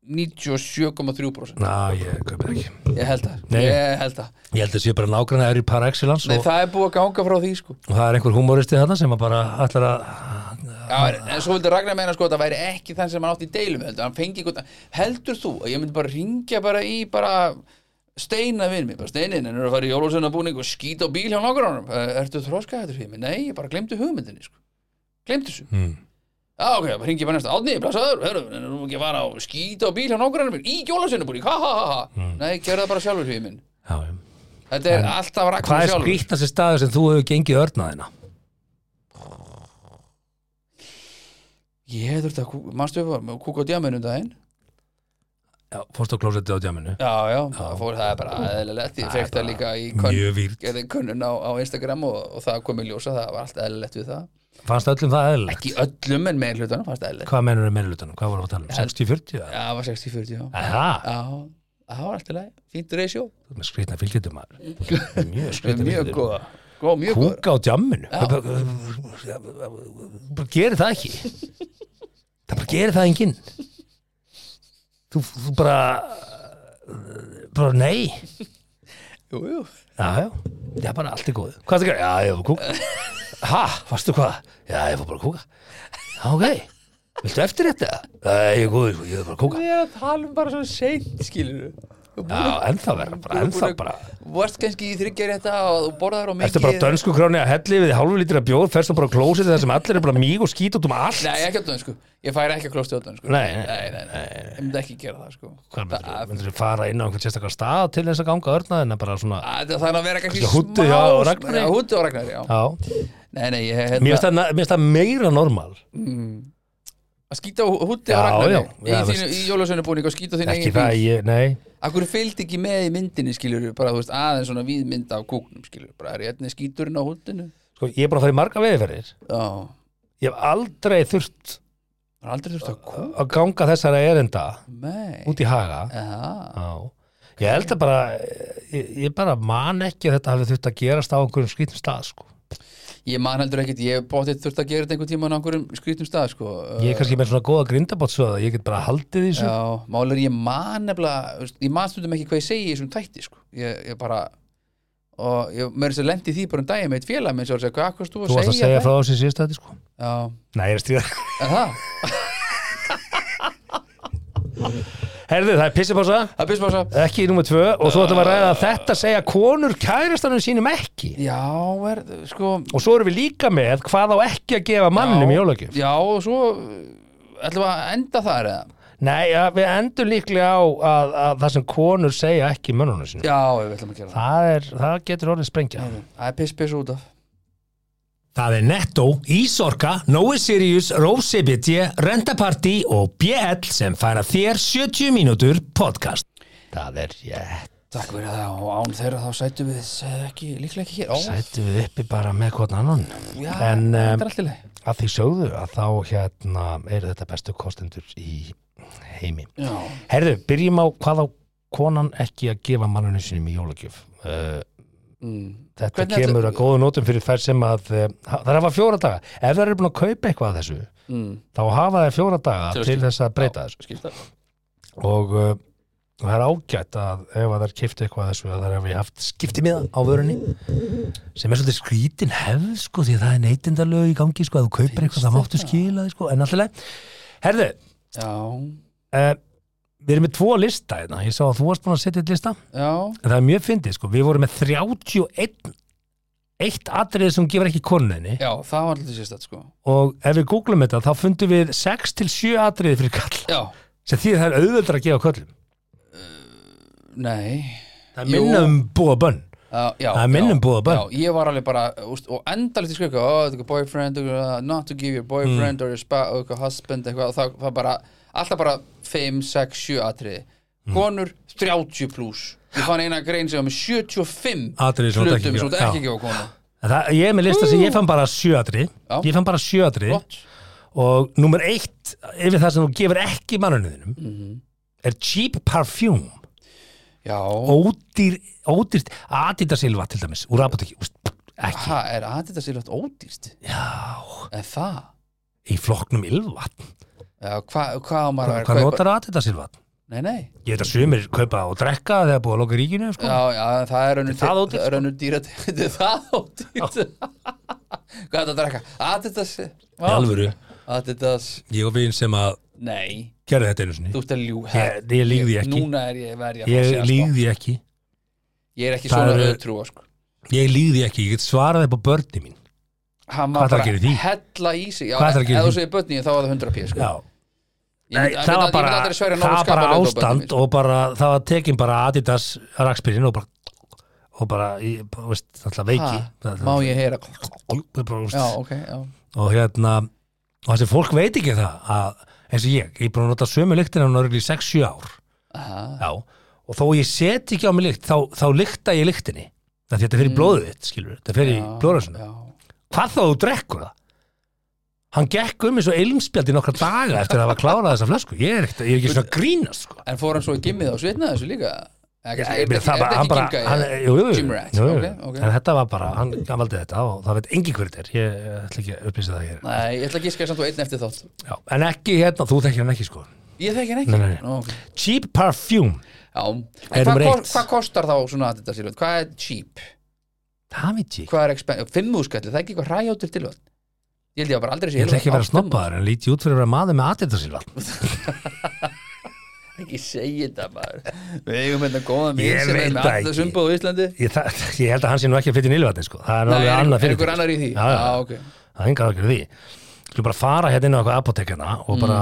S2: 97,3%
S1: Ná, ég kaupið það ekki
S2: Ég held það,
S1: Nei.
S2: ég held það
S1: Ég held að sé bara nágrann er í par excellence
S2: Nei,
S1: og,
S2: það er búið að ganga frá því sko
S1: og það er einhver humoristið þarna sem að bara ætlar að
S2: Já, en- en svo vildi Ragnar meina sko að það væri ekki þann sem hann átti í deilum heldur, hann fengi eitthvað, heldur þú að ég myndi bara ringja bara í bara steina við mig, bara steinin en eru að fara í jólusennabúning og skýta á bíl hjá nágrunum ertu þróskað þetta fyrir mig? Nei, ég bara glemdi hugmyndinni sko, glemdi þessu Já,
S1: mm.
S2: ok, bara ringi bara næsta átni, blæsaður, hörru en erum ekki að fara á skýta á bíl hjá nágrunum í jólusennabúning, ha ha ha ha
S1: Hmm.
S2: Nei, gerðu það bara sjálfur fyrir minn
S1: já, já.
S2: Þetta er alltaf
S1: Hvað
S2: Ragnar
S1: er
S2: sjálfur
S1: skrýtnast staður sem þú hefur gengið hérna? örnaðina?
S2: Ég þurfti að, kú- manstu að kúka á djáminu um daginn
S1: Já, fórst á klósettið á djáminu
S2: Já, já, það, fór, það er bara eðlilegt
S1: Það
S2: Ég
S1: er
S2: fekk það
S1: bara
S2: líka í
S1: mjög
S2: könn,
S1: vírt.
S2: gerði könnun á, á Instagram og, og það komið ljósa, það var allt eðlilegt við það
S1: Fannst öllum það eðlilegt?
S2: Ekki öllum en meir hlutunum fannst það eðlilegt
S1: Hvað menur er meðlutunum? Hvað voru að tala um? 60-40?
S2: Já, það var 60-40, já
S1: Það,
S2: Já, það var allt í lagi, fínt reisjó
S1: með skrýtna fylgjöndum
S2: (laughs)
S1: Mjög skrýtna
S2: Mjög
S1: fylgjöndum
S2: góða, góð, mjög góð
S1: Kúka á djáminu Bara gerir það ekki Það bara gerir það enginn Þú, þú bara bara nei
S2: Jú, jú,
S1: Já, já, það er bara allt í góðu Hvað það gerir? Já, ég var að kúka Ha, varstu hvað? Já, ég var bara að kúka Já, ok Viltu eftir þetta? Já, ég er góður, sko, ég var bara að kúka
S2: við erum að tala um bara svo seint, skilur
S1: Já, ennþá verða bara, ennþá bara
S2: Þú varst kannski í þryggja rétta og þú borðar á mikið
S1: Ertu bara dönsku kráni að helli við hálfu lítra bjóð Ferst þú bara að klósið þar sem allir er bara míg og skýt út um allt
S2: Nei, ekki á dönsku, ég færi ekki að klósti á dönsku
S1: Nei, nei.
S2: nei, nei, nei. Ég myndi ekki gera það, sko
S1: Hvað
S2: Það-
S1: myndir þú fara inn á einhvern sérstakar stað til þess að ganga örna en bara svona
S2: Að Það þarf að vera kannski
S1: Kannski húddu
S2: smá-
S1: hjá Ragnari?
S2: Já, húddu á Ragnari, já
S1: Já,
S2: Nei, nei, ég hérna- hef
S1: mér finnst það- mér finnst það meira normal
S2: að skýta á húddu á
S1: Já,
S2: Ragnari
S1: já,
S2: Í,
S1: já,
S2: þínu,
S1: veist.
S2: í jólasunubúning og skýta á þínu
S1: Ekki
S2: eigin
S1: það,
S2: bíl
S1: ég, nei
S2: Akkur fylgdi ekki með í myndinni, skilur bara, þú veist, aðeins svona víðmynd af kúknum, skilur bara er hérna skíturinn á húddinu
S1: Sko, ég er bara að fara í marga veðferðir
S2: Já, það
S1: Ég hef aldrei þurft
S2: er aldrei þurft að kúk
S1: að ganga þessara erinda
S2: Nei
S1: út í haga
S2: Já,
S1: Já. Ég held að bara ég, ég bara man ekki að þetta hafi þurft að gerast á einhverjum skrýtum stað sko.
S2: ég man heldur ekkit, ég bóttið þurft að gera þetta einhvern tímann á einhverjum skrítum stað, sko
S1: Ég er kannski með svona góða grindabótsöða ég get bara haldið því svo
S2: Já, málið er ég man nefnilega þú veist, ég man stundum ekki hvað ég segi í þessum tætti sko. ég, ég bara og ég mörgis að lendi því bara um daginn með eitt félag minn sem var að segja, hvað hvað þú
S1: Þú varst að segja frá þessi síðast þetta sko.
S2: þetta?" Já,
S1: (laughs) Nei, ég er stíða
S2: er það?
S1: Herðu, það er pissipása,
S2: Það er byrspása
S1: ekki nummer tvö og svo ætlum við að ræða þetta segja konur kærastanum sínum ekki
S2: Já, er, sko
S1: og svo erum við líka með hvað á ekki að gefa mannum í jólagjöf
S2: Já, og svo uh, ætlum við að enda þar eða
S1: Nei, ja, við endur líklega á að, að það sem konur segja ekki mönnunum sínum
S2: Já, við ætlum að gera það
S1: það, er, það getur orðið sprengja
S2: Það er piss piss út af
S1: Mm. Það er Netto, Ísorka, Nói Sirius, Rósebitje, Rentaparty og BL sem færa þér 70 mínútur podcast. Það er rétt.
S2: Takk fyrir það og án þeirra þá sætum við eh, ekki, líklega ekki hér Ó,
S1: Sættu við uppi bara með hvort annan.
S2: já,
S1: en, eh,
S2: þetta
S1: em,
S2: er allt í leið
S1: Að því sögðu að þá hérna eru þetta bestu kostendur í heimi.
S2: Já,
S1: Herðu, byrjum á hvað á konan ekki að gefa mannunum sínum í jólagjöf. Uh,
S2: mm.
S1: þetta
S2: Hvernig
S1: kemur
S2: ætli-
S1: að góða nótum fyrir þær sem að uh, það hafa fjóra daga. Ef það eru búin að kaupa eitthvað af þessu,
S2: Mm.
S1: þá hafa þær fjóra daga
S2: Til að
S1: til
S2: skipta-
S1: þess að breyta þessu.
S2: Skilst það
S1: og uh, og það er ágætt að ef að þær kipti eitthvað þessu að þær hefði haft skiptimiða á vörunni sem er svolítið skrítin hefð sko því að það er neytindalög í gangi sko að þú kaupir eitthvað það máttu skila því, sko en alltaf Herðu,
S2: Já,
S1: uh, við erum með tvo lista hérna. ég sá að þú varst búin að setja eitt lista
S2: já,
S1: en það er mjög fyndið sko, við vorum með 31 eitt atrið sem gefur ekki konunni
S2: já, það var alltaf sérstætt sko
S1: og ef við googlum þetta þá fundum við 6 til 7 atrið fyrir kall
S2: Já,
S1: sem því það er auðvöldra að gefa köllum
S2: nei
S1: það er
S2: Jú.
S1: minna um búa bönn
S2: Já, Uh, já,
S1: Það er minnum
S2: já,
S1: búið að bönn.
S2: já, Ég var alveg bara, úst, og endalist í skrifa oh, þetta er boyfriend, uh, not to give your boyfriend
S1: Mm.
S2: or your spa, or your husband eitthvað, og það var bara, alltaf bara 5, 6, 7 atriði
S1: Mm.
S2: konur 30 pluss ég fann eina grein sem var með 75
S1: Atriði sem þú ert ekki að
S2: hlutum sem þú
S1: gefa,
S2: ert ekki að gefa konu
S1: En Það, ég er með lista sem ég fann bara sjöadri
S2: Já.
S1: Ég fann bara sjöadri
S2: Flott,
S1: Og nummer eitt Yfir það sem þú gefur ekki mannuninum
S2: Mhm.
S1: Er cheap perfume
S2: já,
S1: Ódýr, ódýrst Adidasilva til dæmis, úr apotekki Úst, Ekki
S2: það er að þetta sér ljótt ódýrst
S1: Já,
S2: en það,
S1: í flokknum ylvatn
S2: já, hva, hvað á maður að
S1: Hvað
S2: vera að
S1: notar Adidasilva?
S2: nei, nei,
S1: Ég veit að sumir kaupa og drekka þegar búið að loka ríkinu sko.
S2: já, já, það er önnur
S1: það ódýrt,
S2: það sko. er önnur dýra (laughs) þetta er það ódýrt hvað er þetta að drekka? að þetta sé
S1: Í alvöru,
S2: að þetta sé
S1: ég og vinn sem að
S2: nei,
S1: gera þetta einu sinni
S2: þú ert að ljú
S1: Ég, ég líði ekki
S2: núna er ég verið að sko.
S1: Ég líði ekki
S2: ég er ekki
S1: Það
S2: svona
S1: eru-
S2: auðtrúa sko
S1: Ég líði ekki, ég get svarað upp á börni mín
S2: hann
S1: Hvað ætlar
S2: var
S1: að
S2: bara
S1: gera í því?
S2: hella í sig já,
S1: Hvað ætlar að gera í
S2: ef þú
S1: því?
S2: segir börni þá var það 100 p sko.
S1: Já,
S2: Ég
S1: Nei, það var
S2: myndi- ég myndi- ég myndi
S1: bara,
S2: aldrei sverja
S1: það
S2: nógu
S1: var bara
S2: skapalegt á börnin mín,
S1: ástand
S2: sko.
S1: og bara, það var tekin bara Adidas rakspyrinn og bara og bara, í- bara, veist, alltaf veiki
S2: Ha,
S1: Það-
S2: má
S1: það-
S2: ég heyra
S1: það- bara, veist,
S2: já, ok, já
S1: og hérna og þessi fólk veit ekki það að, eins og ég, ég er búin að nota sömu lyktina hann örgli í 6-7 ár
S2: Aha.
S1: já, og þó ég set ekki á mig lykt þá, þá lykta ég lyktinni það því þetta fer í blóðið þitt, skilur þetta fer í
S2: Mm. Já,
S1: blóðræsuna,
S2: já.
S1: hvað þá þú drekkur það hann gekk um eins og ilmspjald í nokkra daga eftir að hafa klárað þessa flösku ég er ekki, ég er ekki svona að grínast sko.
S2: en fór hann svo í gimmið og svitnaði þessu líka Er- er-
S1: Ég meina,
S2: er-
S1: það
S2: er
S1: bara, hann
S2: ekki
S1: bara,
S2: gimmgaði?
S1: hann, jú, jú, jú,
S2: Jim Rat,
S1: jú, jú.
S2: ok, ok.
S1: en þetta var bara, hann hann valdi þetta og það veit engin hver þetta er, ég eh, ætla ekki að upplýsa það hér.
S2: Nei, ég ætla að gíska samt og einn eftir þátt
S1: Já, en ekki hérna, þú þekkir hann ekki sko.
S2: Ég þekki hann ekki
S1: Nei, nei, nei.
S2: Nú, ok.
S1: Cheap Perfume,
S2: Já,
S1: Er
S2: en hvað
S1: númer
S2: kos-
S1: eitt.
S2: hvað kostar þá svona að þetta tilvöld? Hvað er cheap?
S1: það veit ég, ekki.
S2: Hvað er expensive? Fimmuðskalli, það er ekki eitthvað ræjóttil tilvöld Ég held ég að bara aldrei sé
S1: ég ætla ekki að vera
S2: Á, fimm-
S1: snobbaður en líti út fyrir að vera maður með aðeindarsilva.
S2: Ekki segja þetta maður Við eigum hérna góða
S1: Ég
S2: mér sem
S1: veit
S2: er með
S1: það
S2: alltaf
S1: ekki.
S2: sumbóð í Íslandi
S1: Ég, það- (laughs) ég held að hann sé nú ekki að flytja í nýlvatni sko, það er
S2: Nei,
S1: alveg
S2: er
S1: annað sko.
S2: einhver- er
S1: fyrir
S2: einhver annar í því
S1: Já, já.
S2: Já, ok.
S1: það er engar okkur því. Skulum bara fara hérna inn á eitthvað apotekana og bara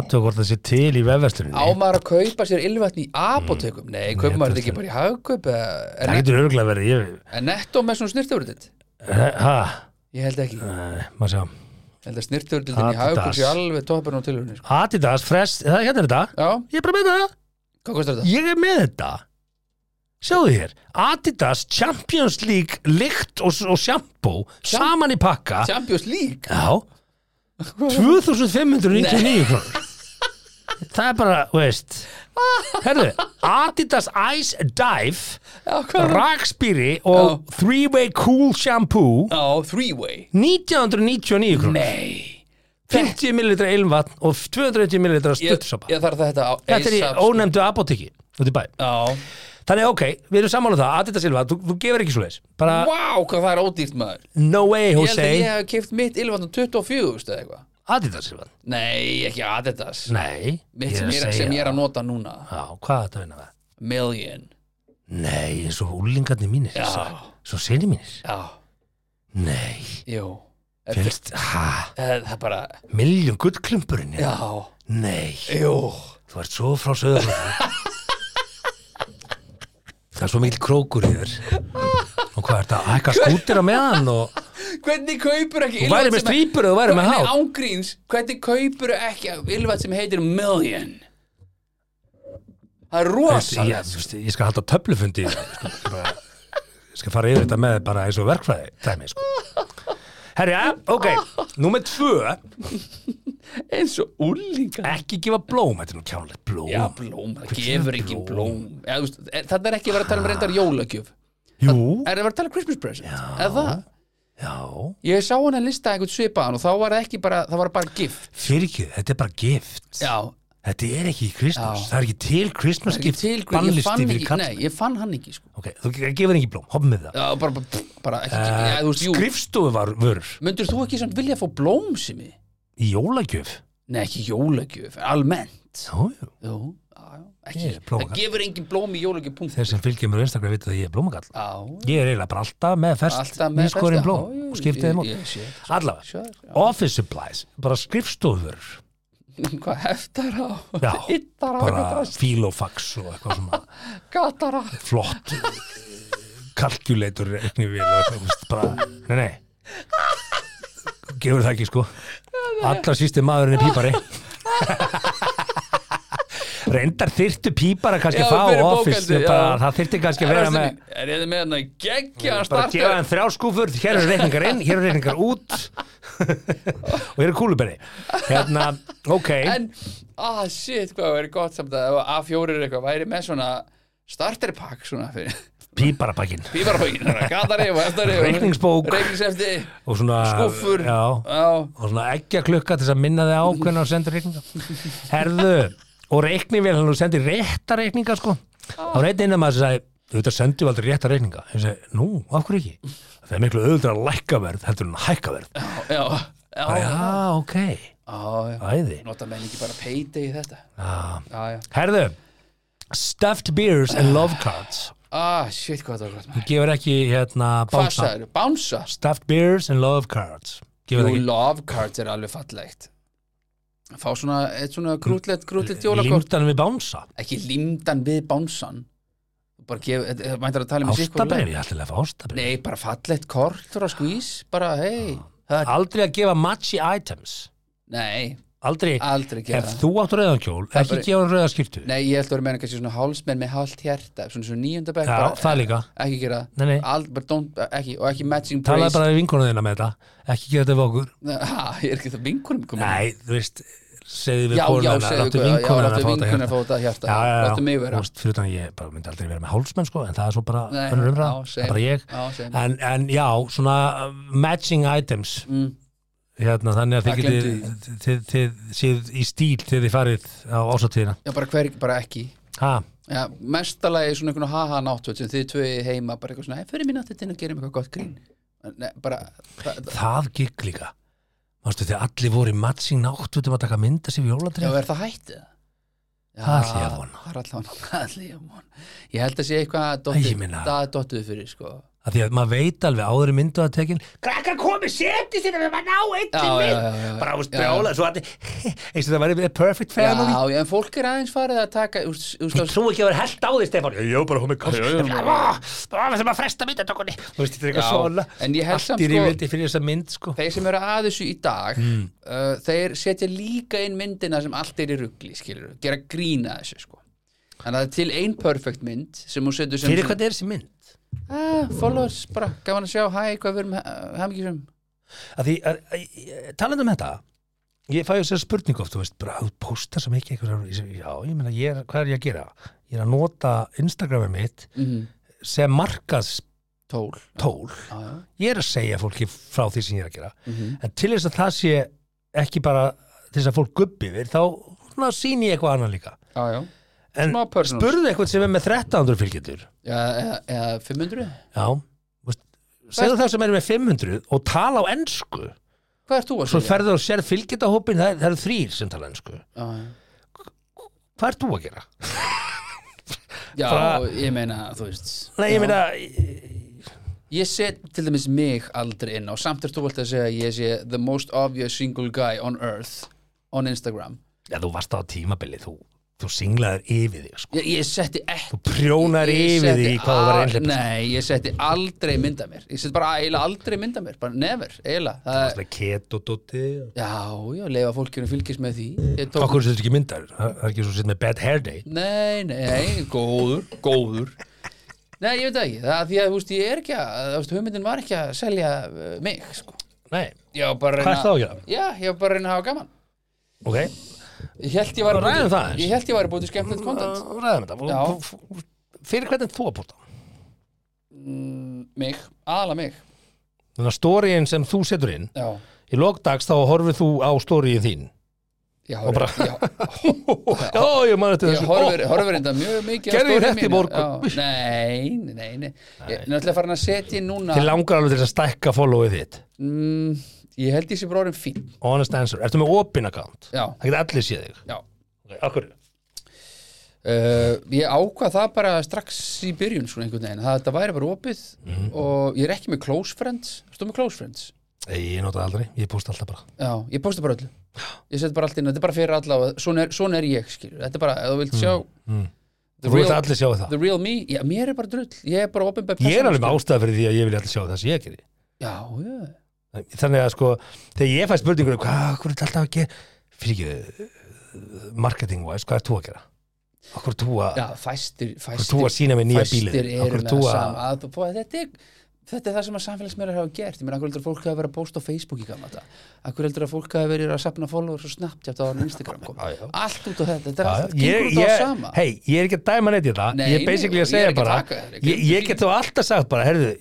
S1: aðtöða hvort það sé til í
S2: Á
S1: vefversluninni.
S2: maður að kaupa sér ylvatni í apotekum?
S1: Mm.
S2: Nei, kaupa maður þetta ekki bara í hagkaup eða- er
S1: Það
S2: net-
S1: getur örgulega verið, ég,
S2: Er netto með svona snirtafurðild?
S1: hæ,
S2: Ég held ekki Ég
S1: maður sjá.
S2: held að snirtafurðildin í
S1: Adidas.
S2: hagkaup sé alveg toppurinn á tilhörunni sko.
S1: Adidas, Fresh, það er hérna er þetta.
S2: Já,
S1: Ég er bara með það.
S2: hvað kostar þetta?
S1: Ég er með þetta. Sjáðu hér, Adidas Champions League lykt og, og shampoo saman í pakka.
S2: Champions League?
S1: Já. 2599 krónur. Það er bara, þú veist. Herðu, Adidas Ice Dive,
S2: Já, hvað er það?
S1: Rakspýri og Three Way Cool Shampoo
S2: Já, three way
S1: 1999 krónur.
S2: Nei
S1: 50 ml ilmvatn og 250 ml
S2: Ég,
S1: stuttsopa.
S2: ég þarf þetta á
S1: Þetta er í
S2: ASAP, sko.
S1: ónefndu apoteki út í bæ.
S2: Já
S1: Þannig ok, við erum sammála um það, Adidas Silva, þú, þú gefur ekki svo leiðis bara
S2: Vá, hvað það er ódýrt maður
S1: no way
S2: Ég held
S1: Jose
S2: að ég hef keift mitt ylvatn á 24 eða eitthvað
S1: Adidas síðan?
S2: Nei, ekki Adidas
S1: Nei,
S2: Mitt sem, ég er, sem ég er að nota núna
S1: Já, hvað er þetta að vinna með?
S2: Million
S1: Nei, eins og úlingarnir mínir
S2: Já.
S1: Svo sinni mínir
S2: Já,
S1: Nei,
S2: jú Þetta-
S1: félst, ha,
S2: eh, Það er bara
S1: miljón gullklumpurinn
S2: Já,
S1: Nei,
S2: jú
S1: þú ert svo frá sögur Það er svo mikil krókur í þér Og hvað er þetta, að hækka skútir á meðan og
S2: Hvernig kaupur ekki
S1: Þú væri
S2: ylvat
S1: með
S2: sem-
S1: strýpur eða þú væri með
S2: Hvernig
S1: hát
S2: ángríns, hvernig kaupur ekki Ylvat sem heitir Million Það
S1: Ég,
S2: er
S1: ég,
S2: rosalegt
S1: þú veist, ég skal halda töflufundi í það, sko, ég bara- Ég skal fara yfir þetta með bara eins og verkfræði Dæmi, sko Herja, ok, númer tvö
S2: Eins og úlingar
S1: Ekki gefa blóm, þetta er nú kjánlegt blóm
S2: Já, blóm, það
S1: Hvað
S2: gefur
S1: gefur
S2: ekki
S1: blóm?
S2: blóm Já, þú veist, er- Þarna er ekki verið að tala um reyndar jólagjöf
S1: Jú,
S2: Er það verið að tala um Christmas present Eða,
S1: já
S2: ég sá hann að lista einhvern svipaðan og þá var það ekki bara, það var bara gift
S1: Fyrir ekki, þetta er bara gift
S2: Já,
S1: Þetta er ekki í Christmas,
S2: Já.
S1: það er ekki til Christmas
S2: ekki
S1: gift
S2: til ég
S1: Bannlisti
S2: fann
S1: fyrir
S2: ekki,
S1: kall
S2: nei, ég fann hann ekki sko.
S1: Ok, þú gefur ekki blóm, hoppum við það
S2: Já, bara, bara, bara ekki, uh, já, þú veist, jú
S1: Eh, Skrifstofu var vörur
S2: Myndur þú ekki samt vilja að fá blóm sem ég?
S1: í jólagjöf
S2: Nei, ekki jólagjöf, almennt
S1: Jú, jú,
S2: Jú, já, já, ekki
S1: Ég er blómakall.
S2: Það gefur engin blóm í jólagjöf punkt
S1: þeir sem fylgjum mér á Instagram vita að ég er blómakall
S2: Já, (laughs)
S1: Ég er eiginlega bara alltaf með ferst
S2: alltaf með
S1: nýskorinn
S2: besta. Já,
S1: blóm
S2: já,
S1: og skiptið þeim
S2: ég-
S1: út
S2: ég sé.
S1: Allavega,
S2: Sure, já.
S1: office supplies, bara skrifstofur
S2: Hvað heftar á,
S1: Já,
S2: yttar á,
S1: bara filofax og eitthvað svona
S2: gatar á
S1: flott kalkjuleitur reikni vil og eitthvað, þú veist, bara, nei, nei gefur það ekki sko allar sísti maðurinn er pípari (laughs) reyndar þyrtu pípara kannski
S2: Já,
S1: að fá
S2: fyrir
S1: office
S2: bókhaldið, já.
S1: bara, það þyrti kannski að vera með
S2: Er ég með hann að geggja að
S1: bara gefa
S2: starta
S1: þeim þrjá skúfur, hér eru reikningar inn hér eru reikningar út (laughs) og hér eru kúluberi hérna, ok,
S2: En, ah shit, hvað væri gott samt að ef A4 er eitthvað væri með svona starterpakk svona fyrir (laughs)
S1: píparapakkin
S2: píparabökin, gatari og heftari
S1: Reikningsbók.
S2: Reikningsefti
S1: og svona
S2: Skúffur.
S1: já,
S2: Já,
S1: og svona ekki að klukka til þess að minna þig á hvernig þú sendur reikninga herðu, og reikni vel hann þú sendir rétta reikninga sko þá er einn innan maður sem sagði auðvitað sendir við aldrei rétta reikninga ég segi, nú, af hverju ekki það er miklu auðvitað að lækka verð heldur en að hækka verð
S2: já, já
S1: Bara,
S2: Já,
S1: já, ok,
S2: já, já
S1: æði
S2: Nota menn ekki bara payday í þetta
S1: Já.
S2: Já, já
S1: herðu, stuffed beers and love cards
S2: Ah, shit, hvað það var gott maður.
S1: Þú gefur ekki hérna
S2: Hvað
S1: bánsa
S2: sagður, bánsa
S1: stuffed beers and love cards gefur
S2: Jú,
S1: það
S2: love cards er alveg fallegt Fá svona, eitt svona grútlegt, grútlegt
S1: ekki
S2: jólakort
S1: limtanum við bánsa
S2: ekki límdan við bánsan bara gef, þetta- þetta mæntar að tala um í sitthvoru
S1: ástabrif,
S2: lagi.
S1: ég ætla að fá ástabrif
S2: nei, bara fallett kort frá skvís, bara hei
S1: Ah.
S2: það-
S1: aldrei að gefa matchy items
S2: nei,
S1: aldrei,
S2: aldrei gera
S1: ef
S2: það
S1: þú átt rauðan kjól ekki
S2: bara-
S1: gefa hann rauða skýrtu já,
S2: nei, ég held að vera meina kannski svona hálsmenn með hálft hjarta svona svona nýjöndabæk
S1: það líka,
S2: ekki gera
S1: Nei, nei.
S2: það Ald- bara don't- ekki, og ekki matching
S1: talaði
S2: brace
S1: bara við vinkonu þína með þetta ekki gera þetta við okkur
S2: (laughs) ha, ég er ekki það vinkunum komin
S1: nei, þú veist, segðu við
S2: já,
S1: konuna
S2: já,
S1: hennar,
S2: segðu
S1: láttu
S2: hvað, já,
S1: vinkonuna að fá
S2: láttu
S1: þetta
S2: vinkunum
S1: hérna
S2: að fá þetta hjarta
S1: já, já, já,
S2: láttu mig vera
S1: þú veist, fyrir þannig ég bara myndi aldrei vera með hálsmenn sko, en það er svo bara
S2: Nei,
S1: önnur
S2: já,
S1: umræða, það
S2: same.
S1: er bara ég
S2: Já, same.
S1: en, en já, svona uh, matching items
S2: Mm.
S1: hérna, þannig að
S2: Það
S1: þið getið
S2: gleymdu
S1: þið- þið- þið séð í stíl þegar þið farið á ásatíðina
S2: já, bara hver, bara ekki
S1: ha,
S2: Já, mestalagi svona einhvern haha náttvöld sem þið tvö heima bara eitthvað svona, "Æ, förum í náttúrulega og gerum eitthvað gott grín Nei, bara, það, það,
S1: það gikk líka Mástu, þegar allir voru í matching náttutum að taka mynda sér við
S2: já,
S1: jólatrið
S2: er það hættið?
S1: Það ætla ég að vona.
S2: Það er allavega, það ætla ég að vona Ég held að sé eitthvað að
S1: Æ, ég
S2: dottið-
S1: meina-
S2: það dottuðu fyrir, sko
S1: að því að maður veit alveg áður í myndu að tekin krakkar komi, seti sér að við maður ná
S2: Já,
S1: einnig
S2: já,
S1: mynd
S2: já, já,
S1: bara ást
S2: já.
S1: brjála svo allir (laughs) eins og það væri the perfect family
S2: Já, já, en fólk er aðeins farið að taka úst, úst,
S1: ég
S2: úst,
S1: trú ekki að vera held á því Stefán ég er bara hún með kost
S2: Já, já, já.
S1: það sem að fresta myndatökunni þú veist þetta er eitthvað
S2: Já,
S1: svona
S2: en ég held
S1: allt
S2: samt,
S1: í
S2: sko-
S1: rífildi fyrir þessa mynd sko
S2: Þeir sem eru að þessu í dag uh, Þeir setja líka inn myndina sem allt er í rugli, skilur Gera grína þessu, sko Þannig að það er til ein perfect mynd sem hún setur sem
S1: fyrir hvað er þessi mynd
S2: ah, followers, bara gaman að sjá hæ, hvað við erum hefmyggjum
S1: að því að- að- ég- talandi um þetta ég fæ þess að spurningu oft þú veist bara þú postar sem ekki eitthvað Ég segi, já ég meina ég er- hvað er ég að gera ég er að nota Instagramið mitt
S2: mm.
S1: sem markaðstól
S2: tól já, já.
S1: ég er að segja fólki frá því sem ég er að gera
S2: Mhm.
S1: en til þess að það sé ekki bara til þess að fólk gubbi við þá svona, sýni ég eitthvað annað líka
S2: já, já.
S1: en
S2: Smá personals.
S1: spurðu eitthvað sem er með 1300 fylgjendur
S2: Já, eða, eða 500
S1: já, þú veist, segðu það sem er með 500 og tala á ensku
S2: Hvað ert þú að
S1: svo
S2: segja?
S1: ferður og sér fylgitahópin það, er- það eru þrýr sem tala ennsku
S2: Já, já.
S1: hvað ert þú að gera?
S2: Já,
S1: Bara-
S2: ég meina, þú veist
S1: Nei, ég
S2: Já.
S1: meina,
S2: Ég set til dæmis mig aldrei inn á samt er þú vilt að segja að ég sé the most obvious single guy on earth on Instagram
S1: já, þú varst á tímabili þú, þú singlaðir yfir þig sko.
S2: Ég, ég setti ekki
S1: þú prjónar
S2: ég
S1: yfir
S2: setti
S1: þig í hvað þú var
S2: al-
S1: einhlepp
S2: Nei, ég setti aldrei mynda mér Ég setti bara eiginlega aldrei mynda mér bara never, eiginlega Það-
S1: ket og dotti
S2: Já, já, leifa fólkinu fylgist með því Ég tók
S1: okkur sem þetta ekki myndar það það er ekki svo sitt með bad hair day
S2: Nei, nei, góður, góður Nei, ég veit það ekki, það er því að, þú veist, ég er ekki að, þú veist, hugmyndin var ekki að selja uh, mig, sko
S1: nei,
S2: Já, bara að
S1: Hvað ertu þá að gera?
S2: Já, ég var bara að reyna að hafa gaman
S1: ok,
S2: Ég held ég var
S1: Ræðum það aðeins.
S2: Ég held ég var að búti skemmtilegt content
S1: ræðum þetta
S2: Ah. Já.
S1: F- f- f- fyrir hvernig ert þú að búta
S2: Mm, Mig, aðla mig
S1: þannig að stóriðin sem þú setur inn
S2: Já,
S1: í logdags þá horfir þú á stóriðin þín
S2: já,
S1: Og bara-
S2: já,
S1: já, ég man eftir
S2: Ég
S1: þessu
S2: horfir,
S1: Ó,
S2: horfir enda mjög mikið á
S1: Gerði ég
S2: story
S1: þetta í
S2: mínu.
S1: morgun?
S2: Já, Nei, nei, nei, nei. Ég er náttúrulega farin að setja inn núna
S1: þið langar alveg til þess að stækka followið þitt
S2: mm, Ég held ég sé bróðum fín
S1: honest answer, ertu með opin account
S2: Já,
S1: það geta allir séð þig
S2: já
S1: okay, akkur
S2: Uh, ég ákvað það bara strax í byrjun svona einhvern veginn, það þetta væri bara opið
S1: Mhm.
S2: og ég er ekki með close friends stóð með close friends
S1: Nei, ég nota það aldrei, ég posta alltaf bara
S2: Já, ég posta bara öllu ég set bara allt inn, þetta er bara fyrir alla og svona er, svona er ég, skilur, þetta er bara, ef þú vilt sjá
S1: mm.
S2: the,
S1: Þú vilt að
S2: real,
S1: allir sjá það
S2: the real me já, mér er bara drull, ég er bara opið
S1: Ég er alveg með ástæða fyrir því að ég vil allir sjá það sem ég gerir
S2: Já, já,
S1: Þannig að sko, þegar ég fæ spurningur Hvað, hvað er þetta alltaf að gera Fyrir ekki, marketing wise, hvað er þú að gera? Hvað er þú að
S2: já fæstir
S1: Hvað er
S2: fæstir,
S1: þú að sína mig nýja bílið?
S2: fæstir
S1: Hvað
S2: eru
S1: er
S2: með
S1: þú að
S2: það sama að, bó, þetta, er, þetta er það sem að samfélagsmiðlar hafa gert ég meina, akkur heldur að fólk hafa verið að posta á Facebook í gamla þetta akkur heldur að fólk hafa verið að sapna followers og Snapchat á hann Instagram kom.
S1: Já, já.
S2: allt út á þetta, þetta er
S1: Já,
S2: allt
S1: ég,
S2: gengur út á það
S1: ég,
S2: sama
S1: hei, ég er ekki að dæma neitt í það
S2: Nei,
S1: Ég er basically að
S2: nei, ég er
S1: segja
S2: ekki að
S1: bara
S2: taka þetta, ég
S1: Ég, ég get þó alltaf sagt bara, herðu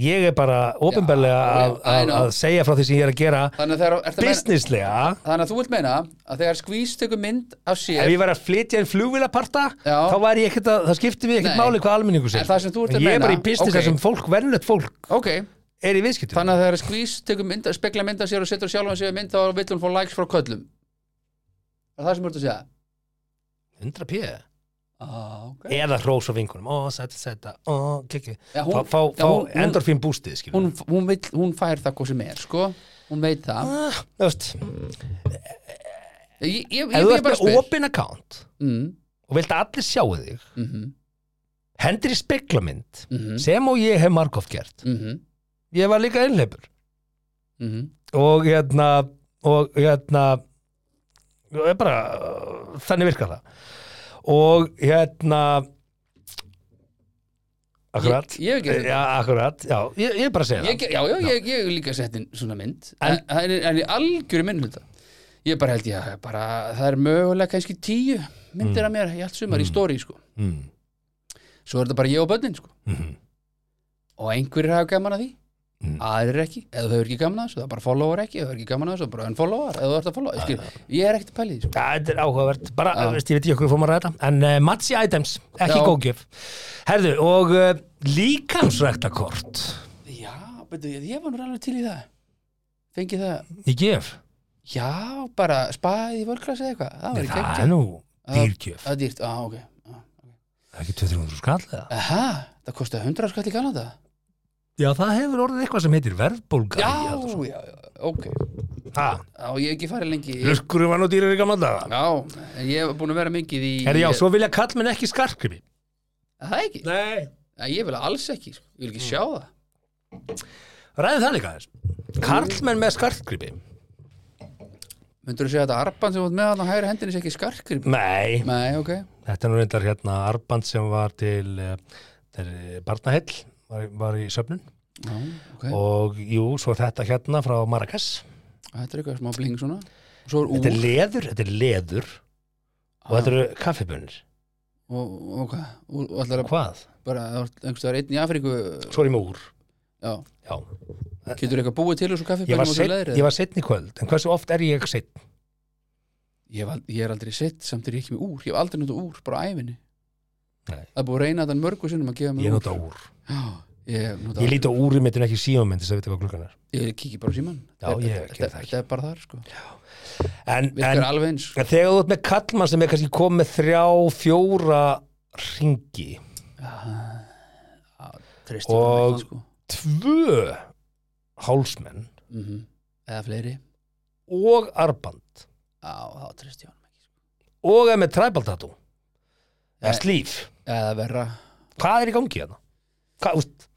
S1: Ég er bara ofinbælega
S2: já,
S1: að,
S2: I
S1: að,
S2: know.
S1: að segja frá því sem ég er að gera
S2: þannig að, þegar, ertu að meina,
S1: Businesslega
S2: þannig að þú vilt meina að þegar Squeeze tekur mynd af sér
S1: Ef ég væri að flytja inn flugvilaparta
S2: Já.
S1: þá væri ég ekkert að, það skipti mig ekkert
S2: Nei.
S1: máli hvað almenningu segir.
S2: En það sem þú ert að
S1: En Ég er
S2: meina-
S1: bara í business
S2: ok.
S1: okay. sem fólk, vennlegt fólk
S2: ok,
S1: er í viðskiptum.
S2: Þannig að þegar skvís tekur mynd, spekla mynda sér og setur sjálfan sér í mynd þá vill hún fá likes frá köllum Það er það sem þú ert að segja
S1: 100 pjö.
S2: ah, okay.
S1: Eða hrós á vingunum. Ó, sæta, sæta, ó, kikki.
S2: Já,
S1: Fá,
S2: hún-
S1: fá,
S2: já,
S1: fá
S2: hún- hún-
S1: endorfín bústið,
S2: hún,
S1: skiljum.
S2: hún, vill, hún fær það hvað sem er sko. hún veit það
S1: Ah, þú veist,
S2: Ég, ég, ég,
S1: ef þú
S2: ég
S1: ert
S2: bara
S1: með
S2: spyr
S1: open account
S2: mm,
S1: og vilt að allir sjáu þig,
S2: mm -hmm,
S1: hendur í speiklamynd,
S2: mm -hmm,
S1: sem og ég hef margóft gert.
S2: mm -hmm,
S1: Ég var líka einhleipur.
S2: mhm.
S1: Og hérna, og hérna, og ég bara, uh, þannig virkar það. Og hérna, akkurat. Eh,
S2: Ég- ég hef ekki þetta.
S1: Já, akkurat, já, ég, ég er bara að segja
S2: Ég,
S1: það.
S2: ger- Já, já, ég, ég hef líka sett inn svona mynd
S1: En-
S2: en, en, en í algjöru minn hluta Ég bara held ég að bara, það er mögulega kannski tíu myndir af mér í allt sumar í stóri sko.
S1: Mm.
S2: Svo er þetta bara ég og börnin sko.
S1: Mhm.
S2: og einhverjir hafa gaman að því
S1: Mm.
S2: aðrir ekki, eða þú hefur ekki gaman að þessu það er bara followar ekki, eða þú hefur ekki gaman að þessu bara unfollowar, eða þú ert að followa, ég,
S1: Ah,
S2: skil, ég er ekkert að pæli því sko.
S1: Já, þetta er áhugavert, bara,
S2: Já.
S1: veist, ég veit ekki okkur fórum að ræða þetta. en uh, Matsi Items, ekki
S2: Já.
S1: góðgjöf Herðu, og uh, líkamsræktakort
S2: já, betur ég, ég var nú alveg til í það fengi það,
S1: í gjöf,
S2: já, bara spaðið í völklas eða eitthvað, það
S1: Nei,
S2: var ekki
S1: það
S2: ekki
S1: er nú
S2: Já.
S1: dýrgjöf,
S2: það er dýrt, á, ok Já.
S1: það er ekki 200 skall eða?
S2: aha, það kostaði 100 skall í Kanada
S1: Já, það hefur orðið eitthvað sem heitir verðbólga
S2: já, já, já, ok já, ég hef ekki farið lengi já,
S1: Lurkurum var nú dýrir í gamla daga
S2: en ég hef búin að vera mikið í
S1: Herðu, já, svo vilja kall minn ekki skarkrifi
S2: það er ekki,
S1: Nei Mm.
S2: ég vil alls ekki sko. ég vil ekki sjá það
S1: Ræðum það líka þess Karlmenn með skarkrifi
S2: myndur þú segja að þetta arban sem þú ert með hann á hægri hendinni sé ekki skarkrip
S1: Nei,
S2: Nei, ok
S1: Þetta er nú reyndar hérna arband sem var til, eh, til eh, barnaheill, var, var í söfnun
S2: Já, ok
S1: og jú, svo þetta hérna frá Marrakesh.
S2: Þetta er eitthvað smá bling svona Og Svo er
S1: Þetta er
S2: úr
S1: leður, þetta er leður og þetta eru kaffibunir.
S2: og, og hvað, úr, og allar að
S1: Hvað?
S2: bara þú ert einhvers vegar einn í Afríku
S1: Svo er ég með úr.
S2: Já,
S1: Já.
S2: getur eitthvað búið til þessu kaffi
S1: Ég var, seitt, ég var seitt í kvöld, en hversu oft er ég seitt?
S2: ég, var, ég er aldrei sitt samt er ég ekki með úr Ég hef aldrei notað úr, bara á æfinni
S1: Nei.
S2: Það er búið að reyna þetta mörgu sinnum að gefa
S1: Ég
S2: mér úr
S1: nota úr.
S2: Já, Ég, nú,
S1: Ég líti á úrið mitt en ekki síma minn til þess að vita hvað klukkan er.
S2: ég kíkja bara á síman
S1: Já, ég gerði það ekki.
S2: Þetta er bara þar sko
S1: En,
S2: Virkar
S1: en,
S2: alveg eins
S1: en þegar þú ert með kallmann sem er kannski komið með þrjá, fjóra ringi,
S2: Tristi og...
S1: Og-
S2: sko.
S1: tvö hálsmenn
S2: mm Eða fleiri
S1: og arband
S2: Já, þá tristi hann ekki sko.
S1: og er með træbaltatú eða
S2: Nei.
S1: slíf
S2: Eða verra
S1: hvað er í gangi hérna? Hvað, úst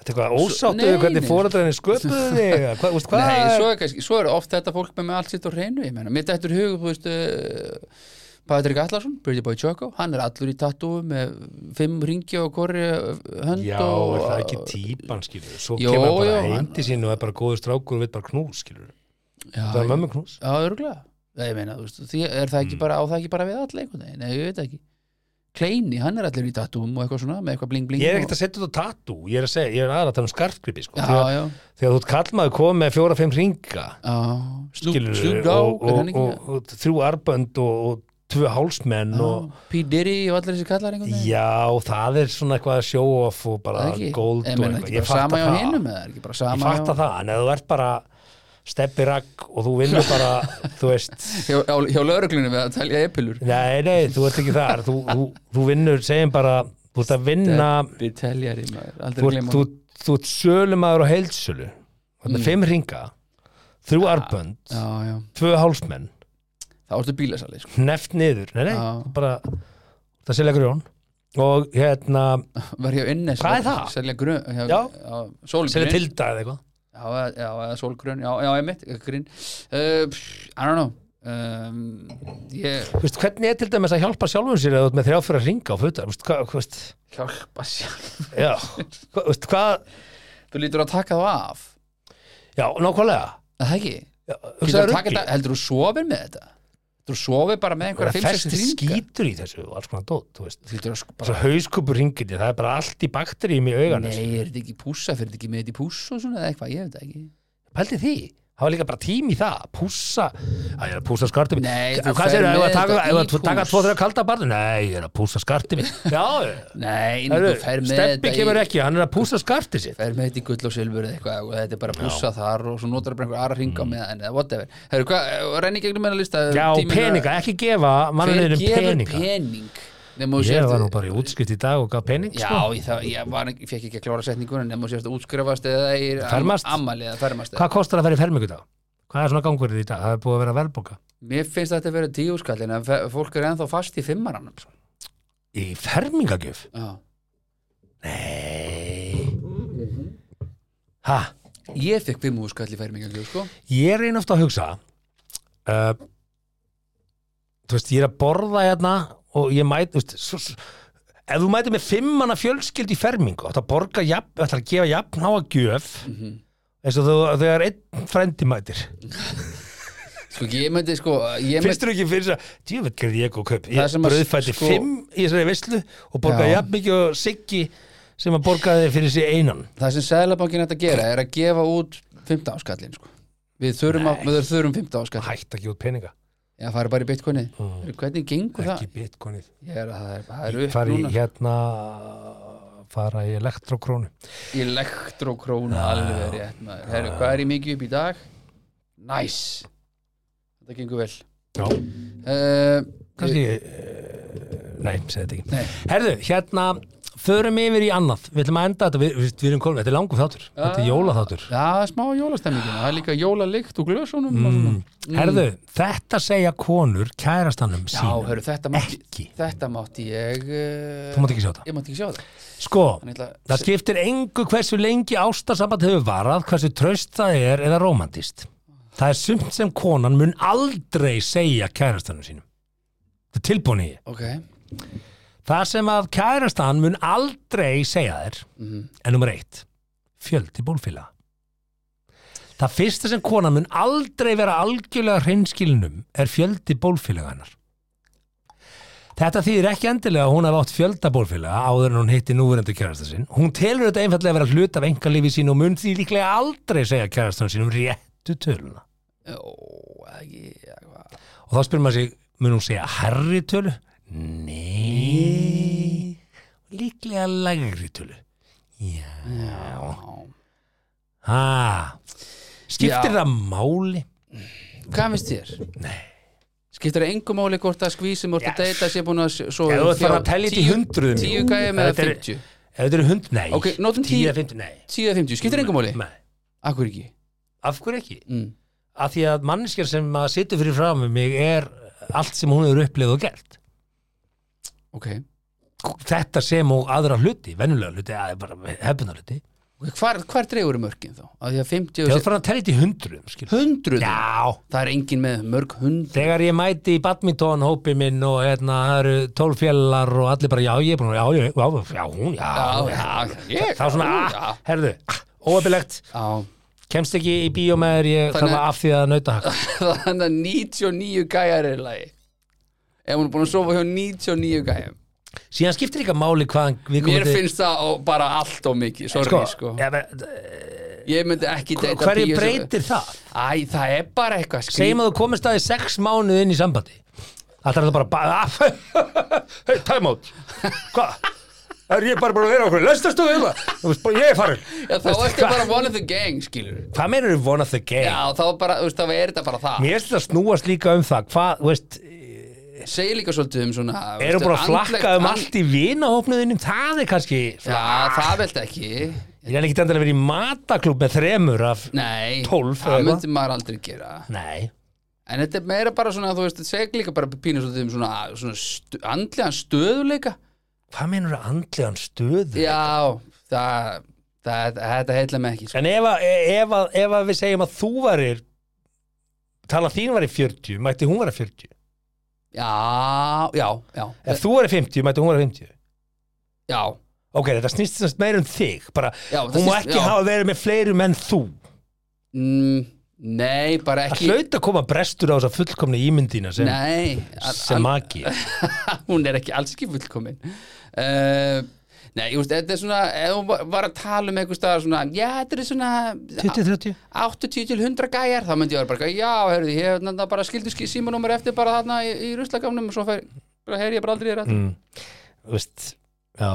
S1: Þetta er eitthvað ósáttu
S2: Nei,
S1: við hvernig
S2: nei.
S1: fóreldræðinni
S2: (laughs)
S1: sköpuðu þig eða hvað, úst, hvað
S2: Nei,
S1: er
S2: svo er, kannski, svo er oft þetta fólk með, með allt sitt á hreinu Ég meina, mér dættur hug Þú veist uh, Patrik Allarsson, Pretty Boy Choco Hann er allur í tattoo með Fimm ringi og korri eh, hönd
S1: Já,
S2: og,
S1: er það ekki típan, skilur Svo
S2: Jó,
S1: kemur hann
S2: jó,
S1: bara
S2: hann-
S1: heim til sín og er bara góður strákur og veit bara knús, skilur
S2: Já,
S1: Það er
S2: ég-
S1: mömmu Mm. knús
S2: Já, örgulega Ég meina, þú veist, því er það ekki bara, á það ekki bara við alla einhvern veginn, nei, ég veit það ekki Kleini, hann er allir í tattúum og eitthvað svona með eitthvað bling bling
S1: Ég er
S2: og...
S1: ekkert að setja þetta á tatú, ég er að segja, ég er aðra að tala um skarfgripi, sko
S2: Já,
S1: Þegar,
S2: já,
S1: þegar þú ert kallmaður komið með fjóra-fimm ringa
S2: já Snoop
S1: skilur
S2: Snoop Dogg, er
S1: og, og,
S2: hann ekki
S1: og, og þrjú arbönd og, og tvö hálsmenn
S2: Já,
S1: og
S2: P. Diddy og allir þessi kallar einhvern veginn
S1: Já, það er svona eitthvað show-off og bara
S2: Það ekki?
S1: gold
S2: Ég
S1: og
S2: meina,
S1: eitthvað.
S2: ekki bara sama hjá hinum eða er ekki bara
S1: Ég
S2: sama
S1: fatta það, en ef þú ert bara steppi rakk og þú
S2: (laughs)
S1: vinnur bara, þú veist,
S2: hjá, hjá, hjá lögreglunum við að telja epilur
S1: nei, nei, þú ert ekki þar, þú, þú, þú vinnur, segjum bara, þú ert að vinna,
S2: Við teljari, maður, aldrei
S1: þú,
S2: gleyma
S1: ert- þú, þú ert sölumæður og heilsölu, þetta
S2: Mm.
S1: er fimm ringa, þrjú
S2: Ah.
S1: arbönd,
S2: Já, já,
S1: tvö hálsmenn,
S2: þá ertu bílasali sko.
S1: neft niður, nei, nei,
S2: Já.
S1: þú bara, það selja grjón og hérna,
S2: Var hjá Innes
S1: Hvað er það?
S2: Selja grun hjá,
S1: Já.
S2: á, Sólgrun
S1: selja tilda eða eitthvað.
S2: Já, eða- já, eða sólgrun, já, já, einmitt, grinn uh, pff, I don't know um, Ég
S1: Þú veist, hvernig er til dæmis að hjálpa sjálfum sér eða þú ert með þrjá fyrir að ringa á fötar Þú veist, hvað, hvað, veist,
S2: hjálpa sjálf (laughs)
S1: já hvað, veist, hvað,
S2: Þú lítur að taka það af
S1: já, nákvæmlega
S2: Er Það ekki?
S1: Já,
S2: Lítur að
S1: hugsaðu
S2: taka
S1: rugli.
S2: þetta, heldur þú sofir með þetta? Heldur þú sofir bara með
S1: Það
S2: einhverja 5-6
S1: festir
S2: hringa?
S1: skítur í þessu og alls konar dót, þú veist
S2: Þú lítur að sko
S1: Svo
S2: bara
S1: hauskupur ringir þér, það er bara allt í bakterím í
S2: Nei,
S1: augunum
S2: er þetta ekki pússa, fyrir þetta ekki með þetta í púss og svona eða eitthvað, ég veit það ekki
S1: Pældi því, það var líka bara tím í það Pússa, að ég er að pússa skartum
S2: Nei, þú
S1: Hvað
S2: fer
S1: segir
S2: með
S1: það,
S2: þetta í
S1: ef að
S2: púss.
S1: taka tvo þeirra kalda barðu Nei, ég er að pússa skartum
S2: (laughs)
S1: Já,
S2: Nei, en
S1: heyrðu,
S2: þú fer með
S1: steppi
S2: þetta
S1: kemur
S2: í
S1: ekki, hann er að pússa skartið sitt
S2: fer með þetta í gull og silfur eða eitthvað og þetta er bara pússa þar og svo notar bara einhver aðra hringa mm. með það, en eða whatever Herru, hvað, renni í gegnum meðan lista
S1: Já,
S2: tíminn er-
S1: peninga, ekki gefa
S2: Hver
S1: mannleginum
S2: gefur
S1: peninga
S2: pening? Nema þú
S1: Ég
S2: sért-
S1: var nú bara í útskipt í dag og gaf pening
S2: Já,
S1: sko.
S2: ég, það, ég var, ekki- fekk ekki að klára setninguna nema þú sérst að útskrifast eða í
S1: Fermast?
S2: ammali eða fermast eða.
S1: Hvað kostar að vera í fermingu í dag? Hvað er svona gangverðið í dag? Það er búið að vera verðbóka
S2: Mér finnst þetta að vera tíu skall en að fe- fólk er ennþá fast í fimmaranum sko.
S1: Í fermingagjöf?
S2: Já.
S1: Nei Ha,
S2: Ég fekk fimmu skall í fermingangu sko.
S1: ég er einn ofta að hugsa uh, Þú veist, ég er að borða hérna og ég mæti, þú veist svo, svo, Ef þú mæti með fimm manna fjölskyld í fermingu Þetta borga, jafn, þetta að gefa jafn háa gjöf
S2: Mhm.
S1: eins og þú, þegar einn frendi mætir
S2: sko, ég myndi sko ég myndi,
S1: Finnst þú ekki fyrir þess að djöfell gerði ég góð kaup
S2: Það
S1: ég
S2: sem að
S1: bröðfætti
S2: sko-
S1: fimm í þessari veislu og borgaði
S2: Já.
S1: jafn mikið og Siggi sem að borgaði fyrir sig einan
S2: Það sem Sæðlabankin ætti að gera er að gefa út 15 skallin sko. Við þurfum, að, við þurfum 15 skallin
S1: hætt ekki út peninga,
S2: Já, fara bara í bitcoinið Hvernig gengur það?
S1: ekki bitcoinið
S2: Ég er að það er, það er upp
S1: fara í
S2: núna
S1: hérna fara í elektrokrónu
S2: Elektrókróna alveg rétt maður Herru, hvað er í mikið upp í dag? Næs Þetta gengur vel
S1: Já.
S2: uh,
S1: kannski eh, nei, segi þetta ekki
S2: Nei.
S1: herðu, hérna, förum yfir í annað við ætlum að enda þetta, við, við, við erum komin þetta er langur þáttur, þetta
S2: Ah.
S1: er jólaþáttur
S2: Já, það er smá jólastemmingin Það er líka jólalikt og glösunum og
S1: mm.
S2: svona.
S1: herðu, þetta segja konur kærastanum
S2: Já,
S1: sínum
S2: herru, þetta mátti
S1: ekki,
S2: Þetta mátti ég uh,
S1: þú mátt ekki sjá þetta
S2: Ég mátti ekki sjá það
S1: sko,
S2: Þannig ætla að-
S1: Það skiptir engu hversu lengi ástarsamband hefur varað, hversu tröst það er eða romantist. Það er sumt sem konan mun aldrei segja kærastanum sínum. Það er tilbúin í ég.
S2: Ok,
S1: Það sem að kærastan mun aldrei segja þér,
S2: Mhm.
S1: en nummer eitt, fjöldi bólfila. Það fyrsta sem konan mun aldrei vera algjörlega hreinskilinum er fjöldi bólfélaga hennar. Þetta þýðir ekki endilega að hún hafa átt fjölda bólfélaga áður en hún hitti núverandi kærasta sinn. Hún telur þetta einfallega vera hlut af engalífi sín og mun því líklega aldrei segja kærastanum sínum réttu töluna.
S2: ó, ekki eitthvað.
S1: Og þá spyrir maður sig, mun hún segja herri tölu? Nei. Líklega lægri tölu. já,
S2: Já.
S1: ha skiptir
S2: Já.
S1: það máli
S2: Hvað finnst þér? Nei Skiptir það engum máli hvort að skvísum hvort að deyta sé búin að svo
S1: Ef þú ert farin að telja þetta í hundruðum, jú.
S2: Tíu gæjum eða
S1: Þetta er-
S2: 50
S1: ef þetta eru hund, nei
S2: Ok, notum
S1: 10
S2: tíu
S1: eða 50, nei
S2: Tíu eða 50, skiptir engum máli?
S1: Nei.
S2: Akkur ekki
S1: af hverju ekki?
S2: mm.
S1: af því að manneskjar sem að situr fyrir fram mig er eh, allt sem hún hefur upplifð og gert
S2: Ok,
S1: þetta sem og aðra hluti, venjulega hluti eða bara hefna hluti
S2: okay. Hvar, hvar dreigur er mörkin þá? Að því að 50
S1: þegar
S2: og
S1: þú fyrir að telja þetta í hundruðum skilur.
S2: 100
S1: já,
S2: Það er engin með mörg hund
S1: þegar ég mæti í badminton hópi minn og hérna, það eru tólf fjallar og allir bara, já, ég er búin að, já, já, já, já, hún, já, já,
S2: já, ég-
S1: þá svona,
S2: já.
S1: ah, herðu, ah, óöpilegt
S2: Já, (laughs)
S1: kemst ekki í bíó með þér, ég
S2: Þannig-
S1: þarf að af því að nauta
S2: þannig að 99 gæjar er í lagi Ef hún er búin að sofa hjá 99 gæjum
S1: síðan skiptir líka máli hvaðan við
S2: Mér finnst það ó- bara allt og mikið Sorry, sko,
S1: ja, men,
S2: Ég myndi ekki deyta
S1: hverju
S2: bíó sem-
S1: breytir það?
S2: Æ, það er bara eitthvað
S1: segjum
S2: skrýt
S1: að þú komist að í sex mánuð inn í sambandi Það er það bara (laughs) bara Hei, time out Hvað? Er ég bara bara að vera okkur? Lestastu við það? hérna? Þú veist, bara, Ég er farin
S2: Já, þá
S1: Veistu,
S2: ertu
S1: hvað-
S2: bara one of the gang, skilur
S1: Hvað meinar þau one of the game?
S2: Já, þá, bara, þú veist, þá er þetta bara það
S1: Mér finnst það snúast líka um það Hvað, þú veist,
S2: Segir líka svolítið um svona
S1: eru bara að flakka um
S2: allt
S1: allt í vinahopnuðinum Það er kannski
S2: Já, það velta ekki
S1: Ég er ekki endilega að vera í mataklúb með þremur af
S2: Nei,
S1: 12
S2: það
S1: eða
S2: myndi maður aldrei gera
S1: Nei,
S2: En þetta er meira bara svona, þú veist, segir líka bara pínu svolítið um svona, svona stu, andlegan stöðuleika
S1: hvað meinar þau andlegan stöðu?
S2: Já, það, það, þetta heitla mig ekki sko.
S1: En ef, að- ef, að- ef að við segjum að þú varir tala þín var í 40, mætti hún var í 40
S2: Já, já, já,
S1: Ef þú er 50, mætti hún er 50
S2: já
S1: Ok, þetta snýst semst meira um þig bara,
S2: Já, það
S1: Hún má
S2: snýst-
S1: ekki
S2: já.
S1: hafa verið með fleiri menn þú
S2: mm, Nei, bara
S1: Það
S2: ekki
S1: hlaut að koma brestur á þess að fullkomni ímyndina sem,
S2: Nei, að-
S1: sem magi
S2: hún er ekki alls ekki fullkomin uh, Nei, ég veist, þetta er svona ef hún var- var að tala um einhver staðar svona já, þetta er svona
S1: 20-30
S2: 80 til 100 gæjar þá myndi ég vera bara, eitthvað, já, heyrðu, ég hef náttúrulega bara skildu símanúmer eftir bara þarna í, í ruslagamnum og svo fer, bara heyri ég bara aldrei þér eftir
S1: mm, Þú veist, já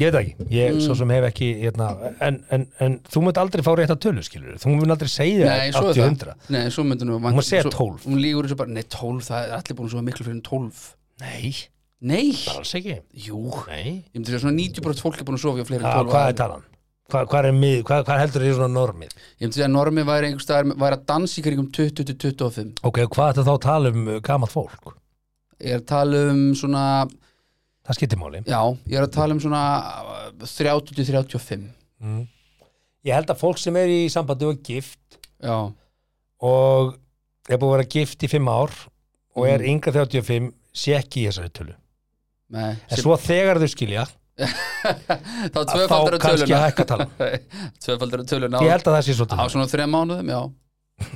S1: Ég veit það ekki, ég
S2: Mm.
S1: svo sem hef ekki hérna, en, en, en þú munt aldrei fá rétt að tölu skilur Þú munt aldrei segja
S2: Nei, svo er það.
S1: 80-100
S2: Nei, svo myndi hún
S1: Hún má segja 12.
S2: Hún lígur þessu bara, nei, 12, það er allir búin svo miklu fyrir en 12
S1: Nei,
S2: Nei,
S1: alls ekki
S2: jú
S1: Nei
S2: Ég myndi segja svona 90% fólk er búin að sofa hjá fleiri en
S1: Á,
S2: 12
S1: Hvað er talan? Hvað, hvað, er mið, hvað, hvað heldur þér svona normið?
S2: Ég myndi segja að normið væri einhver staðar væri að dansa í kringum 20 til 25
S1: Ok, hvað er þetta þá að tala um uh, gamalt fólk?
S2: Ég er að tala um svona
S1: Það skiptir máli
S2: Já, ég er að tala um svona uh, 30 til 35
S1: Mm. Ég held að fólk sem er í sambandi og er gift
S2: Já,
S1: og er búið að vera gift í fimm ár og
S2: Mm.
S1: er yngra 35 sé ekki í þessari tölu
S2: nei
S1: en svo þegar þau skilja
S2: Þá
S1: að þá
S2: tvöfaldara
S1: kannski
S2: töluna
S1: að
S2: (laughs)
S1: hækka talan
S2: Tvöfaldara töluna
S1: (laughs) Ég
S2: á,
S1: held að það sé
S2: á
S1: svolítið
S2: svona þrem mánuðum, já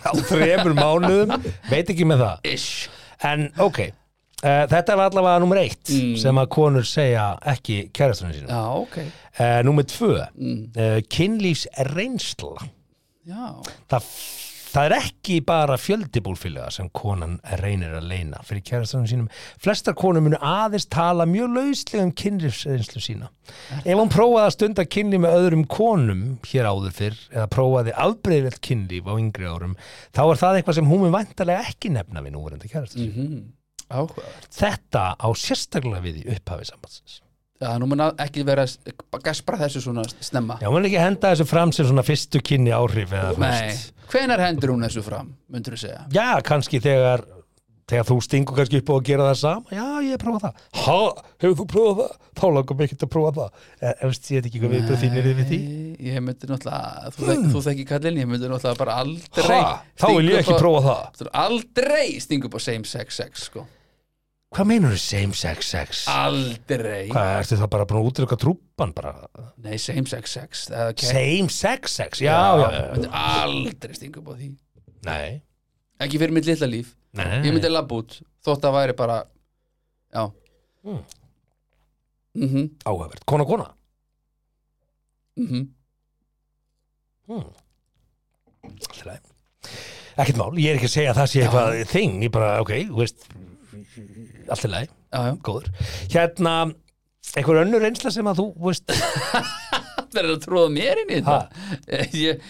S1: á þremur mánuðum, veit ekki með það
S2: Ish
S1: en ok, uh, þetta var allavega nummer eitt
S2: Mm.
S1: sem að konur segja ekki kærastunum sínum
S2: Já, ok
S1: uh, Nummer tvö,
S2: mm.
S1: uh, kynlífs reynsla
S2: Já,
S1: það, það er ekki bara fjöldibúlfélaga sem konan reynir að leina fyrir kærastanum sínum. Flestar konur munu aðeins tala mjög lauslega um kynlífsreynslu sína. Ef hún prófaði að stunda kynlíf með öðrum konum hér áður fyrr eða prófaði afbreyðvelt kynlíf á yngri árum, þá er það eitthvað sem hún mun vantarlega ekki nefna við núverandi kærastan. Mm.
S2: áhugavert
S1: Þetta á sérstaklega við í upphafi sambandsins.
S2: Já, nú mun að ekki vera s- gaspra þessu svona snemma
S1: Já, hún vil ekki henda þessu fram sem svona fyrstu kynni áhrif eða þú
S2: Nei,
S1: veist.
S2: hvenær hendur hún þessu fram, myndur þú segja
S1: Já, kannski þegar þegar þú stingur kannski upp á að gera það sama já, ég hef prófað það ha, hefur þú prófað það? þá langar mig ekkert að prófa það Eh, ef veist, ég veit ekki hvað viðbröð þín er við því Hmm.
S2: Nei, Ég myndi náttúrulega, þú, mm. þú þekki kallin Ég myndi náttúrulega bara aldrei
S1: ha, þá vil ég ekki prófa það
S2: prófa Aldrei stingu upp á same sex sex, sko
S1: hvað meinar þú same sex sex?
S2: Aldrei
S1: hvað, ertu það bara búin að útryka trúpan bara
S2: Nei, same sex sex það er ok.
S1: same sex sex, já, já, já,
S2: Myndi aldrei stinga upp á því
S1: nei
S2: Ekki fyrir mitt litla líf
S1: Nei.
S2: Ég myndi labba út Þótt að væri bara Já
S1: Mm.
S2: Mhm,
S1: áhugavert, kona kona
S2: mhm.
S1: hmm. Allt í lagi. ekkert mál, ég er ekki að segja að það sé eitthvað þing, ég bara, ok, þú veist allt í lagi
S2: Já, já
S1: góður hérna, einhver önnur reynsla sem að þú veist
S2: samt verið að tróða mér inn í
S1: Ha?
S2: þetta (laughs) ég,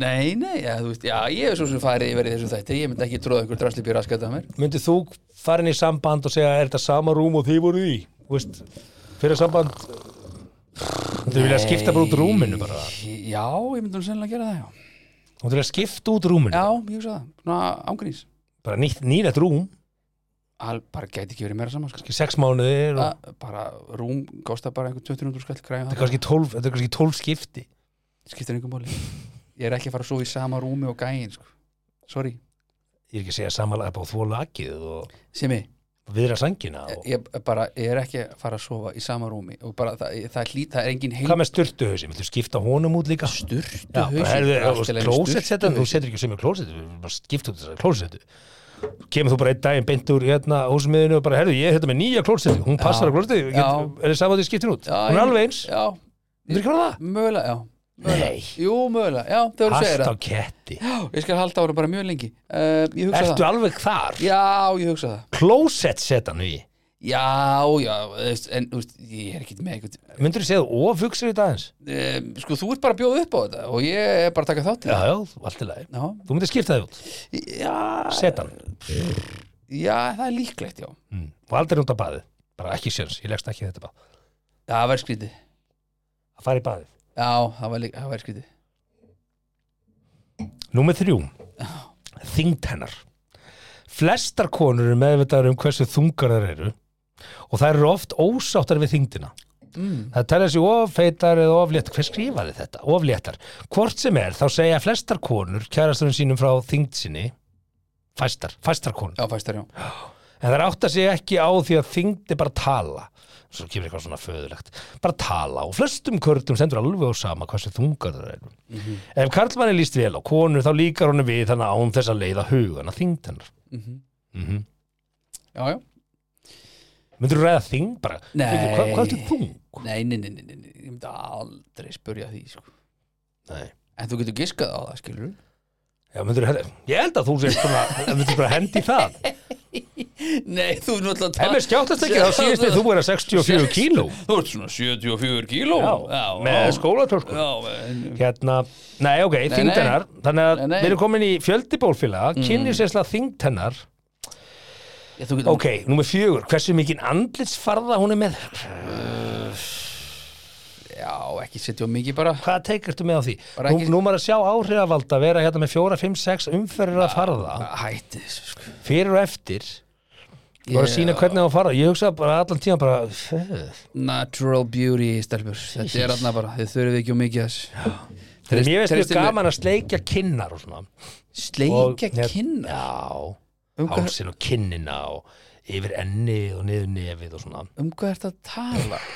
S2: Nei, nei, já, þú veist, já, ég er svo sem farið yfir í þessum þætti Ég myndi ekki tróða ykkur drasli býr raskætt af mér
S1: myndið þú farin í samband og segja er þetta sama rúm og þið voru í Þú veist, fyrir samband þú vilja skipta bara út rúminu bara
S2: Já, ég myndi nú sennilega gera það, já
S1: þú vilja skipta út rúminu
S2: Já, ég hugsa það, svona ángríns
S1: bara nýtt, nýrætt rúm,
S2: Al, bara gæti ekki verið meira saman, sko
S1: kannski sex mánuðir og,
S2: Að- Bara rúm, kosta bara einhver 200 skall
S1: þetta, er
S2: græða
S1: kannski 12, þetta er kannski 12 skipti
S2: Skiptir einhver máli Ég er ekki að fara að sofa í sama rúmi og gæin, sko Sorry,
S1: ég er ekki að segja samanlega bara þvóla akkið og
S2: Simi,
S1: viðra sangina og,
S2: ég bara, ég er ekki að fara að sofa í sama rúmi og bara, það, það, hlýt, það er engin heil
S1: hvað með sturtuhausin, viltu skipta honum út líka
S2: sturtu
S1: Já, bara, herðu, og klósett setan, þú
S2: sturtu
S1: setur ekki sem er klósett við bara skipta út þessar klósettu kemur þú bara einn daginn beint úr hérna húsmiðinu og bara, herðu, ég er þetta með nýja klósettu hún passar
S2: Já.
S1: á klósettu,
S2: Já.
S1: er það saman að þið skiptir út hún er alveg eins,
S2: já,
S1: myndir ekki hvað það?
S2: mögulega, já mögulega.
S1: Nei.
S2: jú, mögulega, já, það voru að segja
S1: Allt á
S2: það
S1: ketti
S2: já, ég skal halda á það bara mjög lengi uh, ég hugsa
S1: Ertu
S2: það
S1: alveg þar?
S2: já, ég hugsa það
S1: Klósett setan við
S2: já, já, þú veist, en þú veist, ég er ekki með eitthvað
S1: Myndur þú segja þú ofugsir í dagins?
S2: um, sko, þú ert bara að bjóða upp á þetta og ég er bara að taka þátt í
S1: Já,
S2: það.
S1: já, allt í lagi
S2: já,
S1: Þú myndir skipta það út,
S2: já,
S1: setan
S2: já, það er líklegt, já
S1: mm. og aldrei út á baðið, bara ekki sjöns ég leggst ekki í þetta bað,
S2: það var skrítið
S1: að fara í baðið
S2: já, það var, lík- það var skrítið
S1: Númer þrjú Þyngd hennar Flestar konur eru meðvitaðar um hversu þungar þær eru og þær eru oft ósáttar við þyngdina
S2: mm.
S1: Það telja sig ofeitar eða ofléttar. Hver skrifaði þetta? Ofléttar. Hvort sem er, þá segja flestar konur kjærastunum sínum frá þyngd sinni fæstar, fæstar konur.
S2: já, fæstar, já
S1: En það átta sig ekki á því að þyngd er bara tala. Svo kemur eitthvað svona föðulegt. Bara tala og flestum körlum sendur alveg á sama hversu þungar það er.
S2: Mhm.
S1: Ef karlmanni líst vel á konur þá líkar honum við þannig án þess að leiða hugana þyngd hennar.
S2: mm
S1: Mm -hmm.
S2: já, já
S1: Myndur þú ræða þyngd bara?
S2: Nei.
S1: Hvað, hvað er þung?
S2: Nei, nei, nei, nei, nei, nei, ég myndi aldrei spurja því sko.
S1: Nei.
S2: En þú getur giskað á það, skilur
S1: Já, myndur þú, ég held að þú sést svona, myndur bara hendi í það.
S2: Nei, þú er náttúrulega
S1: Ef mér skjáttast ekki þá síðist við þú verið að 64 kíló
S2: Þú ert svona 74 kíló
S1: með sko- skólatösku
S2: Já, en-
S1: Hérna, nei ok, þyngd
S2: nei.
S1: hennar Þannig að
S2: Nei, nei.
S1: við erum komin í fjöldibólfélaga mm. kynni sérslega þyngd hennar
S2: Já, þú getur
S1: Ok, númer fjögur, hversu mikinn andlitsfarða hún er með
S2: Já, ekki setja á mikið bara
S1: Hvað tekurstu með á því?
S2: Bara
S1: Nú,
S2: ekki-
S1: nú maður að sjá áhrifavald að vera hérna með 4, 5, 6 umferðir að farða
S2: Hætti þessu sko
S1: fyrir og eftir og að
S2: Ég-
S1: sína hvernig það farða Ég hugsa bara allan tíma bara "Föð."
S2: Natural beauty, stelpur Þetta er aðna bara, þið þurfum ekki á mikið þess
S1: Mér veist mjög
S2: Treystir mér-
S1: gaman að sleikja kinnar og svona
S2: Sleikja
S1: Og- hérna-
S2: kynna
S1: Já,
S2: Um hvað-
S1: hálsin og kinnina og yfir enni og niður nefið og svona
S2: Um hvað ertu að tala? (laughs)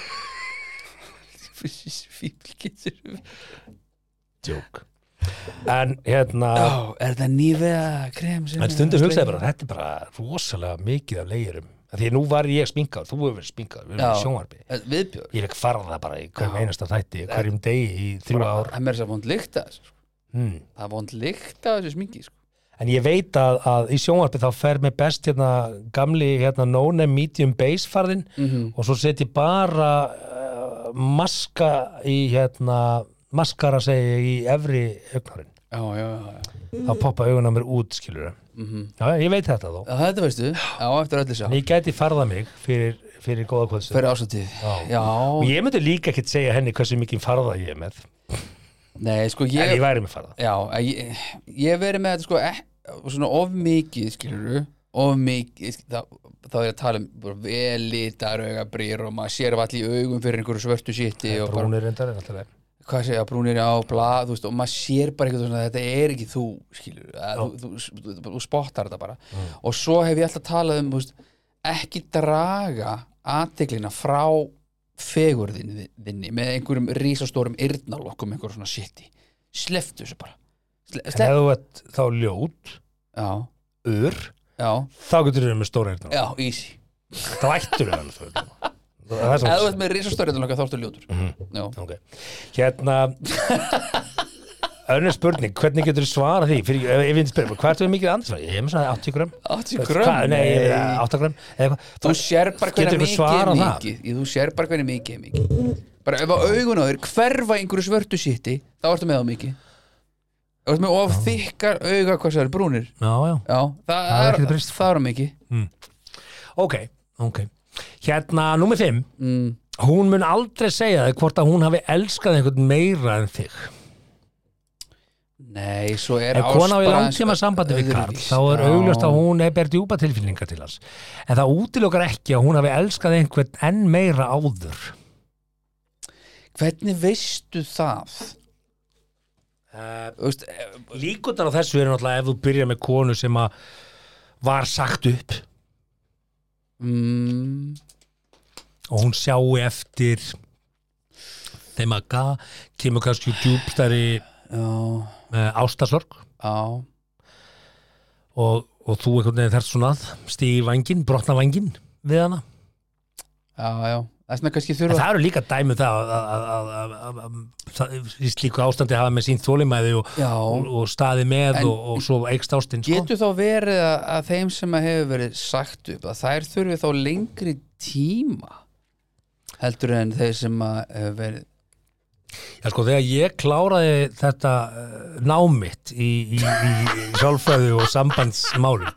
S2: Fíbl getur
S1: djók en hérna
S2: Já, er það nývega krem sem
S1: en stundum hugsaði bara, þetta er bara rosalega mikið af leiðurum, af því að nú var ég sminkað þú hefur verið sminkað, við erum
S2: Já.
S1: í sjónvarpi
S2: Viðbjörn
S1: ég fekk farða bara í hverjum einasta þætti hverjum degi í þrjú ár
S2: Það er mér þess að vond líkt að þessu sko.
S1: mm.
S2: Það er vond líkt að þessu smingi sko.
S1: en ég veit að, að í sjónvarpi þá fer mér best hérna gamli hérna no-name medium base farðin
S2: -hmm.
S1: og svo set ég bara uh, maska í hérna maskara segi ég í efri augnarin
S2: Já, já, já, já.
S1: þá poppa augun á mér út skilur
S2: Mhm.
S1: já, ég veit þetta þó
S2: Já, Þetta veistu, á eftir öllu sá
S1: en ég gæti farða mig fyrir, fyrir góða kvöldstund
S2: Fyrir ásatíð
S1: Já.
S2: Já,
S1: og ég myndi líka ekkert segja henni hversu mikið farða ég er með
S2: nei, sko
S1: en ég
S2: ég
S1: væri með farða
S2: Já, að ég, ég hef verið með þetta sko eh, Svona of mikið, skilur Of mikið sk- þá- Þá er ég að tala um bara velítar augabrýr og maður sér af allir í augum fyrir einhverju svörtu síti og bara,
S1: brúnir reyndar er alltaf leið
S2: hvað segja, brúnir á blað, þú veist, og maður sér bara eitthvað svona, þetta er ekki þú, skilur að, þú, þú, þú, þú spottar þetta bara og svo hef ég alltaf talað um þú veist, ekki draga aðteglina frá fegurðinni þinni, með einhverjum rísastórum yrnalokkum, einhverjum svona shiti sleftu þessu bara Sle,
S1: en ef
S2: slef,
S1: þú ert þá ljót,
S2: já,
S1: ur
S2: já,
S1: þá getur þú með stóra eyrnar
S2: já, easy
S1: þá ættur þú þannig
S2: (laughs)
S1: það er
S2: eða þú
S1: svona
S2: ert með rísastór yrnalokka þá ertu ljótur
S1: Mhm.
S2: já,
S1: okay. hérna önnur spurning, hvernig getur þú svara því fyrir, ef, ef ég spyrir, hvað ertu með mikið andlisfarða ég er með svona 80 gram
S2: 80 grömm
S1: nei, ég er með 8 gram eða eitthvað.
S2: þú sér bara hvernig
S1: Geturðu
S2: mikið
S1: svarað
S2: er
S1: það?
S2: mikið Ég- þú sér bara hvernig mikið er mikið bara ef að augun á þér hverfa einhverju svörtu sýtti þá ertu með á mikið Ef þú ert með of þykkar auga hvað sér brúnir
S1: já, já
S2: já, það,
S1: Það er
S2: er,
S1: ekkert
S2: er
S1: breyst.
S2: það er á mikið
S1: Ok, ok Hérna, nummer 5
S2: mm.
S1: Hún mun aldrei segja þig hvort að hún hafi elskað einhvern meira en þig
S2: nei, svo er
S1: Ef
S2: ást
S1: kona á í
S2: bara
S1: langtíma
S2: aðeins
S1: sambandi við Karl
S2: öðruvís.
S1: þá er
S2: Já.
S1: augljóst að hún er ber djúpa tilfinningar til hans En það útilokar ekki að hún hafi elskað einhvern enn meira áður
S2: hvernig veistu það?
S1: uh,
S2: Þú veist, eh,
S1: Líkundar á þessu er náttúrulega ef þú byrjar með konu sem að var sagt upp
S2: mm,
S1: og hún sjáu eftir þeim að gað kemur kannski djúpstari
S2: já,
S1: uh, ástasorg
S2: já
S1: og, og þú einhvern veginn þarf svona að stíði vangin, brotna vangin við hana.
S2: já, já, það er svona kannski
S1: En
S2: þurfa
S1: það eru líka dæmi um það að- að- að- að- að- að- það- í slíku ástandi hafa með sín þólimæði og, og,
S2: já,
S1: og staði með
S2: En-
S1: og, og svo eikst ástinn. Sko.
S2: getur þá verið að, að þeim sem að hefur verið sagt upp að þær þurfi þá lengri tíma heldur en þeir sem að hefur verið
S1: Já, sko, þegar ég kláraði þetta eh, nám mitt í, í, í sjálfræðu og sambandsmálum,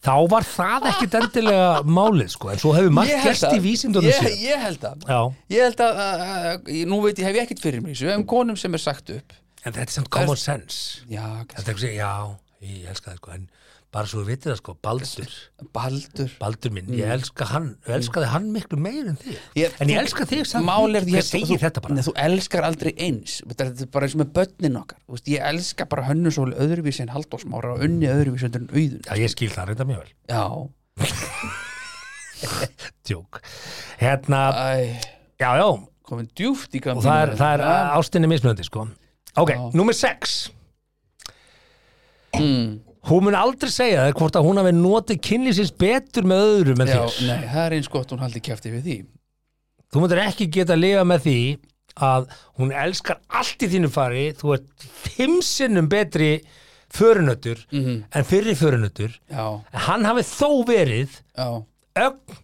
S1: þá var það ekkit endilega málið, sko, en svo hefur margt
S2: Ég held
S1: gerst í
S2: að-
S1: vísindunum
S2: ég,
S1: sér.
S2: ég held að
S1: Já,
S2: Ég held að, að, að, að nú veit ég hef ég ekkert fyrir mig þessu, um konum sem er sagt upp
S1: en þetta er samt common sense.
S2: Já,
S1: Þetta er eitthvað sem, já, ég elska það sko, en bara svo við vitið það sko, Baldur,
S2: Baldur
S1: Baldur minn, ég elska hann, ég elskaði hann miklu meir en þig.
S2: Mm. Ég-
S1: en ég elska þig samt,
S2: Mál er
S1: mikið.
S2: því
S1: ég segi
S2: þú,
S1: þetta bara.
S2: Nei, þú elskar aldrei eins Þetta er bara eins og með börnin okkar Þú veist, Ég elska bara hönnusóli öðruvísi en haldósmára og unni öðruvísi undir en auðun
S1: Já, ég skil það reynda mjög vel,
S2: Já,
S1: tjók. Hérna,
S2: æ,
S1: já, já, og
S2: komin djúft í gamla
S1: það er, það er ástinni mismunandi sko. Ok,
S2: Mm. Ah. Já.
S1: nummer sex.
S2: Mm.
S1: Hún mun aldrei segja þér hvort að hún hafi notið kynlýsins betur með öðrum en
S2: Já,
S1: þér.
S2: nei, það er eins gott hún haldi kjæfti við því
S1: Þú myndir ekki geta að lifa með því að hún elskar allt í þínu fari, þú ert fimm sinnum betri förunötur
S2: Mhm.
S1: en fyrri förunötur,
S2: Já,
S1: en hann hafi þó verið
S2: já,
S1: ögn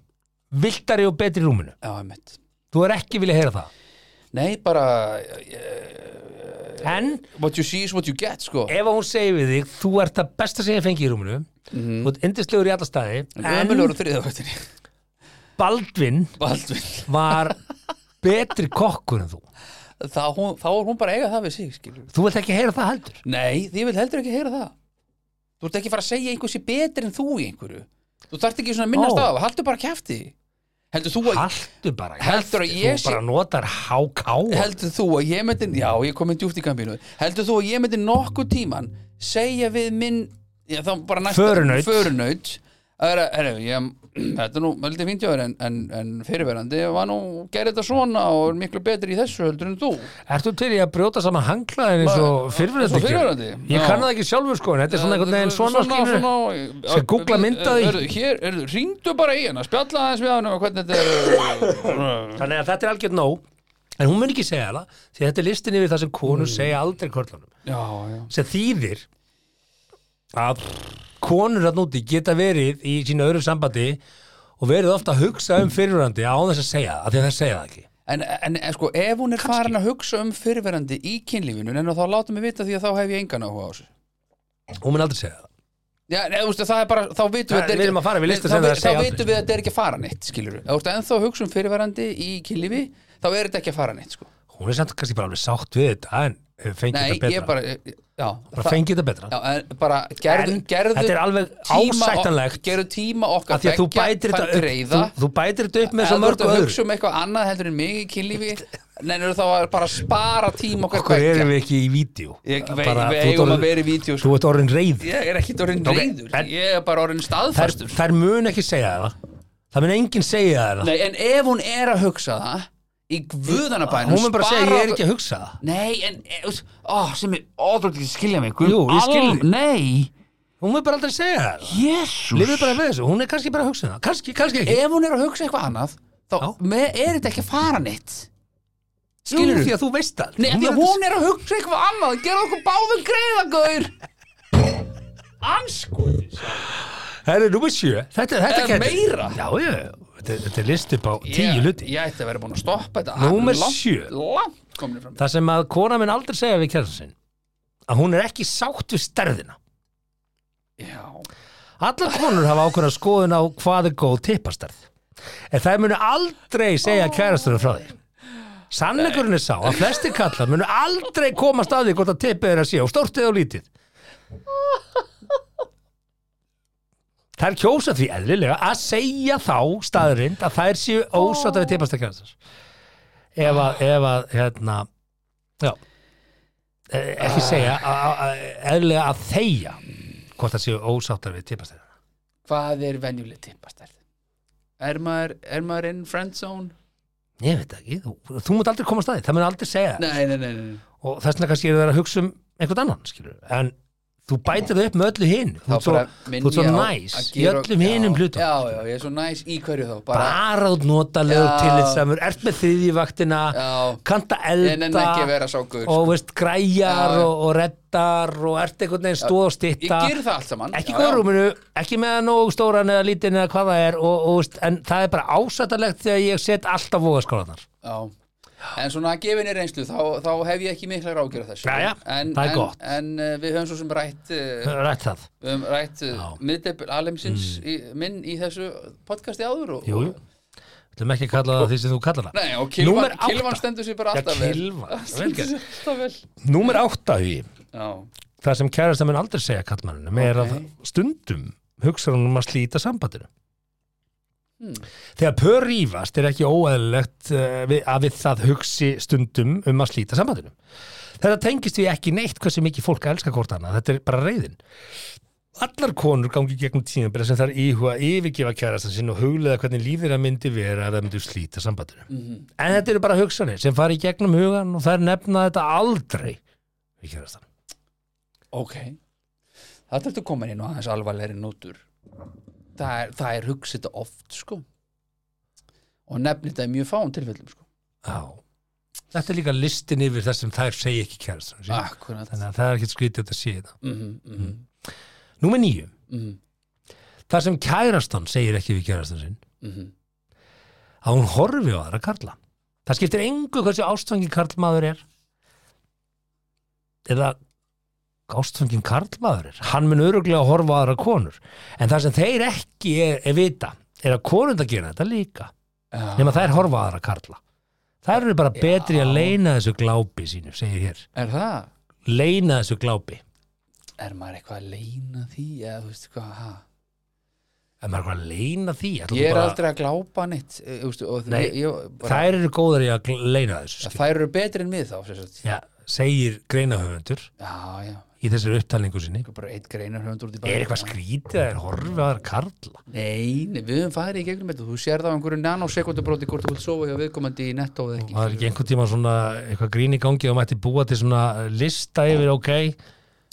S1: viltari og betri í rúminu.
S2: já, emitt
S1: Þú er ekki vilja heyra það.
S2: Nei, bara eh,
S1: En
S2: What you see is what you get, sko
S1: ef að hún segir við þig, þú ert það besta sem ég fengi í rúminu,
S2: Mhm.
S1: þú ert yndislegur í alla staði,
S2: Ömulur
S1: en
S2: og þriðavöktinni
S1: Baldvin
S2: Baldvin
S1: var betri kokkur en þú.
S2: þá, hún, þá er hún bara að eiga það við sig skilur.
S1: Þú vilt ekki heyra það heldur.
S2: Nei, því vil heldur ekki heyra það Þú ert ekki að fara að segja einhversi betur en þú í einhverju Þú þarft ekki svona að
S1: Ó.
S2: minnast af Haldur bara kæfti Heldur þú að,
S1: Haltu bara,
S2: Heldur að
S1: kjafti,
S2: ég
S1: þú
S2: sé-
S1: bara notar hákáa.
S2: heldur þú að ég myndi Já, ég kom inn djúft í kampínu Heldur þú að ég myndi nokkuð tíman segja við minn já, þá bara næsta-
S1: Förunaut.
S2: Förunaut að vera, herru, ég, (clears throat) Þetta er nú möldi fíntjóður en, en, en fyrirverandi var nú, gerði þetta svona og er miklu betri í þessu heldur en þú
S1: Ertu til í að brjóta saman hanglaðin eins og
S2: Bara-
S1: fyrirverandi?
S2: eins og fyrrverandi,
S1: Ég
S2: já.
S1: kann það ekki sjálfur sko, en þetta er svona einhvern veginn svona, svona skilur. Skal googla mynd af því?
S2: Hörðu, hér, hörðu, ringdu bara í hana, spjalla aðeins við hana og hvernig þetta
S1: (laughs)
S2: er
S1: Þannig að þetta er algjörn nóg, en hún mun ekki segja það, því þetta er listin yfir það sem konur
S2: Mm.
S1: segja aldrei körlunum.
S2: Já, já,
S1: Sem þýðir að konur hann úti geta verið í sínu öðru sambandi og verið ofta að hugsa um fyrirverandi á þess að segja það, af því að það segja það ekki.
S2: en, en en sko, ef hún er farin að hugsa um fyrirverandi í kynlífinu en þá láta mig vita því að þá hef ég engan áhuga á þessu
S1: Hún mun aldrei segja það.
S2: Já, nei, þú veist, það er bara, þá vitum við
S1: Nei, við erum að fara við lista sem
S2: þá,
S1: það
S2: vi-
S1: segja
S2: þá
S1: aldrei.
S2: vitum við að þetta er ekki að fara neitt, skilur við Ef þú veist, ennþá að hugsa um fyrirverandi í kynlífi þá er þetta ekki að fara neitt, sko
S1: Hún er samt kannski bara alveg sátt við þetta, en hefur fengið
S2: Nei,
S1: þetta betra.
S2: ég bara, já,
S1: bara fengið þetta betra.
S2: Já, en bara gerðu,
S1: En
S2: gerðu
S1: þetta er alveg
S2: tíma ok-
S1: ásættanlegt.
S2: Gerðu tíma
S1: Af
S2: okkar
S1: því að þú
S2: beggja
S1: bætir
S2: þann
S1: þetta upp, þú,
S2: greiða.
S1: þú bætir þetta upp með svo
S2: Ef
S1: mörgu
S2: Þú ert að
S1: öðru.
S2: hugsa um eitthvað annað heldur en mig í kynlífi (laughs) Nennir þá að bara spara tíma um okkar
S1: Okkur
S2: beggja.
S1: erum við ekki í vídeo.
S2: Ég vei-
S1: Bara,
S2: við
S1: þú ert
S2: eigum að
S1: orðin-
S2: vera í vídeó, sko.
S1: Þú ert orðin reyð.
S2: Ég er ekki orðin
S1: Ok,
S2: reyður
S1: en-
S2: Ég er bara orðin
S1: Þær,
S2: staðfastur
S1: þær mun ekki segja það. Það mun enginn segja það.
S2: Nei, en ef hún er að hugsa það Í guðanabænum
S1: Hún mun bara segja, ég er ekki að hugsa það.
S2: Nei, en e, þú veist, ó, sem er ótrúlega skilja mig Guð,
S1: Jú, ég skil
S2: al-
S1: þig.
S2: Nei,
S1: Hún mun bara aldrei segja það.
S2: jésús
S1: Lifið bara með þessu. Hún er kannski bara að hugsa það. Kannski, kannski ekki.
S2: Ef hún er að hugsa eitthvað annað Þá
S1: Já.
S2: með, er þetta ekki að fara neitt
S1: Jú,
S2: Skilur
S1: því að þú veist það.
S2: Nei, af því að hún er að hugsa eitthvað annað Gerðu okkur báðum greiða, Gaur Anskutis
S1: Það er nummer sjö. Þetta, þetta
S2: Er
S1: kætti.
S2: meira?
S1: Já, já, já. Þetta þetta, er- þetta er list upp á tíu
S2: Ég-
S1: hluti
S2: Ég ætti að vera búin að stoppa þetta
S1: Númer
S2: Langt-
S1: sjö.
S2: Langt komin fram
S1: Það sem að kona minn aldrei segja við kjærastan sinn að hún er ekki sátt við stærðina
S2: Já
S1: Allar konur hafa ákveðna skoðun á hvað er góð tippastarð en þær munu aldrei segja oh. kærastunum frá því Sannleikurinn er sá að flesti kallar munu aldrei komast að því hvort að tippið er að sé og stórt eða of lítið Þær kjósa því eðlilega að segja þá staðurind að þær séu ósátt við tippastarð kærastans ef að, ef að hérna já Eh, ekki segja að- að- að- eðlilega að þeia hvort það séu ósáttar við tippastarð
S2: Hvað er venjuleg tippastærð? Er maður, er maður in friend zone?
S1: Ég veit það ekki, þú, þú mútt aldrei koma að staði, það mun aldrei segja það
S2: Nei, nei, nei, nei.
S1: og þess vegna kannski eru það að hugsa um einhvern annan, skilur, en þú bætir þau upp með öllu hinn, þú ert svo, þú ert svo næs í öllum hinnum hlutum,
S2: Já, já, ég er svo næs í hverju þá Bara,
S1: bara út notalegur
S2: Já.
S1: tillitsamur, ert með þriðjivaktina,
S2: já,
S1: kannta
S2: en en ekki
S1: elda
S2: vera sá guður
S1: og veist græjar
S2: Já, já.
S1: og, og reddar og ert einhvern veginn stóð og
S2: Ég
S1: stitta
S2: ger það allt saman
S1: ekki
S2: já,
S1: góð
S2: já.
S1: rúminu, ekki með nóg stóran eða lítinn eða hvað það er og, og, veist, en það er bara ásættarlegt þegar ég set alltaf vogaskólanar
S2: Já. En svona að gefinni reynslu þá, þá hef ég ekki mikla ráðgjörð þessu
S1: Jæja,
S2: en,
S1: það er
S2: en,
S1: gott.
S2: En uh, við höfum svo sem rætt uh,
S1: rætt það
S2: við höfum rætt uh,
S1: Já. Mm.
S2: miðdebil alemsins í, minn í þessu podcasti áður og,
S1: Jú, jú. Þú ætlum ekki að kalla það því sem þú kallar það.
S2: Nei, og
S1: Númer
S2: Kilvan,
S1: átta.
S2: Kilvan stendur sér bara
S1: Já,
S2: alltaf (laughs)
S1: Kilvan,
S2: vel Stendur sig alltaf vel
S1: Númer átta hugi,
S2: Já,
S1: það sem kærasta minn aldrei segja kallmanninu, er að
S2: Ok.
S1: stundum hugsa hún um að slíta sambandinu.
S2: Hmm.
S1: Þegar pör rífast er ekki óæðilegt eh, við- að við það hugsi stundum um að slíta sambandinu. Þetta tengist við ekki neitt hversu mikið fólk elskar hvort annað, þetta er bara reyðin. Allar konur gangi í gegnum tímabila sem þær íhuga að yfirgefa kærastan sinn og huglega hvernig líf þeirra myndi vera ef það myndi slíta sambandinu.
S2: mhm,
S1: En þetta eru bara hugsanir sem fara í gegnum hugan og þær nefna þetta aldrei við kærastan.
S2: ok Það ertu komin inn á aðeins alvarlegri nótur Það er, það er hugsið þetta oft sko og nefnir þetta í mjög fáum tilfellum sko
S1: Já. Þetta er líka listin yfir það sem þær segja ekki kærastan. sín.
S2: Akkurat
S1: Þannig að það er ekkert skrítið að þetta sé þetta.
S2: mhm, mhm,
S1: Númer nýju.
S2: mhm,
S1: Það sem kærastan segir ekki við kærastan sinn
S2: mhm
S1: að hún horfi á aðra karla. Það skiptir engu hversu ástfangin karlmaður er eða ástfangin karlmaður er. Hann mun öruglega að horfa á aðra konur. En það sem þeir ekki er, er vita er að konund að gera þetta líka.
S2: Já.
S1: nema þær horfa á aðra karla þær eru bara betri að leina þessu glápi sínu, segir hér,
S2: Er það?
S1: leina þessu glápi
S2: Er maður eitthvað að leina því? Eða, þú veist, hvað, ha?
S1: ef maður er hvað að leina því ætlar
S2: Ég
S1: þú
S2: er
S1: bara,
S2: aldrei að glápa neitt e, þú veist, og
S1: Nei,
S2: ég, ég, bara,
S1: þær eru góðar í að gl- leina þessu
S2: það,
S1: skilur.
S2: þær eru betri en við þá sem sagt.
S1: já, segir greinahöfundur
S2: Já, já,
S1: í þessari upptalningu sinni
S2: ekki bara eitt greinar höfundur út í bæ
S1: er eitthvað skrítið að þær horfa á aðra karla
S2: Nei, nei, við höfum farið í gegnum þetta Þú sér það á einhverju nanosekundabróti hvort þú vilt sofa hjá viðkomandi í netto eða
S1: og það er
S2: ekki
S1: ekki einhvern tíma svona eitthvað grín í gangi og mætti búa til svona lista yfir ok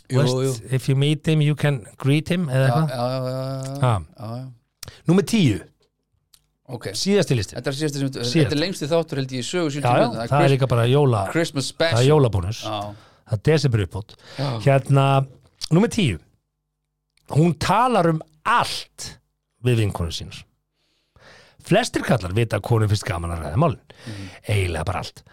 S2: Jú,
S1: West,
S2: jú.
S1: if you meet him you can greet him eða
S2: Já,
S1: eitthvað
S2: já, já, já, já,
S1: Ha.
S2: já, já.
S1: Númer tíu,
S2: Ok,
S1: síðasti listin
S2: þetta er síðast sem
S1: Síðasta.
S2: Þetta er lengsti þáttur held ég í sögu
S1: já, já, það er
S2: Christ-
S1: líka bara jóla, það
S2: Christmas
S1: er
S2: special
S1: jólabónus
S2: Já,
S1: það er desember uppbót
S2: já,
S1: hérna, nummer tíu hún talar um allt við vinkonu sínur flestir kallar vita að konum finnst gaman að ræða málin eiginlega bara allt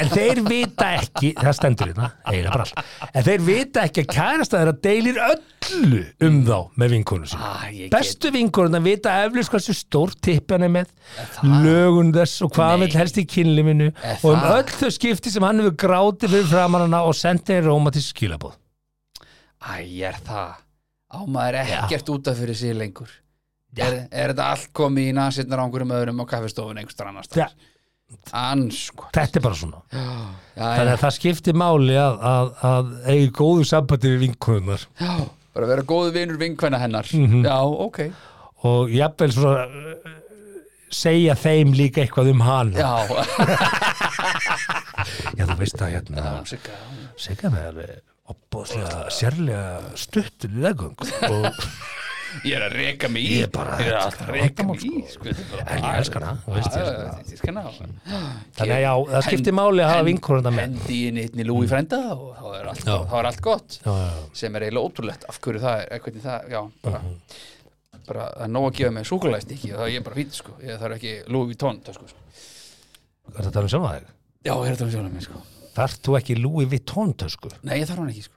S1: en þeir vita ekki, það stendur hérna eiginlega bara allt, en þeir vita ekki að kærasta þeirra deilir öllu um þá með vinkonu sínur
S2: Ah, ég get
S1: bestu vinkurinn að vita eflis hversu stór tippan er með,
S2: það?
S1: lögun þess og hvað hann
S2: Nei.
S1: vil helst í kynliminu
S2: Er
S1: og um
S2: það?
S1: öll þau skipti sem hann hefur grátið fyrir framan hana og sendið henni rómatísk skilabóð
S2: Æ, er það Á maður ekkert út af fyrir sig lengur er, er þetta allt komið í nasirnar á einhverjum öðrum á kaffestofun einhverjum annars
S1: Ja.
S2: staðar? Anskot
S1: þetta er bara svona
S2: Já,
S1: þannig
S2: já,
S1: að það skipti máli að, að, að eigi góðu sambandi við vinkunar
S2: já Bara vera góðu vinur vinkvæna hennar
S1: Mhm.
S2: Já, ok
S1: og jafnvel svona uh, segja þeim líka eitthvað um hana já,
S2: Já,
S1: þú veist að hérna
S2: hún sé gá-
S1: segja mig alveg opbóðslega eh, sérlega stutt
S2: (laughs)
S1: legung og
S2: Ég er að reka mig í
S1: Ég er bara-
S2: Ég er alltaf að reka mig í sko.
S1: en ég elskar hana, þú veist ég elskar hana.
S2: Ég skal ná
S1: þannig að já, það skipti máli að hafa vinkunar með
S2: Hendi inn í einni lúi frænda og þá er allt,
S1: Já.
S2: þá er allt gott
S1: Já, já, já.
S2: sem er eiginlega ótrúlegt af hverju það er, eh, hvernig það, já, bara
S1: Mhm.
S2: bara, það er nóg að gefa mig súkulæst ekki, það er ég bara fýtt sko ég þarf ekki Louis Vuitton tösku sko.
S1: Hvað er þetta um sjálfa þig?
S2: já, ég er þetta um sjálfum mig sko
S1: Þarf þú ekki Louis Vuitton tösku?
S2: nei, ég þarf hann ekki sko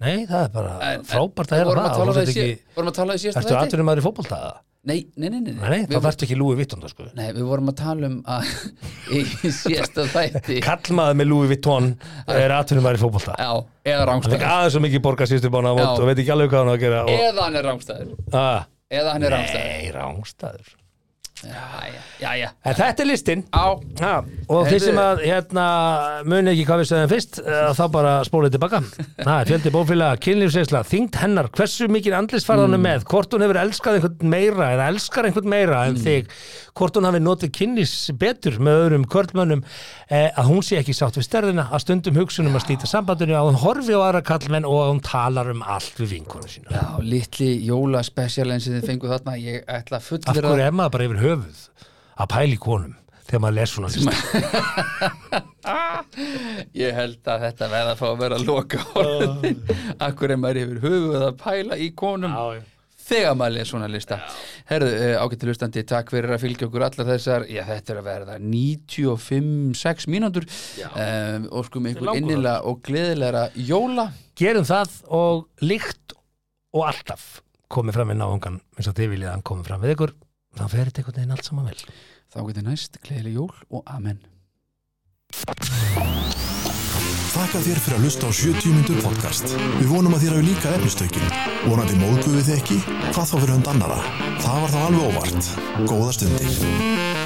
S1: Nei, það er bara
S2: En- en-
S1: frábært að heyra
S2: vorum að
S1: það
S2: tala
S1: og þú
S2: um það
S1: sért
S2: í
S1: ekki-
S2: sí- vorum að tala í síðasta
S1: Ertu
S2: þætti?
S1: aðtunum maður í fótboltaða?
S2: Nei, nei, nei, nei,
S1: Nei,
S2: Við-
S1: það verður ekki Louis Vuitton tösku
S2: nei, við vorum að tala um að (laughs) í síðasta þætti
S1: Kallmaður með Louis Vuitton er aðtunum maður í fótbolta
S2: já, eða
S1: Það er
S2: rángstæður
S1: aðeins svo mikið borga síðustu bánu á mót
S2: Já.
S1: og veit ekki alveg hvað hann á að gera og,
S2: eða hann er rángstæður
S1: að,
S2: eða hann er rángstæður
S1: Nei, rángstæður
S2: já, já, já,
S1: En þetta er listin
S2: já,
S1: Ha, og þeir
S2: Heyrðu.
S1: sem að hérna, muni ekki hvað við segðum fyrst eh, þá bara spólið (laughs) tilbaka ha, fjöldi bófélaga, kynlífsinsla, þyngd hennar hversu mikið andlisfarðanum mm. með hvort hún hefur elskað einhvern meira eða elskar einhvern meira en þig hvort hún hafi notið kynlís betur með öðrum körlmönnum eh, að hún sé ekki sátt við stærðina að stundum hugsunum að slíta sambandinu að hún horfi á aðra kallmenn og að hún talar um allt við vinkonu sína
S2: Já, litli jólaspecialin sem þið fenguð þarna, ég ætla að
S1: af
S2: fullera
S1: hverju er maður bara yfir höfuð að pæli konum þegar maður les svona lista
S2: Ég held að þetta verða að fá að vera að loka orðin Af hverju er maður yfir höfuð að pæla í konum
S1: Ah. Já, já.
S2: Þegar maður les svona lista Herðu, uh, ágættu lustandi, takk fyrir að fylgja okkur allar þessar Já, þetta er að verða 95-6 mínútur um, Óskum ykkur innilega og gleðilega jóla
S1: gerum það og líkt og alltaf komið fram við náungan eins og þið viljið að hann komið fram við ykkur þá fer þetta einhvern veginn allt saman vel
S2: Þá getur næst, gleðileg jól og amen
S3: Þakka þér fyrir að hlusta á 70 mínútur podcast. Við vonum að þér hafi líka efnistökin. Vonandi móðguðu þið ekki? Hvað þá fyrir hund annara? Það var þá alveg óvart. Góða stundir.